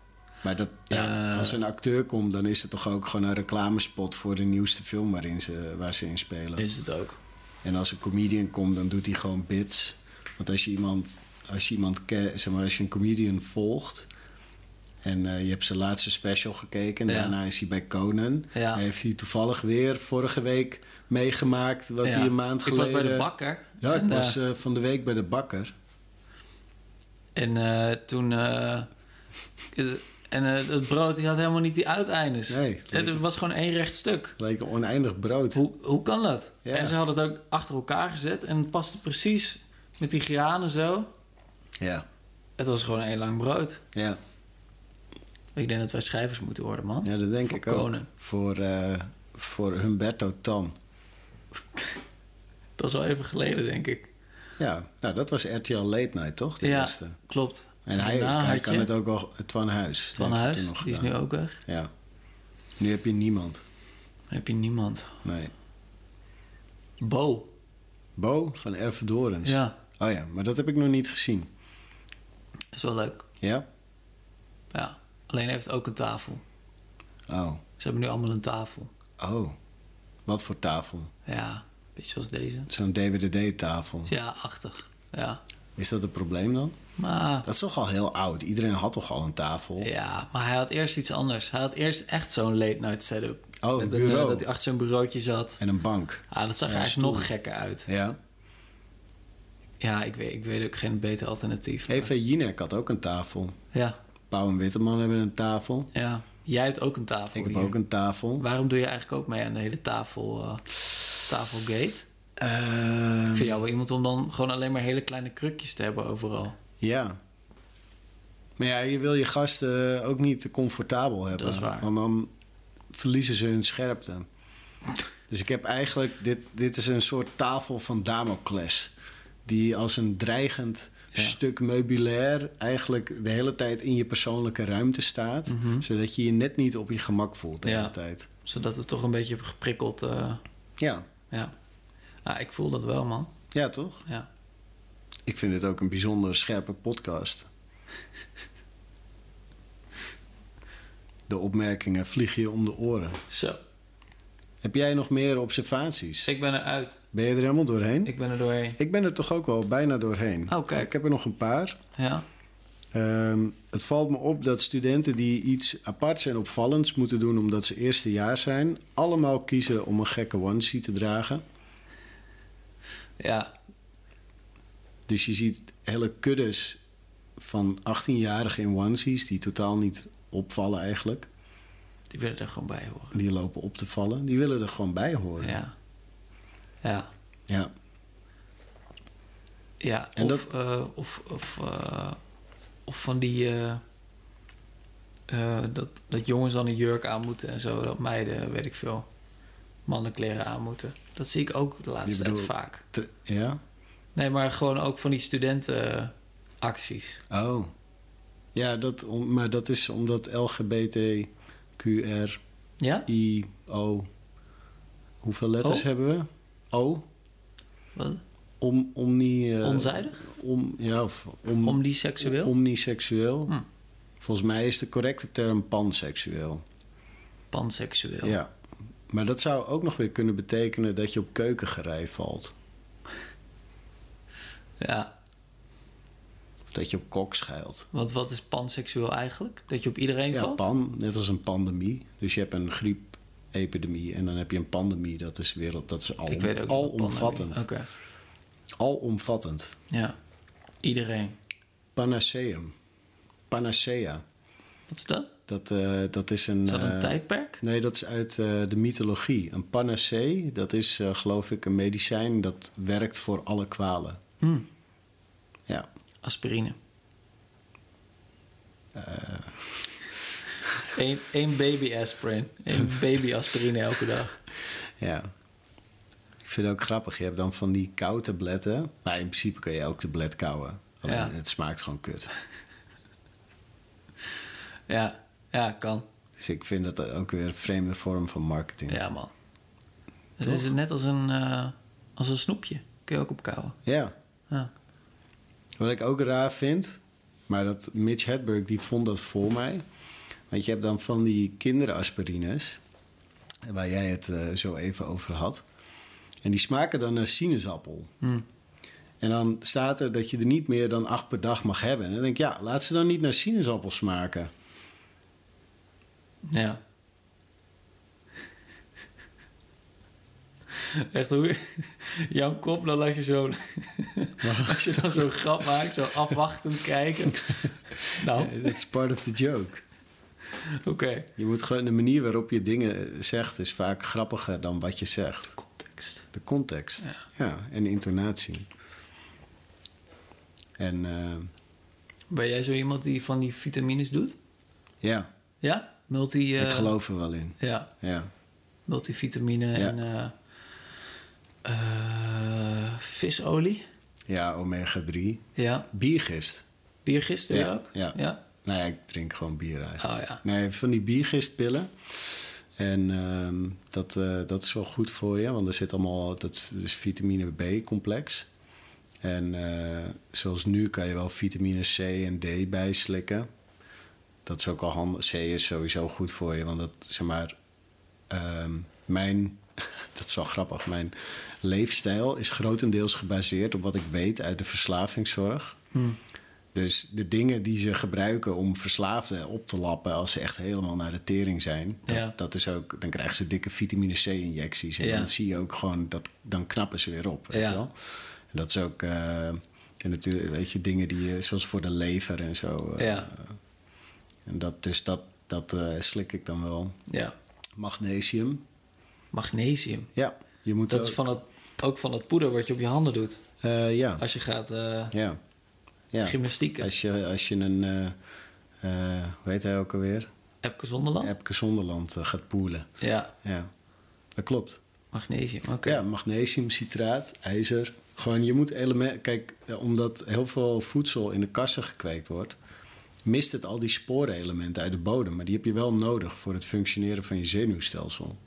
Speaker 1: Maar dat, ja,
Speaker 2: Eh.
Speaker 1: als er een acteur komt, dan is het toch ook gewoon een reclamespot voor de nieuwste film waarin ze, waar ze in spelen.
Speaker 2: Is het ook.
Speaker 1: En als een comedian komt, dan doet hij gewoon bits. Want als je iemand, als je iemand ke- zeg maar, als je een comedian volgt en eh, je hebt zijn laatste special gekeken, en
Speaker 2: Ja.
Speaker 1: daarna is hij bij Conan.
Speaker 2: Ja.
Speaker 1: Heeft hij toevallig weer vorige week meegemaakt wat
Speaker 2: Ja.
Speaker 1: hij een maand geleden.
Speaker 2: Ik was bij de bakker.
Speaker 1: Ja, ik
Speaker 2: en, eh,
Speaker 1: was eh, van de week bij de bakker.
Speaker 2: En eh, toen... eh, het- en eh, dat brood die had helemaal niet die uiteindes.
Speaker 1: Nee.
Speaker 2: Het was gewoon één recht stuk.
Speaker 1: Leek een oneindig brood.
Speaker 2: Hoe, hoe kan dat?
Speaker 1: Ja.
Speaker 2: En ze hadden het ook achter elkaar gezet. En het paste precies met die granen zo.
Speaker 1: Ja.
Speaker 2: Het was gewoon één lang brood.
Speaker 1: Ja.
Speaker 2: Ik denk dat wij schrijvers moeten worden, man.
Speaker 1: ja, dat denk
Speaker 2: Voor
Speaker 1: ik ook.
Speaker 2: Conan.
Speaker 1: Voor, eh, voor Humberto Tan.
Speaker 2: Dat is al even geleden, denk ik.
Speaker 1: Ja, nou dat was RTL Late Night, toch? De
Speaker 2: Ja.
Speaker 1: eerste.
Speaker 2: Klopt.
Speaker 1: En hij,
Speaker 2: Daarna
Speaker 1: hij
Speaker 2: had
Speaker 1: kan
Speaker 2: je
Speaker 1: het ook wel... Twan Huis.
Speaker 2: Twan
Speaker 1: heeft het
Speaker 2: Huis,
Speaker 1: toen nog
Speaker 2: die is
Speaker 1: gedaan.
Speaker 2: nu ook weg.
Speaker 1: Ja. Nu heb je niemand.
Speaker 2: Dan heb je niemand.
Speaker 1: Nee.
Speaker 2: Bo.
Speaker 1: Bo van Ervedorens.
Speaker 2: Ja,
Speaker 1: Oh ja, maar dat heb ik nog niet gezien.
Speaker 2: is wel leuk.
Speaker 1: Ja?
Speaker 2: Ja. Alleen heeft het ook een tafel.
Speaker 1: Oh.
Speaker 2: Ze hebben nu allemaal een tafel.
Speaker 1: Oh. Wat voor tafel?
Speaker 2: Ja, een beetje zoals deze.
Speaker 1: Zo'n DWDD-tafel.
Speaker 2: Ja, achtig. Ja.
Speaker 1: Is dat een probleem dan?
Speaker 2: Maar,
Speaker 1: Dat is toch al heel oud. Iedereen had toch al een tafel?
Speaker 2: ja, maar hij had eerst iets anders. Hij had eerst echt zo'n late night setup.
Speaker 1: Oh,
Speaker 2: Met
Speaker 1: een
Speaker 2: dat,
Speaker 1: bureau.
Speaker 2: eh, dat hij achter zijn bureautje zat.
Speaker 1: En een bank.
Speaker 2: Ah, dat zag
Speaker 1: Ja,
Speaker 2: er eigenlijk
Speaker 1: stoel.
Speaker 2: nog gekker uit.
Speaker 1: Ja.
Speaker 2: Ja, ik weet, ik weet ook geen beter alternatief. maar-
Speaker 1: Eva Jinek had ook een tafel.
Speaker 2: Ja,
Speaker 1: Pauw en Witteman hebben een tafel.
Speaker 2: ja. Jij hebt ook een tafel
Speaker 1: Ik heb
Speaker 2: hier.
Speaker 1: ook een tafel.
Speaker 2: Waarom doe je eigenlijk ook mee aan de hele tafel, eh, tafelgate? Ik
Speaker 1: Ehm,
Speaker 2: vind jou wel iemand om dan gewoon alleen maar hele kleine krukjes te hebben overal.
Speaker 1: Ja. Maar ja, je wil je gasten ook niet te comfortabel hebben.
Speaker 2: Dat is waar.
Speaker 1: Want dan verliezen ze hun scherpte. Dus ik heb eigenlijk... Dit, dit is een soort tafel van Damocles. Die als een dreigend
Speaker 2: Ja.
Speaker 1: stuk meubilair... eigenlijk de hele tijd in je persoonlijke ruimte staat.
Speaker 2: Mhm.
Speaker 1: Zodat je je net niet op je gemak voelt de
Speaker 2: Ja.
Speaker 1: hele tijd.
Speaker 2: Zodat het toch een beetje geprikkeld... eh,
Speaker 1: Ja.
Speaker 2: ja. Ah, ik voel dat wel, man.
Speaker 1: ja, toch?
Speaker 2: Ja.
Speaker 1: Ik vind dit ook een bijzonder scherpe podcast. De opmerkingen vliegen je om de oren.
Speaker 2: Zo.
Speaker 1: Heb jij nog meer observaties?
Speaker 2: Ik ben eruit.
Speaker 1: Ben je er helemaal doorheen? Ik,
Speaker 2: Ik ben er doorheen.
Speaker 1: ben er toch ook wel bijna doorheen.
Speaker 2: Oh, kijk.
Speaker 1: Ik heb er nog een paar.
Speaker 2: Ja.
Speaker 1: Ehm, het valt me op dat studenten die iets aparts en opvallends moeten doen omdat ze eerste jaar zijn, allemaal kiezen om een gekke onesie te dragen.
Speaker 2: Ja.
Speaker 1: Dus je ziet hele kuddes van 18-jarigen in onesies die totaal niet opvallen eigenlijk.
Speaker 2: Die willen er gewoon bij horen.
Speaker 1: Die lopen op te vallen. Die willen er gewoon bij horen. Ja.
Speaker 2: Ja. Ja. Ja.
Speaker 1: En
Speaker 2: of, eh, of, of, eh, of van die... eh, eh, dat, dat jongens dan een jurk aan moeten en zo. Dat meiden, weet ik veel, mannenkleren aan moeten. Dat zie ik ook de laatste
Speaker 1: Je
Speaker 2: tijd
Speaker 1: bedoelt-
Speaker 2: vaak.
Speaker 1: Tr- ja?
Speaker 2: Nee, maar gewoon ook van die studentenacties.
Speaker 1: Oh. Ja, dat, om- maar dat is omdat LGBTQRIO...
Speaker 2: Ja?
Speaker 1: Hoeveel letters
Speaker 2: O?
Speaker 1: hebben we? O?
Speaker 2: Wat?
Speaker 1: Om, omni... eh,
Speaker 2: Onzijdig?
Speaker 1: Om, ja, of om,
Speaker 2: Omniseksueel?
Speaker 1: omniseksueel.
Speaker 2: Hm.
Speaker 1: Volgens mij is de correcte term panseksueel.
Speaker 2: Panseksueel.
Speaker 1: Ja. Maar dat zou ook nog weer kunnen betekenen dat je op keukengerij valt.
Speaker 2: Ja,
Speaker 1: Of dat je op kok schuilt.
Speaker 2: Want wat is panseksueel eigenlijk? Dat je op iedereen
Speaker 1: Ja,
Speaker 2: valt?
Speaker 1: pan, net als een pandemie. Dus je hebt een griepepidemie en dan heb je een pandemie. Dat is wereld, dat is al,
Speaker 2: Ik weet ook niet wat pandemie-
Speaker 1: alomvattend.
Speaker 2: Oké.
Speaker 1: Alomvattend.
Speaker 2: Ja. Iedereen.
Speaker 1: Panaceum. Panacea.
Speaker 2: Wat is dat?
Speaker 1: Dat, eh, dat is een...
Speaker 2: Is dat een
Speaker 1: eh,
Speaker 2: tijdperk?
Speaker 1: Nee, dat is uit eh, de mythologie. Een panacee, dat is eh, geloof ik een medicijn dat werkt voor alle kwalen.
Speaker 2: Hm.
Speaker 1: Ja.
Speaker 2: Aspirine.
Speaker 1: Eh.
Speaker 2: Eén één baby aspirin. Eén baby aspirine elke dag.
Speaker 1: Ja. Ik vind het ook grappig. Je hebt dan van die kou-tabletten. Maar in principe kun je elk tablet kauwen. Alleen
Speaker 2: Ja.
Speaker 1: het smaakt gewoon kut.
Speaker 2: Ja, ja kan.
Speaker 1: Dus ik vind dat ook weer een vreemde vorm van marketing. Ja.
Speaker 2: Ja, man. Het is net als een, eh, als een snoepje. Kun je ook opkouwen. Ja.
Speaker 1: Wat ik ook raar vind, maar dat Mitch Hedberg die vond dat voor mij. Want je hebt dan van die kinderaspirines, waar jij het eh, zo even over had. En die smaken dan naar sinaasappel.
Speaker 2: Hm.
Speaker 1: En dan staat er dat je er niet meer dan acht per dag mag hebben. En dan denk ik, ja, laat ze dan niet naar sinaasappels smaken.
Speaker 2: Ja. Echt hoe... Jouw kop, dan laat je zo... Als je dan zo'n grap maakt, zo afwachtend kijken. Nou,
Speaker 1: Eh, That's part of the joke.
Speaker 2: oké.
Speaker 1: Je moet gewoon de manier waarop je dingen eh, zegt is vaak grappiger dan wat je zegt.
Speaker 2: Context.
Speaker 1: De context. Ja, en intonatie. En eh,
Speaker 2: Ben jij zo iemand die van die vitamines doet?
Speaker 1: ja,
Speaker 2: Ja? Multi... eh,
Speaker 1: ik geloof er wel in.
Speaker 2: Ja,
Speaker 1: Ja.
Speaker 2: multivitamine en... eh, eh, visolie?
Speaker 1: ja, omega 3.
Speaker 2: Ja.
Speaker 1: Biergist.
Speaker 2: Biergist doe je
Speaker 1: Ja,
Speaker 2: ook?
Speaker 1: ja.
Speaker 2: ja.
Speaker 1: Nou ja, ik drink gewoon bier eigenlijk.
Speaker 2: Oh ja.
Speaker 1: Nee, van die biergistpillen. En ehm, dat, eh, dat is wel goed voor je, want er zit allemaal, dat is vitamine B-complex. En eh, zoals nu kan je wel vitamine C en D bijslikken. Dat is ook al handig. C is sowieso goed voor je, want dat zeg maar. ehm, mijn, dat is wel grappig, mijn leefstijl is grotendeels gebaseerd op wat ik weet uit de verslavingszorg.
Speaker 2: Hmm.
Speaker 1: Dus de dingen die ze gebruiken om verslaafden op te lappen als ze echt helemaal naar de tering zijn, dat,
Speaker 2: Ja.
Speaker 1: dat is ook, dan krijgen ze dikke vitamine C-injecties. En
Speaker 2: Ja.
Speaker 1: dan zie je ook gewoon, dat, dan knappen ze weer op. Weet
Speaker 2: Ja.
Speaker 1: je wel? En dat is ook, eh, en natuurlijk, weet je, dingen die, je- zoals voor de lever en zo. eh,
Speaker 2: Ja.
Speaker 1: En dat, dus dat, dat eh, slik ik dan wel.
Speaker 2: ja.
Speaker 1: Magnesium.
Speaker 2: Magnesium.
Speaker 1: Ja, je moet
Speaker 2: Dat
Speaker 1: ook-
Speaker 2: is van het, ook van dat poeder wat je op je handen doet.
Speaker 1: eh, ja.
Speaker 2: Als je gaat eh
Speaker 1: ja. Ja.
Speaker 2: gymnastieken.
Speaker 1: Als je, als je een, eh eh, hoe heet hij ook alweer?
Speaker 2: Epke Zonderland?
Speaker 1: Epke Zonderland eh, gaat poelen.
Speaker 2: Ja,
Speaker 1: Ja, dat klopt.
Speaker 2: magnesium. Oké.
Speaker 1: Ja, magnesium, citraat, ijzer. Gewoon, je moet elementen... Kijk, eh, omdat heel veel voedsel in de kassen gekweekt wordt... mist het al die sporenelementen uit de bodem. Maar die heb je wel nodig voor het functioneren van je zenuwstelsel.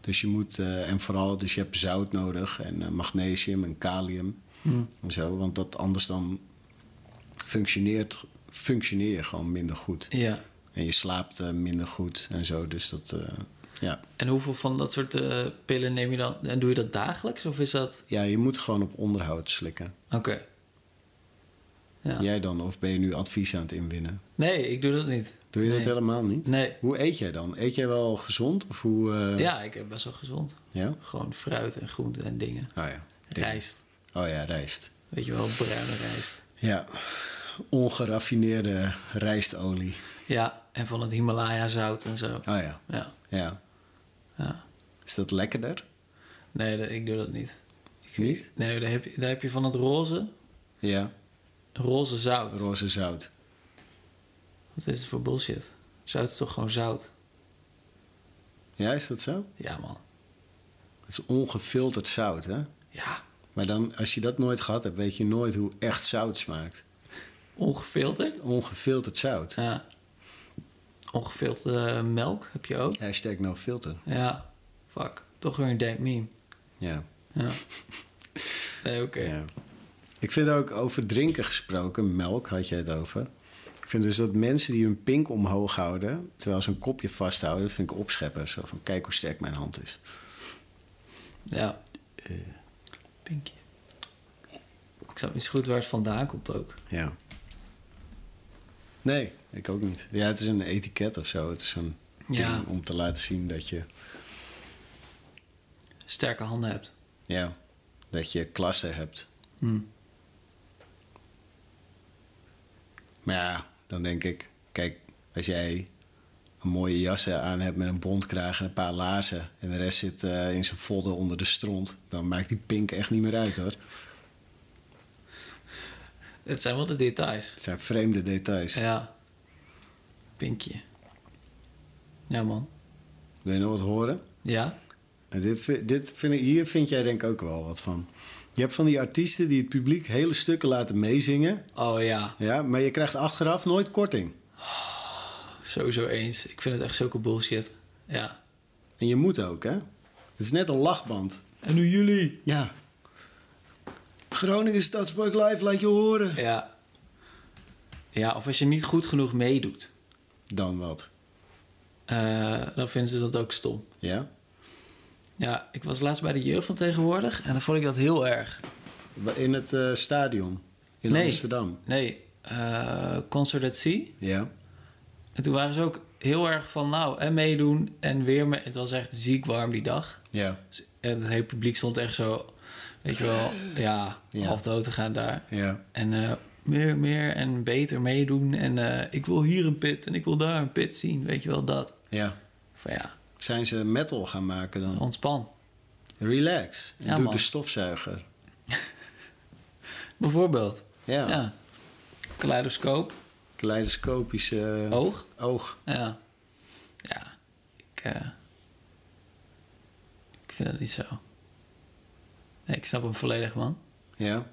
Speaker 1: Dus je moet... eh, en vooral, dus je hebt zout nodig en eh, magnesium en kalium en zo. Want dat anders dan functioneert, functioneer je gewoon minder goed.
Speaker 2: Ja.
Speaker 1: En je slaapt eh, minder goed en zo. Dus dat... eh, ja.
Speaker 2: En hoeveel van dat soort eh, pillen neem je dan? En doe je dat dagelijks? Of is dat...
Speaker 1: ja, je moet gewoon op onderhoud slikken.
Speaker 2: Oké. Ja.
Speaker 1: Jij dan? Of ben je nu advies aan het inwinnen?
Speaker 2: Nee, ik doe dat niet.
Speaker 1: Doe je
Speaker 2: Nee.
Speaker 1: dat helemaal niet?
Speaker 2: Nee.
Speaker 1: Hoe eet jij dan? Eet jij wel gezond? Of hoe... eh,
Speaker 2: Ja, ik heb best wel gezond.
Speaker 1: Ja?
Speaker 2: Gewoon fruit en groenten en dingen.
Speaker 1: Oh ja.
Speaker 2: Rijst.
Speaker 1: Oh ja, rijst.
Speaker 2: Weet je wel, bruine rijst.
Speaker 1: Ja. Ongeraffineerde rijstolie.
Speaker 2: Ja, en van het Himalaya zout en zo.
Speaker 1: Oh ja.
Speaker 2: Ja.
Speaker 1: Ja.
Speaker 2: ja.
Speaker 1: Is dat lekkerder?
Speaker 2: Nee, dat- ik doe dat niet.
Speaker 1: Ik niet.
Speaker 2: Nee, daar heb, je, daar heb je van het roze,
Speaker 1: Ja.
Speaker 2: roze zout.
Speaker 1: Roze zout.
Speaker 2: Wat is het voor bullshit? Zout is toch gewoon zout?
Speaker 1: Ja, is dat zo?
Speaker 2: Ja, man.
Speaker 1: Het is ongefilterd zout, hè?
Speaker 2: Ja.
Speaker 1: Maar dan, als je dat nooit gehad hebt, weet je nooit hoe echt zout smaakt.
Speaker 2: Ongefilterd?
Speaker 1: Ongefilterd zout.
Speaker 2: Ja. Ongefilterde melk heb je ook?
Speaker 1: Hashtag no filter.
Speaker 2: Ja. Fuck. Toch weer een dank meme.
Speaker 1: Ja.
Speaker 2: Ja. Nee, oké.
Speaker 1: Ja. Ik vind ook over drinken gesproken, melk had jij het over. Ik vind dus dat mensen die hun pink omhoog houden, terwijl ze een kopje vasthouden, dat vind ik opscheppen. Zo van, kijk hoe sterk mijn hand is.
Speaker 2: Ja. Eh, Pinkje. Ik snap niet zo goed waar het vandaan komt ook.
Speaker 1: Ja. Nee, ik ook niet. Ja, het is een etiket of zo. Het is een ding
Speaker 2: Ja.
Speaker 1: om te laten zien dat je,
Speaker 2: Sterke handen hebt.
Speaker 1: ja, dat je klasse hebt.
Speaker 2: Hm.
Speaker 1: Maar ja, dan denk ik, kijk, als jij een mooie jas aan hebt met een bondkraag en een paar laarzen... en de rest zit eh, in zijn vodden onder de stront... dan maakt die pink echt niet meer uit, hoor.
Speaker 2: Het zijn wel de details.
Speaker 1: Het zijn vreemde details.
Speaker 2: Ja. Pinkje. Ja, man.
Speaker 1: Wil je nog wat horen?
Speaker 2: Ja?
Speaker 1: En dit, vi- dit vind ik, hier vind jij denk ik ook wel wat van. Je hebt van die artiesten die het publiek hele stukken laten meezingen...
Speaker 2: Oh ja.
Speaker 1: Ja, maar je krijgt achteraf nooit korting.
Speaker 2: Sowieso eens. Ik vind het echt zulke bullshit. Ja.
Speaker 1: En je moet ook, hè? Het is net een lachband.
Speaker 2: En nu jullie.
Speaker 1: Ja. Groningen Stadspark Live, laat je horen.
Speaker 2: Ja. Ja, of als je niet goed genoeg meedoet,
Speaker 1: Dan wat?
Speaker 2: eh, dan vinden ze dat ook stom.
Speaker 1: Ja?
Speaker 2: Ja, ik was laatst bij de jeugd van tegenwoordig en dan vond ik dat heel erg.
Speaker 1: In het eh, stadion in
Speaker 2: Nee.
Speaker 1: Amsterdam.
Speaker 2: Nee, eh Concert at Sea.
Speaker 1: Ja.
Speaker 2: En toen waren ze ook heel erg van, nou, en meedoen en weer mee. Het was echt ziek warm die dag.
Speaker 1: Ja.
Speaker 2: Dus- En het hele publiek stond echt zo, weet je wel, ja,
Speaker 1: Ja.
Speaker 2: half dood te gaan daar.
Speaker 1: Ja.
Speaker 2: En eh, meer, meer en beter meedoen. En eh, ik wil hier een pit en ik wil daar een pit zien. Weet je wel, dat.
Speaker 1: Ja.
Speaker 2: Van ja,
Speaker 1: Zijn ze metal gaan maken dan?
Speaker 2: ontspan.
Speaker 1: Relax. En
Speaker 2: Ja,
Speaker 1: doe
Speaker 2: man.
Speaker 1: de stofzuiger.
Speaker 2: Bijvoorbeeld.
Speaker 1: Ja.
Speaker 2: Ja. Kaleidoscoop,
Speaker 1: Kaleidoscopische
Speaker 2: oog.
Speaker 1: oog.
Speaker 2: Ja. Ja. Ik, eh, ik vind dat niet zo. Nee, ik snap hem volledig, man.
Speaker 1: Ja.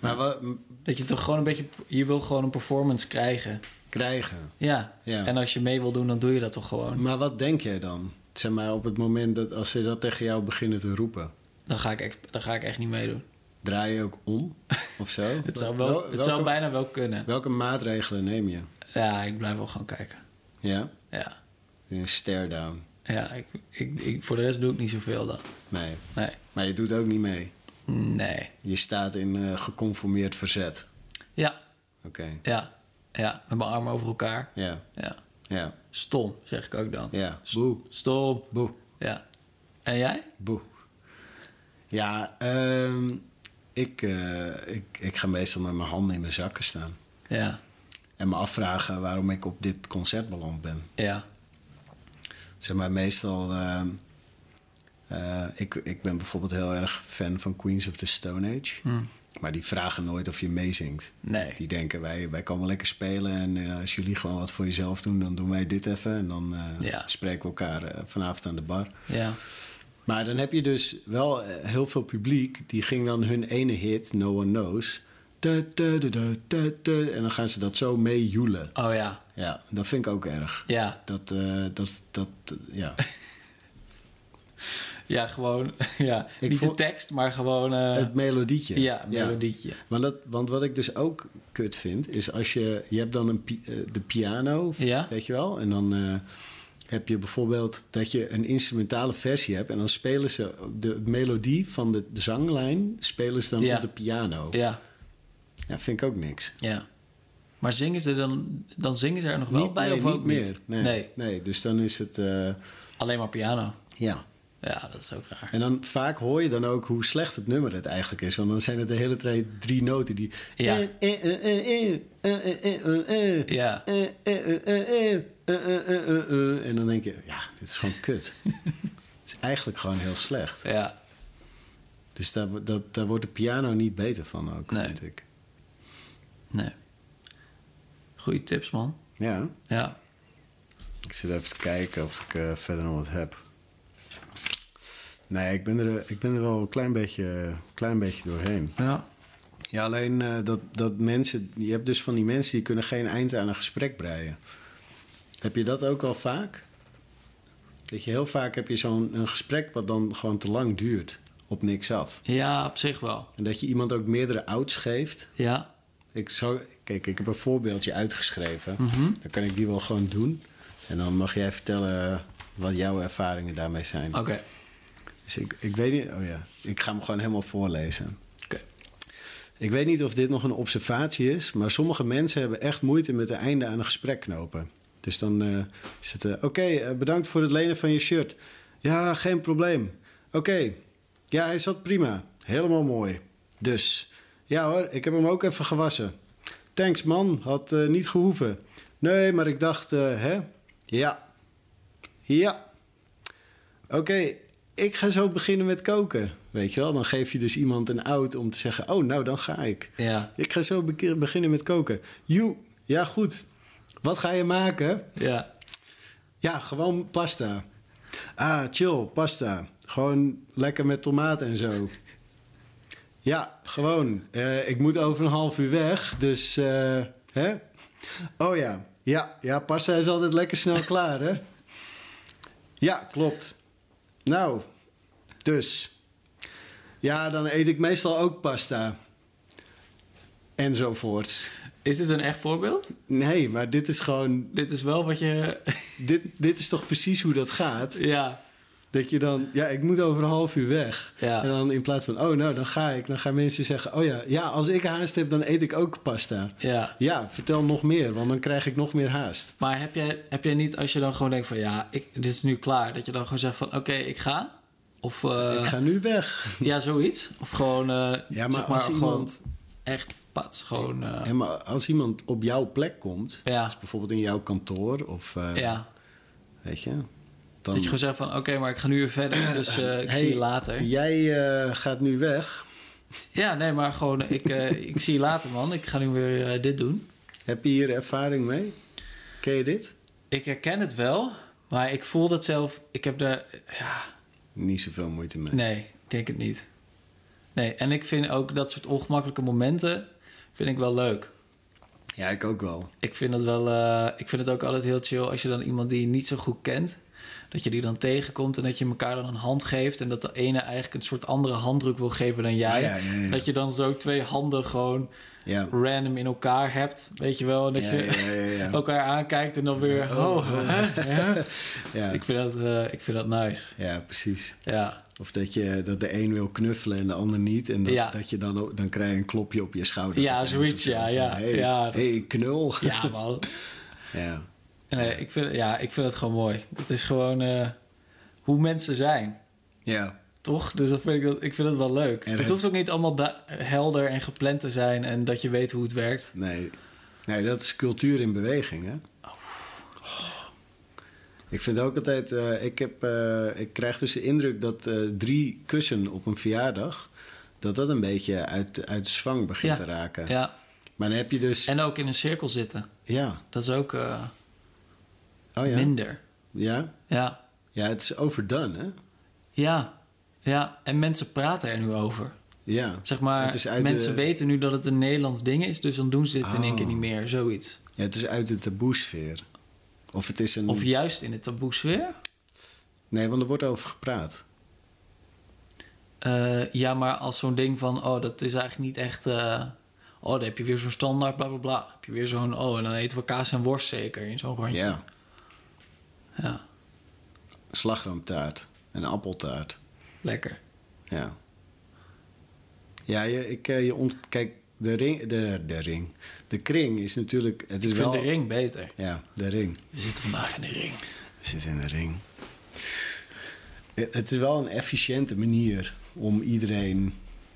Speaker 1: Maar wat
Speaker 2: Dat je toch gewoon een beetje... Je wil gewoon een performance krijgen.
Speaker 1: krijgen.
Speaker 2: Ja.
Speaker 1: Ja.
Speaker 2: En als je mee wil doen, dan doe je dat toch gewoon.
Speaker 1: Maar wat denk jij dan? Zeg maar op het moment dat als ze dat tegen jou beginnen te roepen,
Speaker 2: Dan ga ik echt, dan ga ik echt niet meedoen.
Speaker 1: draai je ook om of zo?
Speaker 2: Het zou,
Speaker 1: Wel-
Speaker 2: wel, het zou
Speaker 1: welke-
Speaker 2: bijna wel kunnen.
Speaker 1: Welke maatregelen neem je?
Speaker 2: Ja, ik blijf wel gewoon kijken.
Speaker 1: Ja?
Speaker 2: Ja.
Speaker 1: Een stare down.
Speaker 2: Ja, ik, ik, ik- voor de rest doe ik niet zoveel dan.
Speaker 1: Nee.
Speaker 2: Nee.
Speaker 1: Maar je doet ook niet mee.
Speaker 2: Nee.
Speaker 1: Je staat in eh, geconformeerd verzet.
Speaker 2: Ja.
Speaker 1: Oké.
Speaker 2: Ja. Ja. Met mijn armen over elkaar.
Speaker 1: Ja.
Speaker 2: Ja.
Speaker 1: Ja.
Speaker 2: Stom, zeg ik ook dan.
Speaker 1: Ja.
Speaker 2: St-
Speaker 1: Boe.
Speaker 2: Stom.
Speaker 1: Boe.
Speaker 2: Ja. En jij?
Speaker 1: Boe. Ja, ehm, ik, eh, ik, ik ga meestal met mijn handen in mijn zakken staan.
Speaker 2: Ja.
Speaker 1: En me afvragen waarom ik op dit concert beland ben.
Speaker 2: Ja.
Speaker 1: Zeg maar, meestal... ehm, eh, ik, ik ben bijvoorbeeld heel erg fan van Queens of the Stone Age.
Speaker 2: Hmm.
Speaker 1: Maar die vragen nooit of je meezingt.
Speaker 2: Nee.
Speaker 1: Die denken, wij, wij komen lekker spelen. En eh, als jullie gewoon wat voor jezelf doen, dan doen wij dit even. En dan eh,
Speaker 2: Ja.
Speaker 1: spreken we elkaar eh, vanavond aan de bar.
Speaker 2: Ja.
Speaker 1: Maar dan heb je dus wel eh, heel veel publiek. Die ging dan hun ene hit, No One Knows. tu, tu, tu, tu, tu, tu, en dan gaan ze dat zo mee joelen.
Speaker 2: Oh ja.
Speaker 1: Ja, dat vind ik ook erg.
Speaker 2: Ja.
Speaker 1: Dat, eh, dat, dat, ja.
Speaker 2: Ja, gewoon. Ja. niet
Speaker 1: voel-
Speaker 2: de tekst, maar gewoon. eh,
Speaker 1: Het melodietje.
Speaker 2: ja, melodietje.
Speaker 1: Want, dat, want wat ik dus ook kut vind, is als je... Je hebt dan een pi- eh, de piano, v-
Speaker 2: Ja.
Speaker 1: weet je wel? En dan eh, heb je bijvoorbeeld dat je een instrumentale versie hebt... en dan spelen ze de melodie van de, de zanglijn... spelen ze dan
Speaker 2: Ja.
Speaker 1: op de piano. Ja.
Speaker 2: Ja.
Speaker 1: vind ik ook niks.
Speaker 2: Ja. Maar zingen ze dan, dan zingen ze er nog wel
Speaker 1: Niet-
Speaker 2: bij
Speaker 1: nee,
Speaker 2: of ook
Speaker 1: niet
Speaker 2: niet?
Speaker 1: meer. Nee. Nee. dus dan is het... eh,
Speaker 2: Alleen maar piano.
Speaker 1: ja.
Speaker 2: Ja, dat is ook raar.
Speaker 1: En dan vaak hoor je dan ook hoe slecht het nummer het eigenlijk is. Want dan zijn het de hele tijd drie noten die...
Speaker 2: Ja.
Speaker 1: Eh, eh, eh, eh, eh, eh, eh, eh, eh.
Speaker 2: Ja.
Speaker 1: Eh, eh, eh, eh, eh, eh, eh, eh, eh, eh. En dan denk je, ja, dit is gewoon kut. Het is eigenlijk gewoon heel slecht.
Speaker 2: Ja.
Speaker 1: Dus daar, wo- dat, daar wordt de piano niet beter van ook,
Speaker 2: Nee.
Speaker 1: vind ik.
Speaker 2: Nee. Goeie tips, man.
Speaker 1: Ja,
Speaker 2: Ja.
Speaker 1: ik zit even te kijken of ik eh, verder nog wat heb. Nee, ik ben er, eh, ik ben er wel een klein beetje, klein beetje doorheen.
Speaker 2: Ja.
Speaker 1: Ja, alleen eh, dat, dat mensen... Je hebt dus van die mensen die kunnen geen eind aan een gesprek breien. Heb je dat ook al vaak? Dat je heel vaak heb je zo'n een gesprek wat dan gewoon te lang duurt. Op niks af.
Speaker 2: Ja, op zich wel.
Speaker 1: En dat je iemand ook meerdere outs geeft.
Speaker 2: Ja.
Speaker 1: Ik zou, kijk, ik heb een voorbeeldje uitgeschreven. Dan kan ik die wel gewoon doen. En dan mag jij vertellen eh, wat jouw ervaringen daarmee zijn.
Speaker 2: Oké.
Speaker 1: Dus ik, ik weet niet... Oh ja, ik ga hem gewoon helemaal voorlezen.
Speaker 2: Oké.
Speaker 1: Ik weet niet of dit nog een observatie is, maar sommige mensen hebben echt moeite met het einde aan een gesprek knopen. Dus dan eh, is het, eh, oké, eh, bedankt voor het lenen van je shirt. Ja, geen probleem. Oké, ja, hij zat prima. Helemaal mooi. Dus, ja hoor, ik heb hem ook even gewassen. Thanks man, had eh, niet gehoeven. Nee, maar ik dacht, eh, hè? Ja. Ja. Oké, ik ga zo beginnen met koken. Weet je wel, dan geef je dus iemand een out om te zeggen... oh, nou, dan ga ik.
Speaker 2: Ja.
Speaker 1: Ik ga zo be- beginnen met koken. Joe, ja goed. Wat ga je maken?
Speaker 2: Ja.
Speaker 1: Ja, gewoon pasta. Ah, chill, pasta. Gewoon lekker met tomaat en zo. Ja, gewoon. Eh, ik moet over een half uur weg, dus... eh, hè? Oh ja. ja, ja, pasta is altijd lekker snel klaar, hè? Ja, klopt. Nou, dus. Ja, dan eet ik meestal ook pasta. Enzovoort.
Speaker 2: Is dit een echt voorbeeld?
Speaker 1: Nee, maar dit is gewoon...
Speaker 2: Dit is wel wat je...
Speaker 1: Dit, dit is toch precies hoe dat gaat?
Speaker 2: ja.
Speaker 1: Dat je dan, ja, ik moet over een half uur weg.
Speaker 2: Ja.
Speaker 1: En dan in plaats van, oh nou, dan ga ik. Dan gaan mensen zeggen, oh ja, ja, als ik haast heb, dan eet ik ook pasta.
Speaker 2: Ja.
Speaker 1: Ja, vertel nog meer, want dan krijg ik nog meer haast.
Speaker 2: Maar heb jij, heb jij niet, als je dan gewoon denkt van ja, ik, dit is nu klaar, dat je dan gewoon zegt van oké, ik ga? Of eh,
Speaker 1: ik ga nu weg.
Speaker 2: ja, zoiets. Of gewoon, eh,
Speaker 1: Ja, maar
Speaker 2: zeg maar
Speaker 1: als
Speaker 2: gewoon
Speaker 1: iemand-
Speaker 2: echt pats, gewoon, eh,
Speaker 1: Ja, maar als iemand op jouw plek komt,
Speaker 2: ja,
Speaker 1: dus bijvoorbeeld in jouw kantoor of eh,
Speaker 2: ja.
Speaker 1: weet je,
Speaker 2: Dat
Speaker 1: dan
Speaker 2: je gewoon zegt van oké, maar ik ga nu weer verder, dus eh, ik zie je
Speaker 1: Hey,
Speaker 2: later.
Speaker 1: jij eh, gaat nu weg.
Speaker 2: Ja, nee, maar gewoon eh, ik, eh, ik zie je later man, ik ga nu weer eh, dit doen.
Speaker 1: Heb je hier ervaring mee? Ken je dit?
Speaker 2: Ik herken het wel, maar ik voel dat zelf, ik heb daar, ja,
Speaker 1: Niet zoveel moeite mee.
Speaker 2: Nee, ik denk het niet. Nee, en ik vind ook dat soort ongemakkelijke momenten vind ik wel leuk.
Speaker 1: Ja, ik ook wel.
Speaker 2: Ik vind, dat wel, eh, ik vind het ook altijd heel chill als je dan iemand die je niet zo goed kent, dat je die dan tegenkomt en dat je elkaar dan een hand geeft en dat de ene eigenlijk een soort andere handdruk wil geven dan jij.
Speaker 1: Ja, ja, ja.
Speaker 2: Dat je dan zo twee handen gewoon
Speaker 1: Ja.
Speaker 2: random in elkaar hebt, weet je wel. En dat
Speaker 1: Ja,
Speaker 2: je
Speaker 1: ja, ja, ja.
Speaker 2: elkaar aankijkt en dan weer, oh, hè? hè?
Speaker 1: Ja.
Speaker 2: Ik, vind dat, eh, ik vind dat nice,
Speaker 1: ja, precies.
Speaker 2: ja.
Speaker 1: Of dat, je, dat de een wil knuffelen en de ander niet. En dat,
Speaker 2: Ja.
Speaker 1: dat je dan, ook- dan krijg je een klopje op je schouder.
Speaker 2: Ja,
Speaker 1: Of
Speaker 2: zoiets,
Speaker 1: zo.
Speaker 2: ja,
Speaker 1: Van,
Speaker 2: ja.
Speaker 1: Hey,
Speaker 2: Ja, dat-
Speaker 1: hey, knul.
Speaker 2: Ja, man.
Speaker 1: Ja.
Speaker 2: Nee, ik vind, ja, ik vind het gewoon mooi. Het is gewoon eh, hoe mensen zijn,
Speaker 1: ja.
Speaker 2: toch? Dus dat vind ik, dat, ik vind het wel leuk.
Speaker 1: En
Speaker 2: het
Speaker 1: het-
Speaker 2: hoeft ook niet allemaal da- helder en gepland te zijn en dat je weet hoe het werkt.
Speaker 1: Nee. nee, dat is cultuur in beweging, hè?
Speaker 2: Oh.
Speaker 1: Ik vind ook altijd, eh, ik, heb, eh, ik krijg dus de indruk dat eh, drie kussen op een verjaardag, dat dat een beetje uit, uit de zwang begint
Speaker 2: Ja,
Speaker 1: te raken.
Speaker 2: Ja,
Speaker 1: Maar dan heb je dus,
Speaker 2: en ook in een cirkel zitten.
Speaker 1: ja,
Speaker 2: Dat is ook eh,
Speaker 1: oh ja,
Speaker 2: minder.
Speaker 1: ja,
Speaker 2: Ja,
Speaker 1: ja, het is overdone, hè?
Speaker 2: ja, ja. En mensen praten er nu over.
Speaker 1: Ja,
Speaker 2: Zeg maar,
Speaker 1: Het is uit
Speaker 2: mensen
Speaker 1: de-
Speaker 2: weten nu dat het een Nederlands ding is, dus dan doen ze dit in één
Speaker 1: Oh. Mm.
Speaker 2: keer niet meer, zoiets.
Speaker 1: ja het is uit de taboesfeer. Of het is een,
Speaker 2: Of juist in de taboesfeer.
Speaker 1: nee, want er wordt over gepraat.
Speaker 2: Eh, ja, maar als zo'n ding van, oh, dat is eigenlijk niet echt. eh, oh, dan heb je weer zo'n standaard, bla bla bla. Dan Heb je weer zo'n, oh, en dan eten we kaas en worst zeker in zo'n rondje.
Speaker 1: Ja,
Speaker 2: Ja,
Speaker 1: slagroomtaart en appeltaart.
Speaker 2: lekker.
Speaker 1: Ja. Ja, je, ik, eh, je ont... Kijk, de ring, de, de ring. De kring is natuurlijk... Het is
Speaker 2: ik
Speaker 1: wel...
Speaker 2: vind de ring beter.
Speaker 1: Ja, de ring.
Speaker 2: We zitten vandaag in de ring.
Speaker 1: We zitten in de ring. Het Eh, het is wel een efficiënte manier om iedereen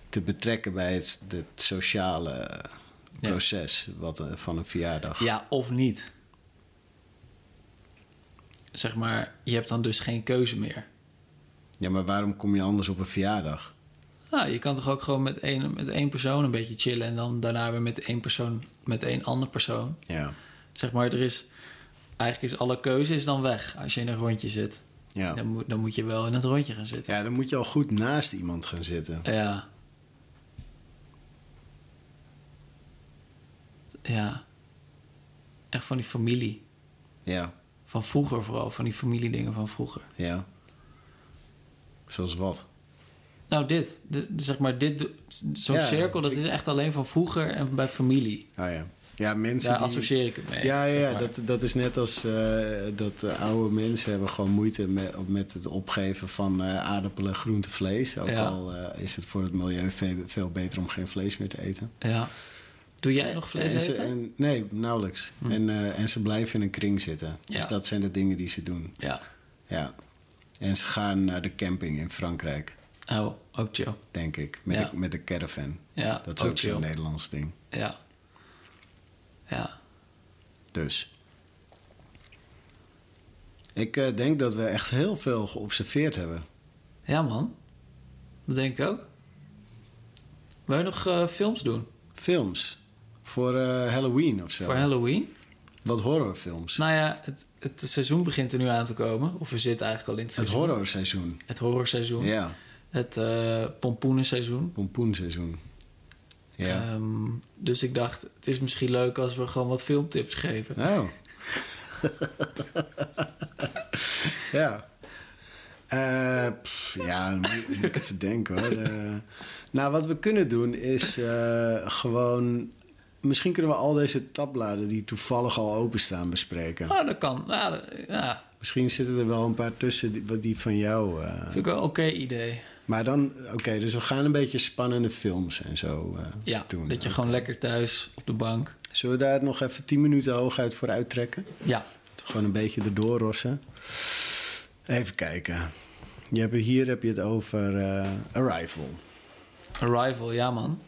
Speaker 1: te betrekken bij het, het sociale eh,
Speaker 2: Ja.
Speaker 1: proces wat, eh, van een verjaardag.
Speaker 2: Ja, of niet. Zeg maar, je hebt dan dus geen keuze meer.
Speaker 1: Ja, maar waarom kom je anders op een verjaardag?
Speaker 2: Nou, je kan toch ook gewoon met één, met één persoon een beetje chillen en dan daarna weer met één persoon, met één ander persoon.
Speaker 1: Ja.
Speaker 2: Zeg maar, er is. Eigenlijk is alle keuze is dan weg als je in een rondje zit.
Speaker 1: Ja.
Speaker 2: Dan, moet, dan moet je wel in het rondje gaan zitten.
Speaker 1: ja, dan moet je al goed naast iemand gaan zitten.
Speaker 2: Ja. Ja. Echt van die familie.
Speaker 1: Ja,
Speaker 2: Van vroeger vooral. Van die familiedingen van vroeger.
Speaker 1: ja. Zoals wat?
Speaker 2: Nou, dit. De- de- zeg maar, dit. do- Zo'n
Speaker 1: Ja,
Speaker 2: cirkel, dat is echt alleen van vroeger en bij familie.
Speaker 1: Oh ja. Ja, mensen
Speaker 2: Daar
Speaker 1: die...
Speaker 2: associeer ik het mee.
Speaker 1: Ja, ja,
Speaker 2: zeg
Speaker 1: ja,
Speaker 2: maar.
Speaker 1: dat, dat is net als eh, dat eh, oude mensen hebben gewoon moeite met, met het opgeven van eh, aardappelen, groente, vlees. Ook
Speaker 2: Ja.
Speaker 1: al eh, is het voor het milieu ve- veel beter om geen vlees meer te eten.
Speaker 2: Ja. Doe jij nog vlees
Speaker 1: en ze-
Speaker 2: eten? Hm.
Speaker 1: en- nee, nauwelijks. En, eh, en ze blijven in een kring zitten.
Speaker 2: Ja.
Speaker 1: Dus dat zijn de dingen die ze doen.
Speaker 2: Ja.
Speaker 1: Ja. En ze gaan naar de camping in Frankrijk,
Speaker 2: Oh, ook chill.
Speaker 1: denk ik. Met,
Speaker 2: Ja.
Speaker 1: de, met de caravan.
Speaker 2: Ja,
Speaker 1: Dat is
Speaker 2: ook
Speaker 1: ook zo'n
Speaker 2: chill.
Speaker 1: Nederlands ding.
Speaker 2: Ja. Ja.
Speaker 1: Dus. Ik eh, denk dat we echt heel veel geobserveerd hebben.
Speaker 2: Ja, man. Dat denk ik ook. Wil je nog eh, films doen?
Speaker 1: Films. Voor eh, Halloween of zo.
Speaker 2: Voor Halloween?
Speaker 1: Wat horrorfilms.
Speaker 2: Nou ja, het, het seizoen begint er nu aan te komen. Of we zitten eigenlijk al in het
Speaker 1: het
Speaker 2: seizoen.
Speaker 1: horrorseizoen.
Speaker 2: Het horrorseizoen.
Speaker 1: Ja,
Speaker 2: Het eh pompoenenseizoen.
Speaker 1: pompoenseizoen. Ja.
Speaker 2: Ehm, dus ik dacht, het is misschien leuk als we gewoon wat filmtips geven.
Speaker 1: Oh. ja. Eh, pff, ja, dan moet moet ik even denken hoor. Eh, nou, wat we kunnen doen is eh, gewoon... Misschien kunnen we al deze tabbladen die toevallig al openstaan bespreken.
Speaker 2: Oh, dat kan. Nou, dat- ja.
Speaker 1: Misschien zitten er wel een paar tussen die, wat die van jou. eh,
Speaker 2: Vind ik wel een oké idee.
Speaker 1: Maar dan, oké, dus we gaan een beetje spannende films en zo eh,
Speaker 2: Ja,
Speaker 1: doen.
Speaker 2: dat je gewoon lekker thuis op de bank.
Speaker 1: Zullen we daar nog even 10 minuten hooguit voor uittrekken?
Speaker 2: Ja,
Speaker 1: Gewoon een beetje erdoor rossen. Even kijken. Je hebt, hier heb je het over eh, Arrival.
Speaker 2: Arrival, ja man.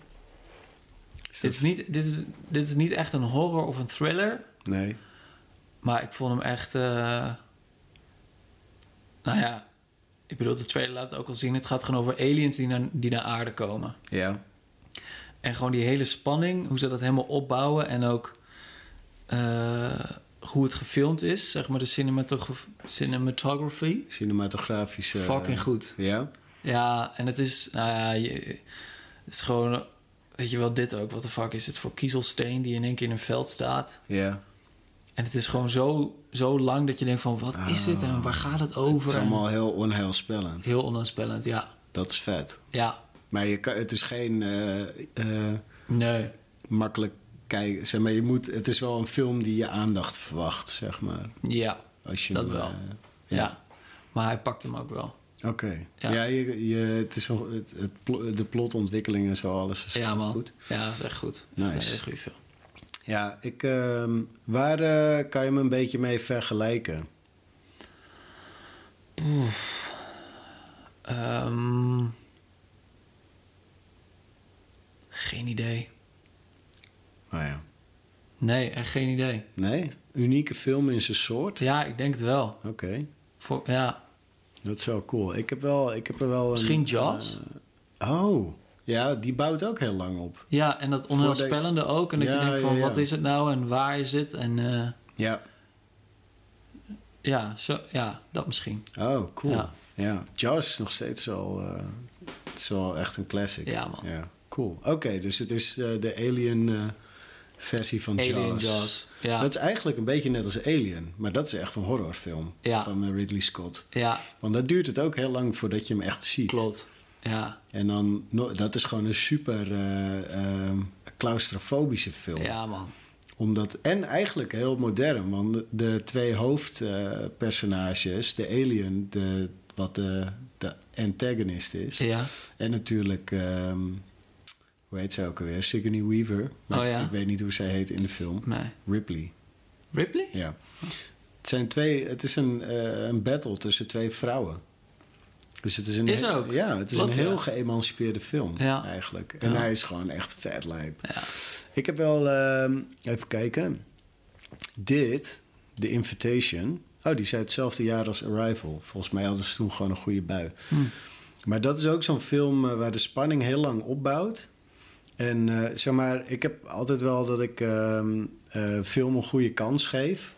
Speaker 1: Is
Speaker 2: Dit is, niet, dit, is, dit is niet echt een horror of een thriller,
Speaker 1: Nee.
Speaker 2: maar ik vond hem echt... eh, nou ja, ik bedoel, de trailer laat het ook al zien. Het gaat gewoon over aliens die naar, die naar aarde komen.
Speaker 1: Ja.
Speaker 2: En gewoon die hele spanning, hoe ze dat helemaal opbouwen en ook eh, hoe het gefilmd is, zeg maar de cinematograf- cinematography.
Speaker 1: Cinematografische.
Speaker 2: Fucking goed.
Speaker 1: Ja.
Speaker 2: Ja, en het is, nou ja, je- het is gewoon, weet je wel, dit ook. Wat de fuck is het voor kiezelsteen die in één keer in een veld staat?
Speaker 1: Ja.
Speaker 2: En het is gewoon zo, zo lang dat je denkt van, wat is dit en waar gaat het over?
Speaker 1: Ah, Het is
Speaker 2: En
Speaker 1: allemaal heel onheilspellend.
Speaker 2: Heel onaanspellend, ja.
Speaker 1: Dat is vet.
Speaker 2: Ja,
Speaker 1: Maar je kan, het is geen eh, eh,
Speaker 2: nee.
Speaker 1: makkelijk kijken. Zeg maar, je moet, het is wel een film die je aandacht verwacht, zeg maar.
Speaker 2: Ja,
Speaker 1: Als je
Speaker 2: Dat
Speaker 1: hem,
Speaker 2: wel.
Speaker 1: eh,
Speaker 2: ja. Maar hij pakt hem ook wel.
Speaker 1: Oké. Ja,
Speaker 2: Ja.
Speaker 1: je, je, het is al- het, het, plo- de plotontwikkeling en zo, alles is
Speaker 2: Ja, man.
Speaker 1: goed.
Speaker 2: Ja, dat is echt goed. Dat is
Speaker 1: Nice.
Speaker 2: een hele goede film.
Speaker 1: Ja, ik, ehm, waar eh, kan je me een beetje mee vergelijken?
Speaker 2: Ehm, geen idee.
Speaker 1: Nou ja.
Speaker 2: Nee, echt geen idee.
Speaker 1: Nee? Unieke film in zijn soort?
Speaker 2: Ja, ik denk het wel.
Speaker 1: Oké,
Speaker 2: Voor, ja,
Speaker 1: dat is wel cool. Ik heb, wel, ik heb er wel een...
Speaker 2: misschien Jaws.
Speaker 1: eh, oh, ja, die bouwt ook heel lang op.
Speaker 2: ja, en dat onheilspellende ook. En dat
Speaker 1: Ja,
Speaker 2: je denkt
Speaker 1: ja,
Speaker 2: van,
Speaker 1: ja.
Speaker 2: wat is het nou en waar is het? En eh,
Speaker 1: Ja.
Speaker 2: ja, zo, ja, dat misschien.
Speaker 1: Oh, cool. Ja.
Speaker 2: Ja.
Speaker 1: Jaws is nog steeds al... eh, het is wel echt een classic.
Speaker 2: Ja, man.
Speaker 1: Cool. Oké, dus het is eh, de alien eh, versie van
Speaker 2: Alien Jaws. Ja,
Speaker 1: Dat is eigenlijk een beetje net als Alien, maar dat is echt een horrorfilm
Speaker 2: Ja.
Speaker 1: van eh, Ridley Scott.
Speaker 2: ja
Speaker 1: Want dat duurt het ook heel lang voordat je hem echt ziet.
Speaker 2: klopt. Ja,
Speaker 1: En dan, no- dat is gewoon een super eh, ehm, claustrofobische film.
Speaker 2: ja man.
Speaker 1: Omdat, en eigenlijk heel modern, want de, de twee hoofdpersonages, de alien, de, wat de, de antagonist is.
Speaker 2: Ja,
Speaker 1: En natuurlijk, ehm, hoe heet ze ook alweer? Sigourney Weaver. Maar
Speaker 2: Oh ja.
Speaker 1: Ik weet niet hoe zij heet in de film.
Speaker 2: nee.
Speaker 1: Ripley.
Speaker 2: Ripley?
Speaker 1: Ja. Het, zijn twee, het is een, eh, een battle tussen twee vrouwen. Dus het is een,
Speaker 2: Is ook.
Speaker 1: Ja, het is
Speaker 2: Wat,
Speaker 1: een
Speaker 2: ja.
Speaker 1: heel geëmancipeerde film
Speaker 2: Ja.
Speaker 1: eigenlijk. En
Speaker 2: Ja.
Speaker 1: hij is gewoon echt vet lijp.
Speaker 2: Ja.
Speaker 1: Ik heb wel, ehm, even kijken. Dit, The Invitation. Oh, die zei hetzelfde jaar als Arrival. Volgens mij hadden ze toen gewoon een goede bui. Maar dat is ook zo'n film eh, waar de spanning heel lang opbouwt. En eh, zeg maar, ik heb altijd wel dat ik ehm, eh, film een goede kans geef.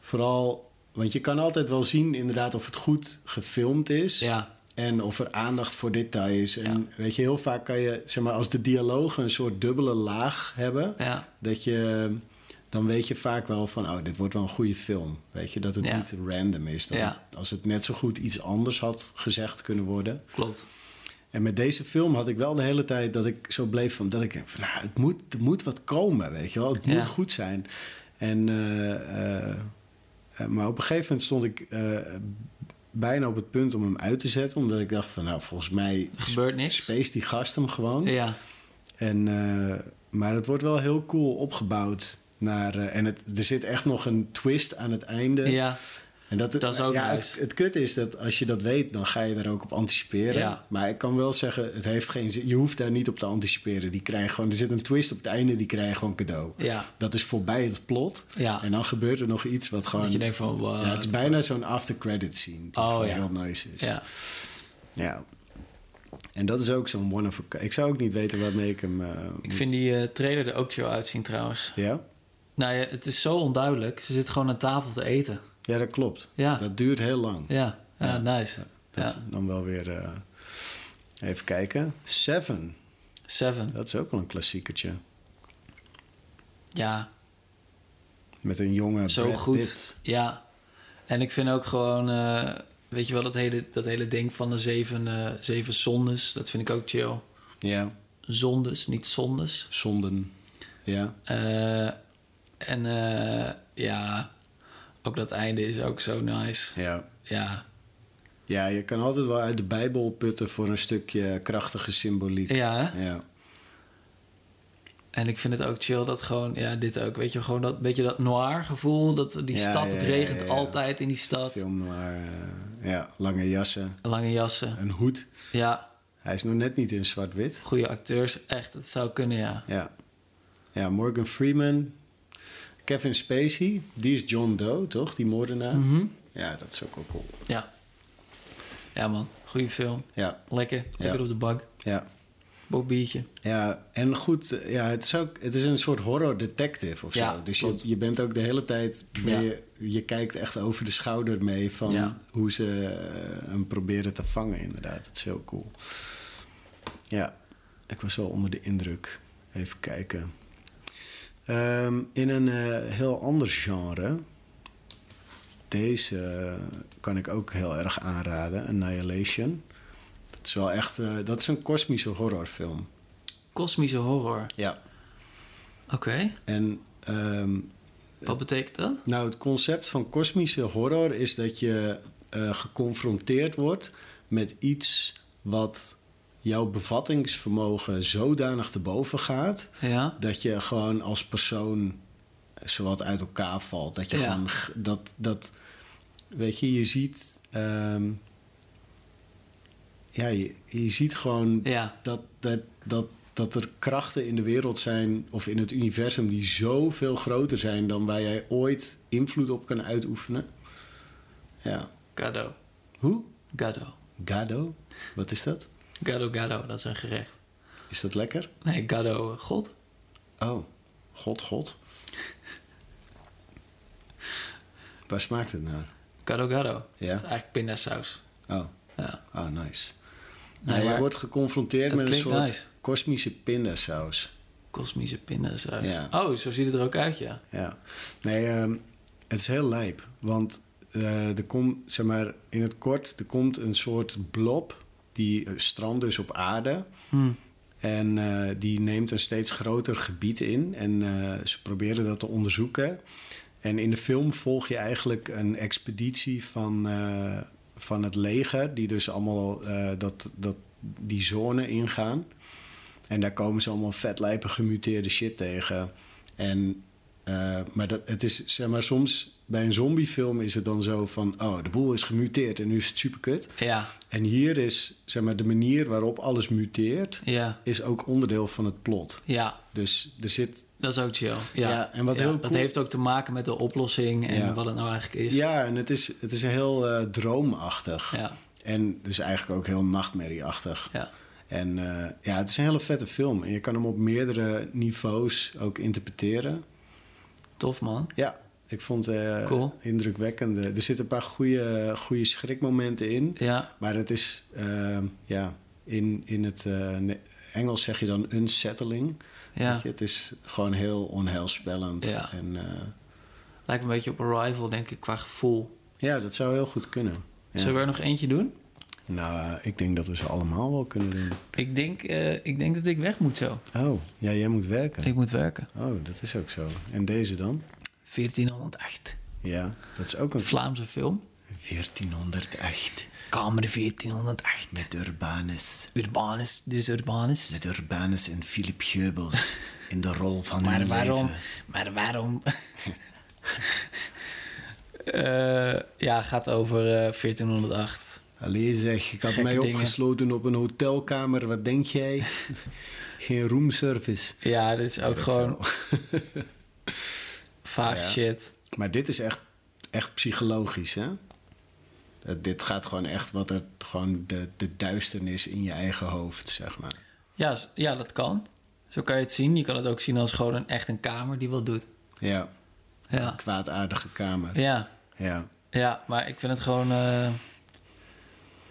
Speaker 1: Vooral, want je kan altijd wel zien inderdaad of het goed gefilmd is.
Speaker 2: Ja,
Speaker 1: En of er aandacht voor detail is. En weet je, heel vaak kan je, zeg maar, als de dialogen een soort dubbele laag hebben.
Speaker 2: ja,
Speaker 1: Dat je, dan weet je vaak wel van, oh, dit wordt wel een goede film. Weet je, dat het
Speaker 2: Ja.
Speaker 1: niet random is. Dat
Speaker 2: Ja.
Speaker 1: het- als het net zo goed iets anders had gezegd kunnen worden.
Speaker 2: klopt.
Speaker 1: En met deze film had ik wel de hele tijd dat ik zo bleef van... dat ik denk van, nou, het moet, er moet wat komen, weet je wel. Het
Speaker 2: Ja.
Speaker 1: moet goed zijn. En, eh, eh, eh, maar op een gegeven moment stond ik eh, bijna op het punt om hem uit te zetten... omdat ik dacht van, nou, volgens mij
Speaker 2: Er gebeurt niks.
Speaker 1: space die gast hem gewoon.
Speaker 2: Ja,
Speaker 1: En, eh, maar het wordt wel heel cool opgebouwd. Naar, eh, en het, er zit echt nog een twist aan het einde.
Speaker 2: ja,
Speaker 1: En dat,
Speaker 2: Dat is ook
Speaker 1: ja,
Speaker 2: nice.
Speaker 1: het, het kut is dat als je dat weet, dan ga je daar ook op anticiperen.
Speaker 2: Ja.
Speaker 1: Maar ik kan wel zeggen, het heeft geen zin. Je hoeft daar niet op te anticiperen. Die krijgen gewoon, er zit een twist op het einde, die krijgen gewoon cadeau.
Speaker 2: ja,
Speaker 1: Dat is voorbij het plot.
Speaker 2: ja.
Speaker 1: En dan gebeurt er nog iets wat gewoon.
Speaker 2: Dat je denkt van,
Speaker 1: ja,
Speaker 2: wow.
Speaker 1: het is bijna zo'n after-credit scene. Die
Speaker 2: Oh,
Speaker 1: gewoon
Speaker 2: ja.
Speaker 1: heel nice is.
Speaker 2: Ja,
Speaker 1: Ja. En dat is ook zo'n one of a Ik zou ook niet weten waarmee ik hem. eh,
Speaker 2: ik vind die eh, trailer er ook chill uitzien trouwens.
Speaker 1: Ja?
Speaker 2: Nou ja, het is zo onduidelijk. Ze zit gewoon aan tafel te eten.
Speaker 1: ja, dat klopt.
Speaker 2: Ja,
Speaker 1: Dat duurt heel lang.
Speaker 2: ja, ja, nice.
Speaker 1: Dat
Speaker 2: Ja.
Speaker 1: dan wel weer. eh, even kijken. Seven.
Speaker 2: Seven.
Speaker 1: Dat is ook wel een klassiekertje.
Speaker 2: Ja,
Speaker 1: Met een jonge
Speaker 2: zo
Speaker 1: Brad
Speaker 2: goed.
Speaker 1: Pitt.
Speaker 2: Ja. En ik vind ook gewoon, eh, weet je wel, dat hele, dat hele ding van de zeven, eh, zeven zondes. Dat vind ik ook chill.
Speaker 1: Ja,
Speaker 2: Zondes, niet zondes.
Speaker 1: zonden. Ja,
Speaker 2: Eh, en eh, ja, Ook dat einde is ook zo nice.
Speaker 1: Ja.
Speaker 2: Ja.
Speaker 1: ja, je kan altijd wel uit de Bijbel putten voor een stukje krachtige symboliek.
Speaker 2: Ja, hè?
Speaker 1: Ja.
Speaker 2: En ik vind het ook chill dat gewoon, ja, dit ook, weet je, gewoon dat beetje dat noir gevoel, dat die
Speaker 1: Ja,
Speaker 2: stad,
Speaker 1: ja,
Speaker 2: het
Speaker 1: ja,
Speaker 2: regent
Speaker 1: ja, ja.
Speaker 2: altijd in die stad.
Speaker 1: Film noir, eh, ja, lange jassen,
Speaker 2: Lange jassen.
Speaker 1: een hoed.
Speaker 2: Ja,
Speaker 1: Hij is nog net niet in zwart-wit.
Speaker 2: goede acteurs, echt, het zou kunnen, ja.
Speaker 1: Ja. ja, Morgan Freeman, Kevin Spacey, die is John Doe, toch? Die moordenaar.
Speaker 2: Mhm.
Speaker 1: Ja, dat is ook wel cool.
Speaker 2: Ja. Ja, man, goede film.
Speaker 1: Ja,
Speaker 2: Lekker, lekker
Speaker 1: Ja.
Speaker 2: op de bank.
Speaker 1: ja.
Speaker 2: Bokbiertje.
Speaker 1: Ja, en goed, eh, ja, het, is ook, het is een soort horror detective of
Speaker 2: Ja,
Speaker 1: zo. Dus je,
Speaker 2: klopt.
Speaker 1: je bent ook de hele tijd, ben
Speaker 2: Ja.
Speaker 1: je, je kijkt echt over de schouder mee van
Speaker 2: Ja.
Speaker 1: hoe ze eh, hem proberen te vangen inderdaad. Dat is heel cool. Ja, ik was wel onder de indruk. Even kijken. Ehm, in een eh, heel ander genre. Deze eh, kan ik ook heel erg aanraden. Annihilation. Dat is wel echt... eh, dat is een kosmische horrorfilm.
Speaker 2: Kosmische horror.
Speaker 1: Ja.
Speaker 2: Oké,
Speaker 1: En ehm,
Speaker 2: wat betekent dat?
Speaker 1: nou, het concept van kosmische horror is dat je eh, geconfronteerd wordt met iets wat jouw bevattingsvermogen zodanig te boven gaat
Speaker 2: Ja.
Speaker 1: dat je gewoon als persoon zowat uit elkaar valt. Dat je
Speaker 2: Ja.
Speaker 1: gewoon g- dat, dat weet je, je ziet. ehm, ja, je, je ziet gewoon
Speaker 2: Ja,
Speaker 1: dat, dat, dat, dat er krachten in de wereld zijn of in het universum die zoveel groter zijn dan waar jij ooit invloed op kan uitoefenen. Ja.
Speaker 2: gado.
Speaker 1: Hoe?
Speaker 2: Gado.
Speaker 1: Gado? Wat is dat?
Speaker 2: Gado, gado, dat is een gerecht.
Speaker 1: Is dat lekker?
Speaker 2: Nee, gado, eh, god.
Speaker 1: Oh, god, god. Waar smaakt het naar?
Speaker 2: Gado, gado.
Speaker 1: Ja.
Speaker 2: Dat is eigenlijk pindasaus.
Speaker 1: Oh,
Speaker 2: Ja.
Speaker 1: oh nice.
Speaker 2: Nee,
Speaker 1: Ja, je
Speaker 2: maar-
Speaker 1: wordt geconfronteerd met
Speaker 2: Het
Speaker 1: een
Speaker 2: klinkt
Speaker 1: soort
Speaker 2: nice.
Speaker 1: kosmische pindasaus.
Speaker 2: Kosmische pindasaus.
Speaker 1: Ja.
Speaker 2: Oh, zo ziet het er ook uit, ja.
Speaker 1: Ja. Nee, ehm, het is heel lijp. Want eh, er komt, zeg maar, in het kort, er komt een soort blob. Die eh, strandt dus op aarde. En eh, die neemt een steeds groter gebied in. En eh, ze proberen dat te onderzoeken. En in de film volg je eigenlijk een expeditie van, eh, van het leger, die dus allemaal eh, dat, dat, die zone ingaan. En daar komen ze allemaal vetlijpen gemuteerde shit tegen. En, eh, maar, dat, het is, zeg maar soms bij een zombiefilm is het dan zo van... oh, de boel is gemuteerd en nu is het superkut.
Speaker 2: Ja,
Speaker 1: En hier is zeg maar, de manier waarop alles muteert...
Speaker 2: ja,
Speaker 1: is ook onderdeel van het plot.
Speaker 2: ja.
Speaker 1: Dus er zit...
Speaker 2: Dat is ook chill.
Speaker 1: Ja,
Speaker 2: Ja,
Speaker 1: en wat
Speaker 2: Ja,
Speaker 1: heel
Speaker 2: Dat
Speaker 1: cool-
Speaker 2: heeft ook te maken met de oplossing en
Speaker 1: Ja.
Speaker 2: wat het nou eigenlijk is.
Speaker 1: Ja, en het is, het is heel eh, droomachtig.
Speaker 2: ja,
Speaker 1: En dus eigenlijk ook heel nachtmerrieachtig.
Speaker 2: ja.
Speaker 1: En eh, ja, het is een hele vette film. En je kan hem op meerdere niveaus ook interpreteren.
Speaker 2: Tof, man.
Speaker 1: Ja, ik vond eh
Speaker 2: Cool.
Speaker 1: indrukwekkende. Er zitten een paar goede, goede schrikmomenten in.
Speaker 2: Ja,
Speaker 1: Maar het is, eh, ja, in, in het eh, ne- Engels zeg je dan unsettling.
Speaker 2: ja.
Speaker 1: Weet je, Het is gewoon heel onheilspellend.
Speaker 2: Ja.
Speaker 1: En eh,
Speaker 2: Lijkt me een beetje op Arrival, denk ik, qua gevoel.
Speaker 1: ja, dat zou heel goed kunnen. Ja.
Speaker 2: Zullen we er nog eentje doen?
Speaker 1: Nou, eh, ik denk dat we ze allemaal wel kunnen doen.
Speaker 2: Ik denk, eh, ik denk dat ik weg moet zo.
Speaker 1: Oh, ja, jij moet werken.
Speaker 2: Ik moet werken.
Speaker 1: Oh, dat is ook zo. En deze dan?
Speaker 2: 1408.
Speaker 1: Ja, dat is ook een...
Speaker 2: Een Vlaamse film.
Speaker 1: 1408.
Speaker 2: Kamer 1408.
Speaker 1: Met Urbanus.
Speaker 2: Urbanus, dus Urbanus.
Speaker 1: Met Urbanus en Philip Geubels in de rol van
Speaker 2: Maar
Speaker 1: hun
Speaker 2: waarom?
Speaker 1: leven.
Speaker 2: Maar waarom? Eh, ja, gaat over eh, 1408.
Speaker 1: Allee zeg, ik had
Speaker 2: Gekke
Speaker 1: mij
Speaker 2: dingen.
Speaker 1: opgesloten op een hotelkamer. Wat denk jij? Geen roomservice.
Speaker 2: Ja, dit is ook gewoon vaag
Speaker 1: Ja.
Speaker 2: shit.
Speaker 1: Maar dit is echt, echt psychologisch, hè? Eh, Dit gaat gewoon echt wat er... Gewoon de, de duisternis in je eigen hoofd, zeg maar.
Speaker 2: Ja, s- ja, dat kan. Zo kan je het zien. Je kan het ook zien als gewoon een, echt een kamer die wat doet.
Speaker 1: Ja,
Speaker 2: Ja.
Speaker 1: kwaadaardige kamer.
Speaker 2: ja,
Speaker 1: Ja,
Speaker 2: ja, maar ik vind het gewoon... eh,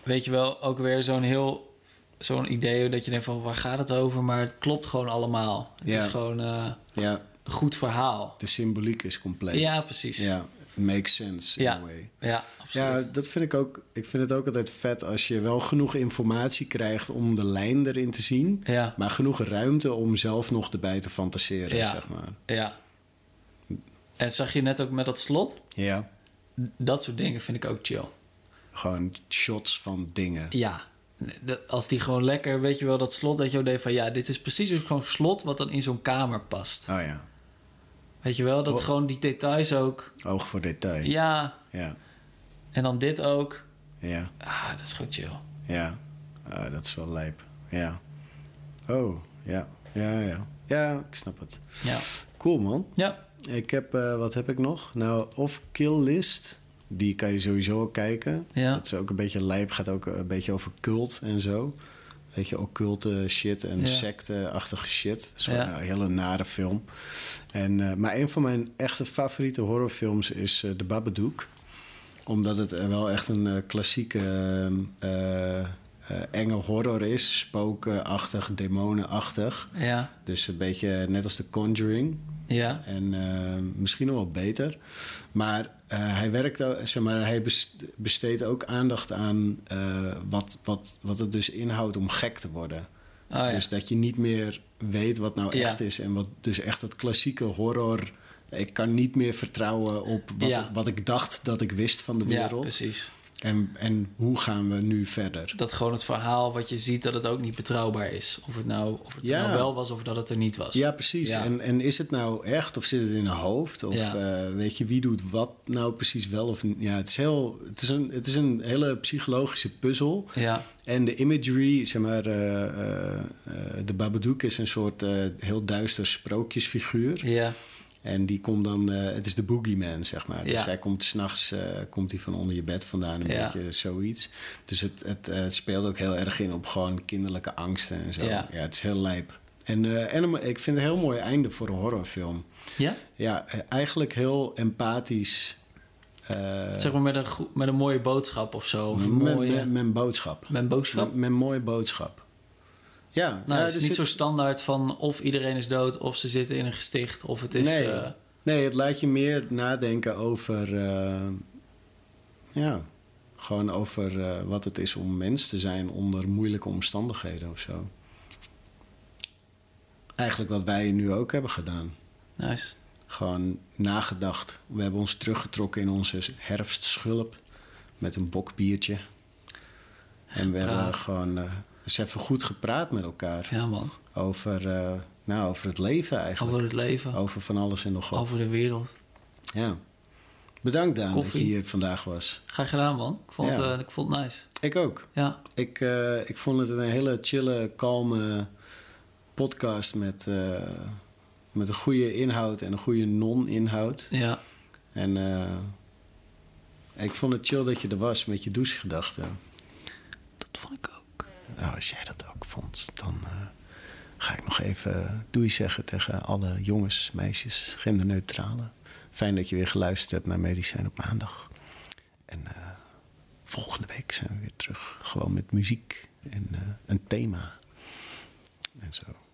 Speaker 2: weet je wel, ook weer zo'n heel... Zo'n idee dat je denkt van waar gaat het over? Maar het klopt gewoon allemaal. Het
Speaker 1: Ja.
Speaker 2: is gewoon eh,
Speaker 1: ja.
Speaker 2: een goed verhaal.
Speaker 1: de symboliek is compleet.
Speaker 2: Ja, precies.
Speaker 1: Ja, makes sense in
Speaker 2: Ja.
Speaker 1: a way.
Speaker 2: Ja, absoluut.
Speaker 1: Ja, dat vind ik ook. Ik vind het ook altijd vet als je wel genoeg informatie krijgt om de lijn erin te zien,
Speaker 2: Ja,
Speaker 1: maar genoeg ruimte om zelf nog erbij te fantaseren,
Speaker 2: Ja.
Speaker 1: zeg maar.
Speaker 2: ja. En zag je net ook met dat slot?
Speaker 1: Ja.
Speaker 2: dat soort dingen vind ik ook chill.
Speaker 1: Gewoon shots van dingen.
Speaker 2: Ja. Dat- Als die gewoon lekker, weet je wel, dat slot dat je ook deed van... Ja, dit is precies dus gewoon slot wat dan in zo'n kamer past.
Speaker 1: Oh ja,
Speaker 2: Weet je wel, dat
Speaker 1: Oh.
Speaker 2: gewoon die details ook...
Speaker 1: oog voor detail. Ja,
Speaker 2: Ja,
Speaker 1: ja,
Speaker 2: en dan dit ook.
Speaker 1: ja.
Speaker 2: Ah, dat is gewoon chill.
Speaker 1: Ah, dat is wel lijp. Ja. Oh, ja, ja, ja. Ja, ik snap het.
Speaker 2: Ja.
Speaker 1: Cool, man.
Speaker 2: Ja.
Speaker 1: Ik heb, eh, wat heb ik nog? Nou, of Kill List. Die kan je sowieso al kijken.
Speaker 2: Ja.
Speaker 1: Dat is ook een beetje lijp. Gaat ook een beetje over cult en zo. Weet je, occulte shit en
Speaker 2: Ja.
Speaker 1: secte-achtige shit. Dat is wel
Speaker 2: Ja.
Speaker 1: een hele nare film. En, eh, maar een van mijn echte favoriete horrorfilms is eh, The Babadook. Omdat het eh, wel echt een eh, klassieke eh, eh, enge horror is. Spokenachtig, demonenachtig.
Speaker 2: Ja.
Speaker 1: Dus een beetje net als The Conjuring.
Speaker 2: Ja.
Speaker 1: En eh, misschien nog wel beter. Maar eh, hij werkt ook, zeg maar, hij bes- besteedt ook aandacht aan eh, wat, wat, wat het dus inhoudt om gek te worden.
Speaker 2: Oh, ja.
Speaker 1: Dus dat je niet meer weet wat nou
Speaker 2: Ja.
Speaker 1: echt is. En wat dus echt dat klassieke horror. Ik kan niet meer vertrouwen op wat,
Speaker 2: Ja.
Speaker 1: wat ik dacht dat ik wist van de
Speaker 2: ja,
Speaker 1: wereld.
Speaker 2: precies.
Speaker 1: en, en hoe gaan we nu verder?
Speaker 2: Dat gewoon het verhaal wat je ziet, dat het ook niet betrouwbaar is. Of het nou, of het er
Speaker 1: Ja.
Speaker 2: nou wel was of dat het er niet was.
Speaker 1: Ja, precies.
Speaker 2: Ja.
Speaker 1: En, en is het nou echt of zit het in een hoofd? Of
Speaker 2: Ja.
Speaker 1: eh, weet je, wie doet wat nou precies wel of niet? Ja, het is, heel, het is, een, het is een hele psychologische puzzel.
Speaker 2: Ja.
Speaker 1: En de imagery, zeg maar, eh, eh, eh, de Babadook is een soort eh, heel duister sprookjesfiguur.
Speaker 2: Ja.
Speaker 1: En die komt dan, eh, het is de boogeyman, zeg maar.
Speaker 2: Ja.
Speaker 1: Dus hij komt s'nachts, eh, komt hij van onder je bed vandaan, een
Speaker 2: Ja.
Speaker 1: beetje zoiets. Dus het, het, eh, het speelt ook heel erg in op gewoon kinderlijke angsten en zo.
Speaker 2: Ja.
Speaker 1: Ja, het is heel lijp. En eh, en een- ik vind het een heel mooi einde voor een horrorfilm.
Speaker 2: Ja?
Speaker 1: Ja, eh, eigenlijk heel empathisch. eh,
Speaker 2: Zeg maar met een, goe- met een mooie boodschap of zo. Of een
Speaker 1: met,
Speaker 2: mooie...
Speaker 1: met, met een boodschap.
Speaker 2: Met een boodschap?
Speaker 1: Met, met een mooie boodschap. Ja,
Speaker 2: Nou,
Speaker 1: ja,
Speaker 2: het is
Speaker 1: er
Speaker 2: niet
Speaker 1: zit-
Speaker 2: zo standaard van of iedereen is dood, of ze zitten in een gesticht, of het is...
Speaker 1: Nee.
Speaker 2: eh,
Speaker 1: Nee, het laat je meer nadenken over. eh, ja, gewoon over eh, wat het is om mens te zijn onder moeilijke omstandigheden of zo. Eigenlijk wat wij nu ook hebben gedaan.
Speaker 2: nice.
Speaker 1: Gewoon nagedacht. We hebben ons teruggetrokken in onze herfstschulp met een bokbiertje. En we hebben
Speaker 2: Gepraat.
Speaker 1: gewoon eh eens even goed gepraat met elkaar.
Speaker 2: Ja, man.
Speaker 1: Over, eh, nou, over het leven eigenlijk.
Speaker 2: Over het leven,
Speaker 1: Over van alles en nog wat.
Speaker 2: over de wereld.
Speaker 1: Ja. Bedankt, Daan,
Speaker 2: Koffie.
Speaker 1: dat je hier vandaag was.
Speaker 2: Graag gedaan, man. Ik vond,
Speaker 1: Ja.
Speaker 2: eh, ik vond het nice.
Speaker 1: Ik ook.
Speaker 2: Ja,
Speaker 1: Ik, eh, ik vond het een hele chille, kalme podcast met, eh, met een goede inhoud en een goede non-inhoud.
Speaker 2: ja.
Speaker 1: En eh, ik vond het chill dat je er was met je douchegedachten.
Speaker 2: Dat vond ik ook.
Speaker 1: Nou, als jij dat ook vond, dan eh, ga ik nog even doei zeggen tegen alle jongens, meisjes, genderneutrale. Fijn dat je weer geluisterd hebt naar Medicijn op maandag. En eh, volgende week zijn we weer terug. Gewoon met muziek en eh, een thema. En zo.